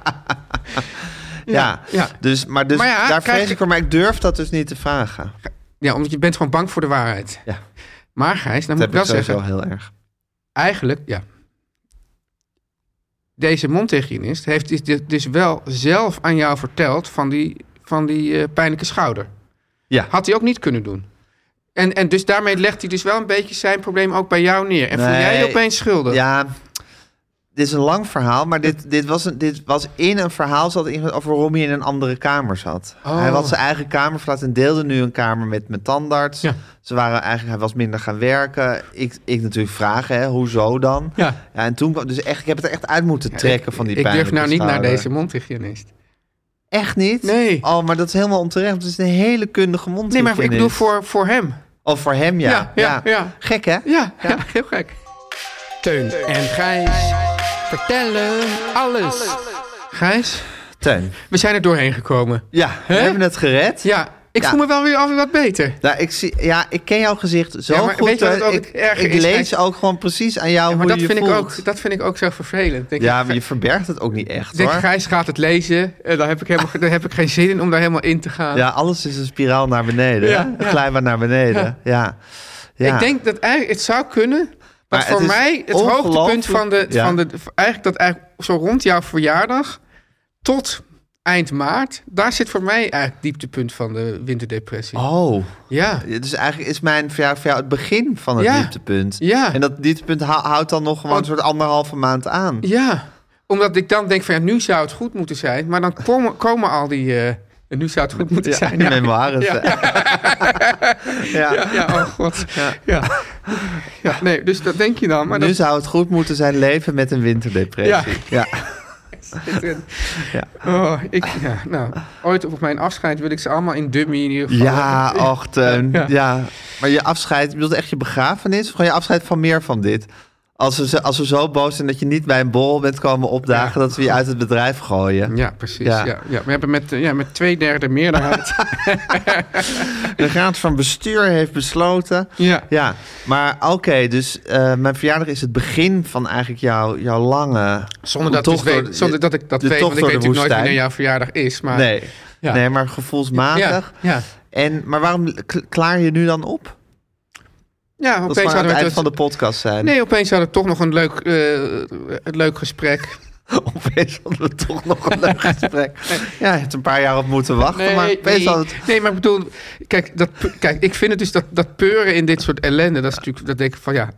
[SPEAKER 2] Ja.
[SPEAKER 3] ja.
[SPEAKER 2] Dus, maar dus
[SPEAKER 3] Maar ja,
[SPEAKER 2] daar
[SPEAKER 3] krijg
[SPEAKER 2] vrees
[SPEAKER 3] je-
[SPEAKER 2] ik voor, maar ik durf dat dus niet te vragen.
[SPEAKER 3] Ja, omdat je bent gewoon bang voor de waarheid.
[SPEAKER 2] Ja.
[SPEAKER 3] Maar Gijs, dan
[SPEAKER 2] Dat
[SPEAKER 3] moet ik
[SPEAKER 2] heb
[SPEAKER 3] wel
[SPEAKER 2] ik sowieso
[SPEAKER 3] zeggen...
[SPEAKER 2] heel erg.
[SPEAKER 3] Eigenlijk, ja. Deze mondhygiënist heeft dit- dit dus wel zelf aan jou verteld... van die, van die eh, pijnlijke schouder.
[SPEAKER 2] Ja.
[SPEAKER 3] Had hij ook niet kunnen doen. En, en dus daarmee legt hij dus wel een beetje zijn probleem ook bij jou neer. En voel jij je
[SPEAKER 2] Nee.
[SPEAKER 3] opeens schuldig.
[SPEAKER 2] Ja, dit is een lang verhaal, maar dit, dit, was, een, dit was in een verhaal zat in, over waarom hij in een andere kamer zat.
[SPEAKER 3] Oh.
[SPEAKER 2] Hij had zijn eigen kamer verlaten en deelde nu een kamer met mijn tandarts.
[SPEAKER 3] Ja.
[SPEAKER 2] Ze waren eigenlijk, hij was minder gaan werken. Ik, ik natuurlijk vragen, hè, hoezo dan?
[SPEAKER 3] Ja.
[SPEAKER 2] en toen kwam, dus echt, ik heb het er echt uit moeten trekken van die
[SPEAKER 3] Ik durf
[SPEAKER 2] pijnlijke
[SPEAKER 3] nou niet naar
[SPEAKER 2] schouder.
[SPEAKER 3] deze mondhygiënist.
[SPEAKER 2] Echt niet?
[SPEAKER 3] Nee.
[SPEAKER 2] Oh, maar dat is helemaal onterecht. want Het is een hele kundige mond.
[SPEAKER 3] Nee, maar ik bedoel voor, voor hem.
[SPEAKER 2] Oh, voor hem, ja.
[SPEAKER 3] Ja, ja, ja.
[SPEAKER 2] Gek, hè?
[SPEAKER 3] Ja, ja. heel gek.
[SPEAKER 5] Teun en Gijs vertellen alles.
[SPEAKER 3] Gijs,
[SPEAKER 2] Teun.
[SPEAKER 3] we zijn er doorheen gekomen.
[SPEAKER 2] Ja, we
[SPEAKER 3] Hè?
[SPEAKER 2] hebben het gered.
[SPEAKER 3] Ja, ik
[SPEAKER 2] Ja.
[SPEAKER 3] voel me wel weer alweer wat beter.
[SPEAKER 2] Nou, ik, zie, ja, ik ken jouw gezicht zo
[SPEAKER 3] Ja, maar
[SPEAKER 2] goed.
[SPEAKER 3] weet je wat het
[SPEAKER 2] hè?
[SPEAKER 3] ook
[SPEAKER 2] ik,
[SPEAKER 3] erger
[SPEAKER 2] ik
[SPEAKER 3] is?
[SPEAKER 2] lees
[SPEAKER 3] Eigenlijk-
[SPEAKER 2] ook gewoon precies aan jou
[SPEAKER 3] Ja,
[SPEAKER 2] hoe
[SPEAKER 3] maar dat
[SPEAKER 2] je je
[SPEAKER 3] vind, ik
[SPEAKER 2] voelt.
[SPEAKER 3] ook, dat vind ik ook zo vervelend. Denk
[SPEAKER 2] ja,
[SPEAKER 3] ik,
[SPEAKER 2] maar je verbergt het ook niet echt,
[SPEAKER 3] denk,
[SPEAKER 2] hoor.
[SPEAKER 3] Gijs gaat het lezen. En dan heb ik, helemaal, dan heb ik geen zin in om daar helemaal in te gaan.
[SPEAKER 2] Ja, alles is een spiraal naar beneden.
[SPEAKER 3] Ja,
[SPEAKER 2] hè? Een
[SPEAKER 3] ja.
[SPEAKER 2] glijbaan naar beneden. Ja. Ja.
[SPEAKER 3] Ik denk dat eigenlijk het zou kunnen.
[SPEAKER 2] Maar
[SPEAKER 3] Maar
[SPEAKER 2] het
[SPEAKER 3] voor
[SPEAKER 2] is
[SPEAKER 3] mij het
[SPEAKER 2] ongelooflijk-
[SPEAKER 3] hoogtepunt van de,
[SPEAKER 2] Ja.
[SPEAKER 3] van de... Eigenlijk dat eigenlijk zo rond jouw verjaardag tot eind maart... daar zit voor mij eigenlijk het dieptepunt van de winterdepressie.
[SPEAKER 2] Oh,
[SPEAKER 3] Ja.
[SPEAKER 2] dus eigenlijk is mijn verjaardag voor jou het begin van het
[SPEAKER 3] Ja.
[SPEAKER 2] dieptepunt.
[SPEAKER 3] Ja.
[SPEAKER 2] En dat dieptepunt hou- houdt dan nog gewoon een
[SPEAKER 3] Want-
[SPEAKER 2] soort anderhalve maand aan.
[SPEAKER 3] Ja, omdat ik dan denk van ja, nu zou het goed moeten zijn. Maar dan komen, komen al die... eh, en nu zou het goed moeten
[SPEAKER 2] Ja,
[SPEAKER 3] zijn.
[SPEAKER 2] de
[SPEAKER 3] Ja.
[SPEAKER 2] memoires.
[SPEAKER 3] Ja.
[SPEAKER 2] hè? Ja.
[SPEAKER 3] Ja, ja, oh god. Ja. Ja. nee, dus dat denk je dan. Maar
[SPEAKER 2] Nu
[SPEAKER 3] dat
[SPEAKER 2] zou het goed moeten zijn leven met een winterdepressie. Ja.
[SPEAKER 3] zit erin.
[SPEAKER 2] Ja.
[SPEAKER 3] Oh, ik, ja, nou, ooit op mijn afscheid wil ik ze allemaal in dummy in ieder geval.
[SPEAKER 2] Ja, och, Teun.
[SPEAKER 3] Ja.
[SPEAKER 2] Ja. Maar je afscheid, je bedoelt echt je begrafenis? Of gewoon je afscheid van meer van dit? Als we, zo- als we zo boos zijn dat je niet bij een bol bent komen opdagen... dat we je uit het bedrijf gooien.
[SPEAKER 3] Ja, precies. Ja.
[SPEAKER 2] Ja.
[SPEAKER 3] Ja, We hebben met, eh, ja, met twee derde meerderheid.
[SPEAKER 2] De raad van bestuur heeft besloten...
[SPEAKER 3] ja.
[SPEAKER 2] Ja, maar oké, dus eh, mijn verjaardag is het begin van eigenlijk jouw, jouw lange...
[SPEAKER 3] Zonder dat,
[SPEAKER 2] tocht
[SPEAKER 3] dus weet-
[SPEAKER 2] door-
[SPEAKER 3] zonder dat ik dat
[SPEAKER 2] de
[SPEAKER 3] weet, want
[SPEAKER 2] tocht
[SPEAKER 3] ik weet
[SPEAKER 2] door de
[SPEAKER 3] natuurlijk nooit wanneer
[SPEAKER 2] woestijn.
[SPEAKER 3] jouw verjaardag is. Maar,
[SPEAKER 2] Nee,
[SPEAKER 3] Ja.
[SPEAKER 2] nee maar gevoelsmatig.
[SPEAKER 3] Ja, ja.
[SPEAKER 2] En, maar waarom k- klaar je nu dan op?
[SPEAKER 3] ja
[SPEAKER 2] Dat
[SPEAKER 3] opeens
[SPEAKER 2] zou aan
[SPEAKER 3] hadden
[SPEAKER 2] het
[SPEAKER 3] we
[SPEAKER 2] eind
[SPEAKER 3] dus-
[SPEAKER 2] van de podcast zijn.
[SPEAKER 3] Nee, opeens hadden we toch nog een leuk, eh, een leuk gesprek.
[SPEAKER 2] Opeens hadden we toch nog een leuk gesprek. Ja, je hebt een paar jaar op moeten wachten, maar opeens
[SPEAKER 3] nee,
[SPEAKER 2] had het...
[SPEAKER 3] nee, maar ik bedoel, kijk, dat, pu- kijk ik vind het dus dat, dat peuren in dit soort ellende, dat is natuurlijk, dat denk ik van ja,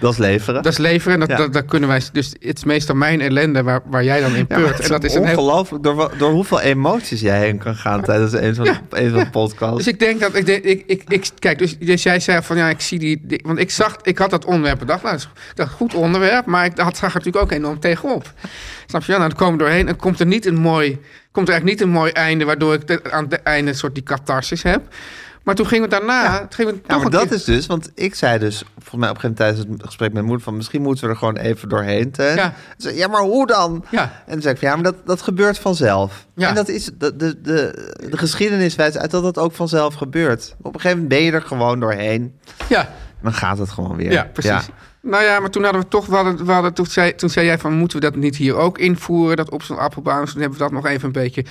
[SPEAKER 2] Dat is leveren.
[SPEAKER 3] Dat is leveren en dat,
[SPEAKER 2] Ja.
[SPEAKER 3] dat, dat kunnen wij. Dus het is meestal mijn ellende waar, waar jij dan in
[SPEAKER 2] Ja, maar
[SPEAKER 3] peurt.
[SPEAKER 2] het
[SPEAKER 3] en dat is een heel
[SPEAKER 2] ongelooflijk door, wa- door hoeveel emoties jij heen kan gaan tijdens een van, de- een van de podcasts.
[SPEAKER 3] Dus ik denk dat ik, denk- ik, ik, ik kijk, dus, dus jij zei van ja, ik zie die, die- want ik zag, ik had dat onderwerp bedacht, nou, dat is dat is een goed onderwerp, maar ik had, zag er natuurlijk ook enorm tegenop. Snap je? Ja, Nou, dan komen we doorheen en komt er niet een mooi, komt er eigenlijk niet een mooi einde, waardoor ik de- aan het einde een soort die catharsis heb. Maar toen gingen we daarna, toen gingen we
[SPEAKER 2] Ja,
[SPEAKER 3] toch
[SPEAKER 2] maar
[SPEAKER 3] een
[SPEAKER 2] dat
[SPEAKER 3] keer-
[SPEAKER 2] is dus, want ik zei dus, volgens mij op een gegeven moment tijdens het gesprek met mijn moeder, van misschien moeten we er gewoon even doorheen. Teun.
[SPEAKER 3] Ja.
[SPEAKER 2] Ze zei, ja, maar hoe dan?
[SPEAKER 3] Ja.
[SPEAKER 2] En toen zei ik van, ja, maar dat, dat gebeurt vanzelf.
[SPEAKER 3] Ja.
[SPEAKER 2] En dat is, de, de, de, de geschiedenis wijst uit dat dat ook vanzelf gebeurt. Op een gegeven moment ben je er gewoon doorheen.
[SPEAKER 3] ja,
[SPEAKER 2] Dan gaat het gewoon weer.
[SPEAKER 3] ja, precies. Nou ja, maar toen hadden we toch, we hadden, we hadden, toen, zei, toen zei jij van moeten we dat niet hier ook invoeren, dat op zo'n appelbaan, dus toen hebben we dat nog even een beetje.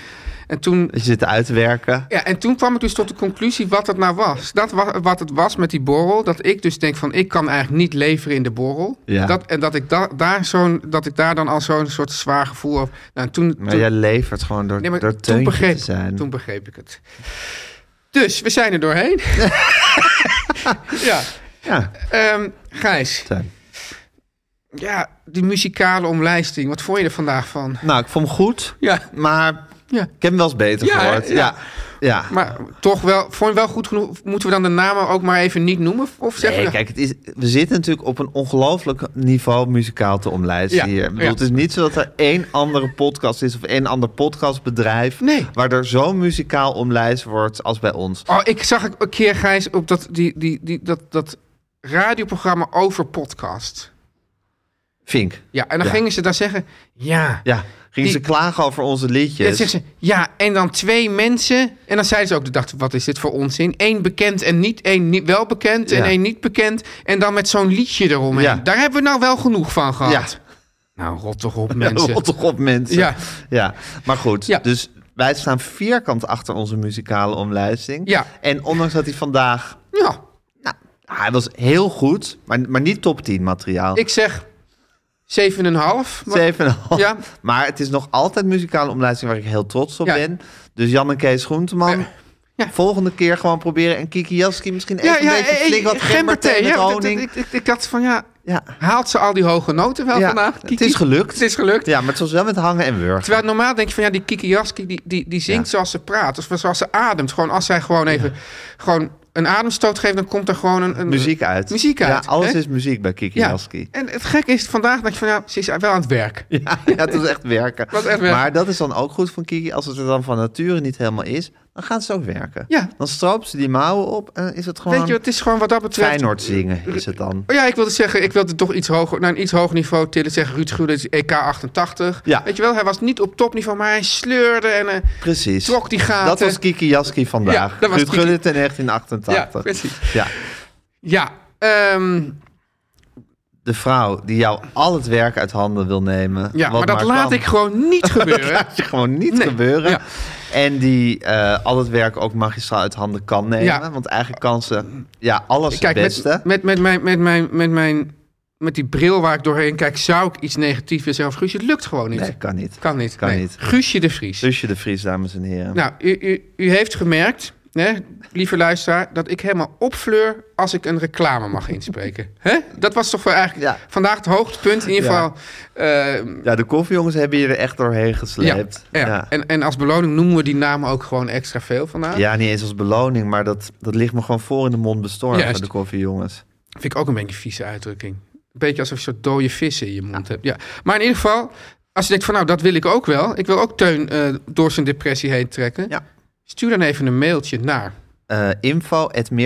[SPEAKER 3] En toen
[SPEAKER 2] Dat je zit uit te werken.
[SPEAKER 3] Ja, en toen kwam ik dus tot de conclusie wat het nou was. Dat wa- wat het was met die borrel, dat ik dus denk van ik kan eigenlijk niet leveren in de borrel.
[SPEAKER 2] Ja.
[SPEAKER 3] Dat, en dat ik, da- daar zo'n dat ik daar dan al zo'n soort zwaar gevoel over. Nou, en toen,
[SPEAKER 2] Maar
[SPEAKER 3] toen-
[SPEAKER 2] jij levert gewoon door,
[SPEAKER 3] nee, maar
[SPEAKER 2] door
[SPEAKER 3] toen,
[SPEAKER 2] teuntje
[SPEAKER 3] begreep,
[SPEAKER 2] te zijn.
[SPEAKER 3] toen begreep ik het. Dus we zijn er doorheen. ja,
[SPEAKER 2] Ja,
[SPEAKER 3] ehm, Gijs,
[SPEAKER 2] Teun.
[SPEAKER 3] ja, die muzikale omlijsting, wat vond je er vandaag van?
[SPEAKER 2] Nou, ik vond hem goed,
[SPEAKER 3] Ja,
[SPEAKER 2] maar
[SPEAKER 3] Ja.
[SPEAKER 2] ik heb hem wel eens beter
[SPEAKER 3] Ja, hè?
[SPEAKER 2] gehoord.
[SPEAKER 3] Ja.
[SPEAKER 2] Ja, ja.
[SPEAKER 3] maar toch wel, vond je hem wel goed genoeg? Moeten we dan de namen ook maar even niet noemen? Of zeggen
[SPEAKER 2] Nee,
[SPEAKER 3] we-
[SPEAKER 2] kijk, het is, we zitten natuurlijk op een ongelooflijk niveau muzikaal te omlijsten
[SPEAKER 3] Ja,
[SPEAKER 2] hier. Ik bedoel,
[SPEAKER 3] ja.
[SPEAKER 2] Het is niet zo dat er één andere podcast is of één ander podcastbedrijf...
[SPEAKER 3] Nee.
[SPEAKER 2] waar er zo muzikaal omlijst wordt als bij ons.
[SPEAKER 3] Oh, ik zag ook een keer, Gijs, op dat, die, die, die, dat, dat radioprogramma over podcast.
[SPEAKER 2] Vink,
[SPEAKER 3] Ja, en dan
[SPEAKER 2] Ja.
[SPEAKER 3] gingen ze daar zeggen, ja.
[SPEAKER 2] ja, gingen
[SPEAKER 3] Die-
[SPEAKER 2] ze klagen over onze liedjes.
[SPEAKER 3] En dan zeggen ze, ja, en dan twee mensen. En dan zeiden ze ook, dacht, wat is dit voor onzin? Eén bekend en niet, één niet, wel bekend en
[SPEAKER 2] Ja.
[SPEAKER 3] één niet bekend. En dan met zo'n liedje eromheen.
[SPEAKER 2] Ja.
[SPEAKER 3] Daar hebben we nou wel genoeg van gehad.
[SPEAKER 2] Ja.
[SPEAKER 3] Nou, rot toch op,
[SPEAKER 2] Ja,
[SPEAKER 3] mensen.
[SPEAKER 2] rot toch op, mensen.
[SPEAKER 3] Ja.
[SPEAKER 2] ja. Maar goed,
[SPEAKER 3] Ja.
[SPEAKER 2] dus wij staan vierkant achter onze muzikale omlijsting.
[SPEAKER 3] Ja.
[SPEAKER 2] En ondanks dat hij vandaag...
[SPEAKER 3] Ja,
[SPEAKER 2] Nou, hij was heel goed, maar, maar niet top 10 materiaal.
[SPEAKER 3] ik zeg 7,5. maar-
[SPEAKER 2] 7,5.
[SPEAKER 3] Ja.
[SPEAKER 2] Maar het is nog altijd muzikale omlijsting waar ik heel trots op
[SPEAKER 3] Ja.
[SPEAKER 2] ben. Dus Jan en Kees Groenteman.
[SPEAKER 3] Ja. Ja.
[SPEAKER 2] Volgende keer gewoon proberen. En Kiki Jaski misschien
[SPEAKER 3] Ja,
[SPEAKER 2] even
[SPEAKER 3] ja,
[SPEAKER 2] een beetje
[SPEAKER 3] eh,
[SPEAKER 2] flink wat
[SPEAKER 3] eh, gemberthee,
[SPEAKER 2] gemberthee met
[SPEAKER 3] ja, want
[SPEAKER 2] honing.
[SPEAKER 3] Ik, ik, ik dacht van, ja,
[SPEAKER 2] ja.
[SPEAKER 3] haalt ze al die hoge noten wel
[SPEAKER 2] Ja,
[SPEAKER 3] vandaag?
[SPEAKER 2] het
[SPEAKER 3] Kiki?
[SPEAKER 2] is gelukt.
[SPEAKER 3] Het is gelukt.
[SPEAKER 2] ja, maar het was wel met hangen en wurgen.
[SPEAKER 3] Terwijl normaal denk je van ja, die Kiki Jaski die, die, die zingt
[SPEAKER 2] Ja.
[SPEAKER 3] zoals ze praat, of zoals ze ademt. Gewoon als zij gewoon even gewoon een ademstoot geeft, dan komt er gewoon een, een
[SPEAKER 2] Muziek uit.
[SPEAKER 3] Muziek uit,
[SPEAKER 2] Ja, alles
[SPEAKER 3] hè?
[SPEAKER 2] is muziek bij Kiki
[SPEAKER 3] Ja.
[SPEAKER 2] Jaski.
[SPEAKER 3] En het gekke is vandaag dat je van ja, ze is wel aan het werk.
[SPEAKER 2] Ja, ja, het is echt werken.
[SPEAKER 3] Dat is echt werken.
[SPEAKER 2] Maar dat is dan ook goed van Kiki. Als het er dan van nature niet helemaal is, dan gaat ze ook werken.
[SPEAKER 3] Ja.
[SPEAKER 2] Dan stroopt ze die mouwen op en is het gewoon
[SPEAKER 3] Weet je, het is gewoon wat dat betreft.
[SPEAKER 2] Feyenoord zingen is het dan.
[SPEAKER 3] Oh ja, ik wilde zeggen, ik wilde toch iets hoger, naar een iets hoger niveau tillen. Zeggen Ruud Gullit is EK 88.
[SPEAKER 2] Ja.
[SPEAKER 3] Weet je wel, hij was niet op topniveau, maar hij sleurde en eh,
[SPEAKER 2] Precies.
[SPEAKER 3] trok die gaten.
[SPEAKER 2] Dat was Kiki Jaski vandaag.
[SPEAKER 3] Ja,
[SPEAKER 2] Ja,
[SPEAKER 3] dat was
[SPEAKER 2] Ruud
[SPEAKER 3] Kiki.
[SPEAKER 2] Gullit in
[SPEAKER 3] Ja,
[SPEAKER 2] 1988.
[SPEAKER 3] precies.
[SPEAKER 2] Ja.
[SPEAKER 3] Ja, ehm,
[SPEAKER 2] De vrouw die jou al het werk uit handen wil nemen.
[SPEAKER 3] ja
[SPEAKER 2] wat
[SPEAKER 3] maar dat laat
[SPEAKER 2] kwam,
[SPEAKER 3] ik gewoon niet gebeuren.
[SPEAKER 2] laat je gewoon niet
[SPEAKER 3] Nee,
[SPEAKER 2] gebeuren.
[SPEAKER 3] ja.
[SPEAKER 2] En die eh, al het werk ook magistraal uit handen kan nemen.
[SPEAKER 3] Ja.
[SPEAKER 2] Want eigenlijk kan ze ja, alles
[SPEAKER 3] Kijk,
[SPEAKER 2] het beste.
[SPEAKER 3] met, met, met, mijn, met, mijn, met, mijn, met die bril waar ik doorheen kijk, zou ik iets negatiefs willen zeggen over Guusje. Het lukt gewoon niet.
[SPEAKER 2] Nee, kan niet.
[SPEAKER 3] Kan niet.
[SPEAKER 2] Kan
[SPEAKER 3] nee.
[SPEAKER 2] niet.
[SPEAKER 3] Guusje de Vries.
[SPEAKER 2] Zusje de Vries, dames en heren.
[SPEAKER 3] Nou, u, u, u heeft gemerkt, hè, lieve luisteraar, dat ik helemaal opfleur als ik een reclame mag inspreken. hè? Dat was toch wel eigenlijk
[SPEAKER 2] Ja.
[SPEAKER 3] vandaag het hoogtepunt. In ieder
[SPEAKER 2] Ja.
[SPEAKER 3] geval. eh,
[SPEAKER 2] Ja, de koffiejongens hebben je er echt doorheen
[SPEAKER 3] ja,
[SPEAKER 2] gesleept.
[SPEAKER 3] ja. En, en als beloning noemen we die namen ook gewoon extra veel vandaag.
[SPEAKER 2] Ja, niet eens als beloning, maar dat, dat ligt me gewoon voor in de mond bestormd
[SPEAKER 3] Juist.
[SPEAKER 2] van de koffiejongens.
[SPEAKER 3] Vind ik ook een beetje een vieze uitdrukking. Een beetje alsof je een soort dode vissen in je mond hebt. Ja. Maar in ieder geval, als je denkt van nou, dat wil ik ook wel. Ik wil ook Teun eh, door zijn depressie heen trekken.
[SPEAKER 2] Ja.
[SPEAKER 3] Stuur dan even een mailtje naar.
[SPEAKER 2] Eh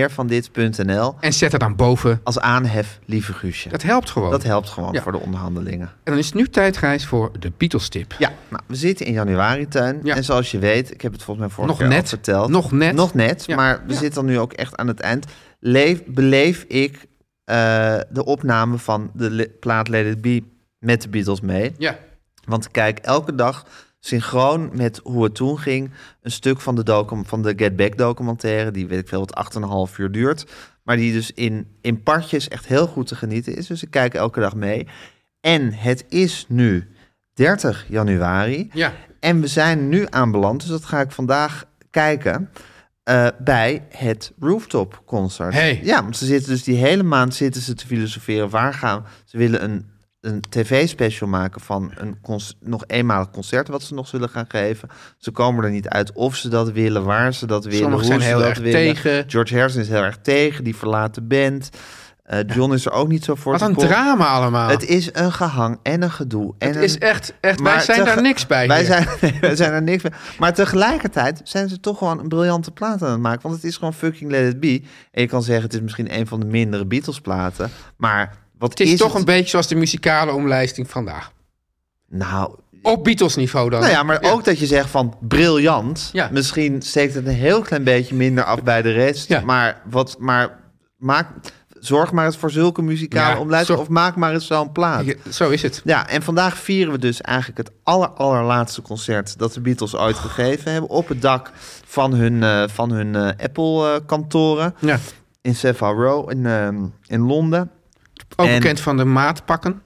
[SPEAKER 2] info.meervandit.nl
[SPEAKER 3] En zet er dan boven.
[SPEAKER 2] als aanhef, lieve Guusje.
[SPEAKER 3] Dat helpt gewoon.
[SPEAKER 2] Dat helpt gewoon
[SPEAKER 3] Ja.
[SPEAKER 2] voor de onderhandelingen.
[SPEAKER 3] En dan is het nu tijd, Gijs, voor de Beatles-tip.
[SPEAKER 2] Ja, nou, we zitten in januari, Tuin.
[SPEAKER 3] Ja.
[SPEAKER 2] En zoals je weet, ik heb het volgens mij vorige
[SPEAKER 3] Nog
[SPEAKER 2] keer
[SPEAKER 3] net.
[SPEAKER 2] al verteld.
[SPEAKER 3] Nog net.
[SPEAKER 2] Nog net,
[SPEAKER 3] Ja.
[SPEAKER 2] maar we
[SPEAKER 3] Ja.
[SPEAKER 2] zitten nu ook echt aan het eind. Leef, beleef ik eh, de opname van de le- plaat Let It Be met de Beatles mee.
[SPEAKER 3] Ja.
[SPEAKER 2] Want ik kijk elke dag synchroon met hoe het toen ging. Een stuk van de, docu- van de Get Back documentaire, die weet ik veel wat 8,5 uur duurt. Maar die dus in, in partjes echt heel goed te genieten is. Dus ik kijk elke dag mee. En het is nu 30 januari.
[SPEAKER 3] Ja.
[SPEAKER 2] En we zijn nu aanbeland, dus dat ga ik vandaag kijken. Eh, eh, bij het rooftop concert.
[SPEAKER 5] Hey.
[SPEAKER 2] Ja, want ze zitten dus die hele maand zitten ze te filosoferen. Waar gaan ze willen een, een tv-special maken van een conc- nog eenmalig concert wat ze nog zullen gaan geven. Ze komen er niet uit of ze dat willen, waar ze dat willen,
[SPEAKER 3] Sommigen
[SPEAKER 2] hoe
[SPEAKER 3] zijn
[SPEAKER 2] ze
[SPEAKER 3] heel
[SPEAKER 2] dat
[SPEAKER 3] erg
[SPEAKER 2] willen.
[SPEAKER 3] tegen.
[SPEAKER 2] George Harrison is heel erg tegen, die verlaat de band. Eh, John is er ook niet zo voor.
[SPEAKER 3] Wat
[SPEAKER 2] te
[SPEAKER 3] een
[SPEAKER 2] kop.
[SPEAKER 3] drama allemaal.
[SPEAKER 2] Het is een gehang en een gedoe. En
[SPEAKER 3] Het is
[SPEAKER 2] een-
[SPEAKER 3] echt, echt
[SPEAKER 2] maar
[SPEAKER 3] wij zijn
[SPEAKER 2] tege-
[SPEAKER 3] daar niks bij.
[SPEAKER 2] Wij
[SPEAKER 3] hier.
[SPEAKER 2] zijn, nee, wij zijn er niks bij. Maar tegelijkertijd zijn ze toch gewoon een briljante plaat aan het maken. Want het is gewoon fucking Let It Be. En je kan zeggen, het is misschien een van de mindere Beatles platen. Maar wat
[SPEAKER 3] het is, toch
[SPEAKER 2] het?
[SPEAKER 3] een beetje zoals de muzikale omlijsting vandaag.
[SPEAKER 2] Nou,
[SPEAKER 3] Op Beatles niveau dan.
[SPEAKER 2] nou ja, maar ook dat je zegt van briljant.
[SPEAKER 3] Ja.
[SPEAKER 2] Misschien steekt het een heel klein beetje minder af bij de rest.
[SPEAKER 3] Ja.
[SPEAKER 2] Maar, wat, maar maak, zorg maar eens voor zulke muzikale
[SPEAKER 3] Ja,
[SPEAKER 2] omlijsting.
[SPEAKER 3] zorg-
[SPEAKER 2] Of maak maar eens zo'n plaat.
[SPEAKER 3] Hier, Zo is het.
[SPEAKER 2] Ja, en vandaag vieren we dus eigenlijk het aller, allerlaatste concert dat de Beatles ooit gegeven hebben. Op het dak van hun, eh, van hun Apple-kantoren
[SPEAKER 3] Ja.
[SPEAKER 2] in Savile Row in, ehm, in Londen.
[SPEAKER 3] Ook
[SPEAKER 2] En-
[SPEAKER 3] bekend van de maatpakken.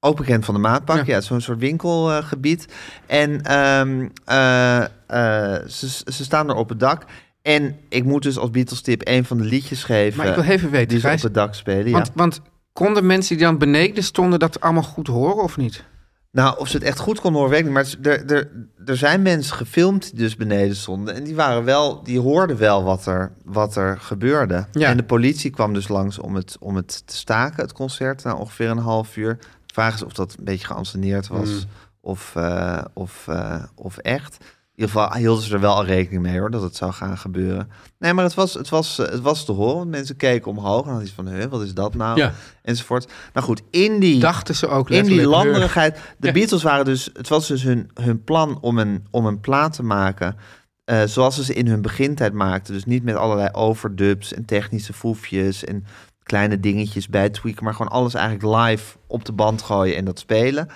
[SPEAKER 2] Ook bekend van de maatpak, ja,
[SPEAKER 3] Ja.
[SPEAKER 2] zo'n soort winkelgebied. en ehm, eh, eh, ze, ze staan er op het dak. En ik moet dus als Beatles-tip een van de liedjes geven
[SPEAKER 3] Maar ik wil even weten,
[SPEAKER 2] die ze op
[SPEAKER 3] Gijs,
[SPEAKER 2] het dak spelen. Ja.
[SPEAKER 3] want, want konden mensen die dan beneden stonden dat allemaal goed horen of niet?
[SPEAKER 2] Nou, of ze het echt goed kon horen, weet ik niet. Maar het is- er, er, er zijn mensen gefilmd die dus beneden stonden. En die, waren wel, die hoorden wel wat er, wat er gebeurde.
[SPEAKER 3] Ja.
[SPEAKER 2] En de politie kwam dus langs om het, om het te staken, het concert. Na ongeveer een half uur. De Vraag is of dat een beetje geanceneerd was.
[SPEAKER 3] Mm.
[SPEAKER 2] Of, eh, of, eh, of echt. In ieder geval hielden ze er wel al rekening mee hoor, dat het zou gaan gebeuren. Nee, maar het was, het was, eh, het was te horen. want Mensen keken omhoog en hadden iets van, "Huh, wat is dat nou?
[SPEAKER 3] Ja.
[SPEAKER 2] Enzovoort. Nou goed, in die...
[SPEAKER 3] Dachten ze ook
[SPEAKER 2] In die
[SPEAKER 3] letterlijk.
[SPEAKER 2] landerigheid. De
[SPEAKER 3] Ja.
[SPEAKER 2] Beatles waren dus. Het was dus hun, hun plan om een, om een plaat te maken. eh, zoals ze ze in hun begintijd maakten. Dus niet met allerlei overdubs en technische foefjes. En kleine dingetjes bij tweaken. Maar gewoon alles eigenlijk live op de band gooien en dat spelen.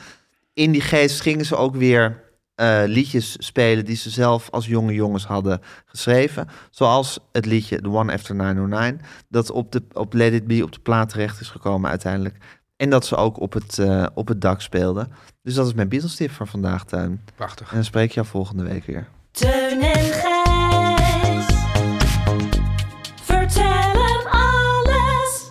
[SPEAKER 2] In die geest gingen ze ook weer eh, liedjes spelen. die ze zelf als jonge jongens hadden geschreven. Zoals het liedje The One After 909. Dat op, de, op Let It Be op de plaat terecht is gekomen uiteindelijk. En dat ze ook op het, eh, op het dak speelden. Dus dat is mijn Beatles tip voor vandaag, Tuin. En
[SPEAKER 3] Prachtig.
[SPEAKER 2] dan spreek je jou volgende week weer.
[SPEAKER 6] Teun en Gijs. Vertel hem alles.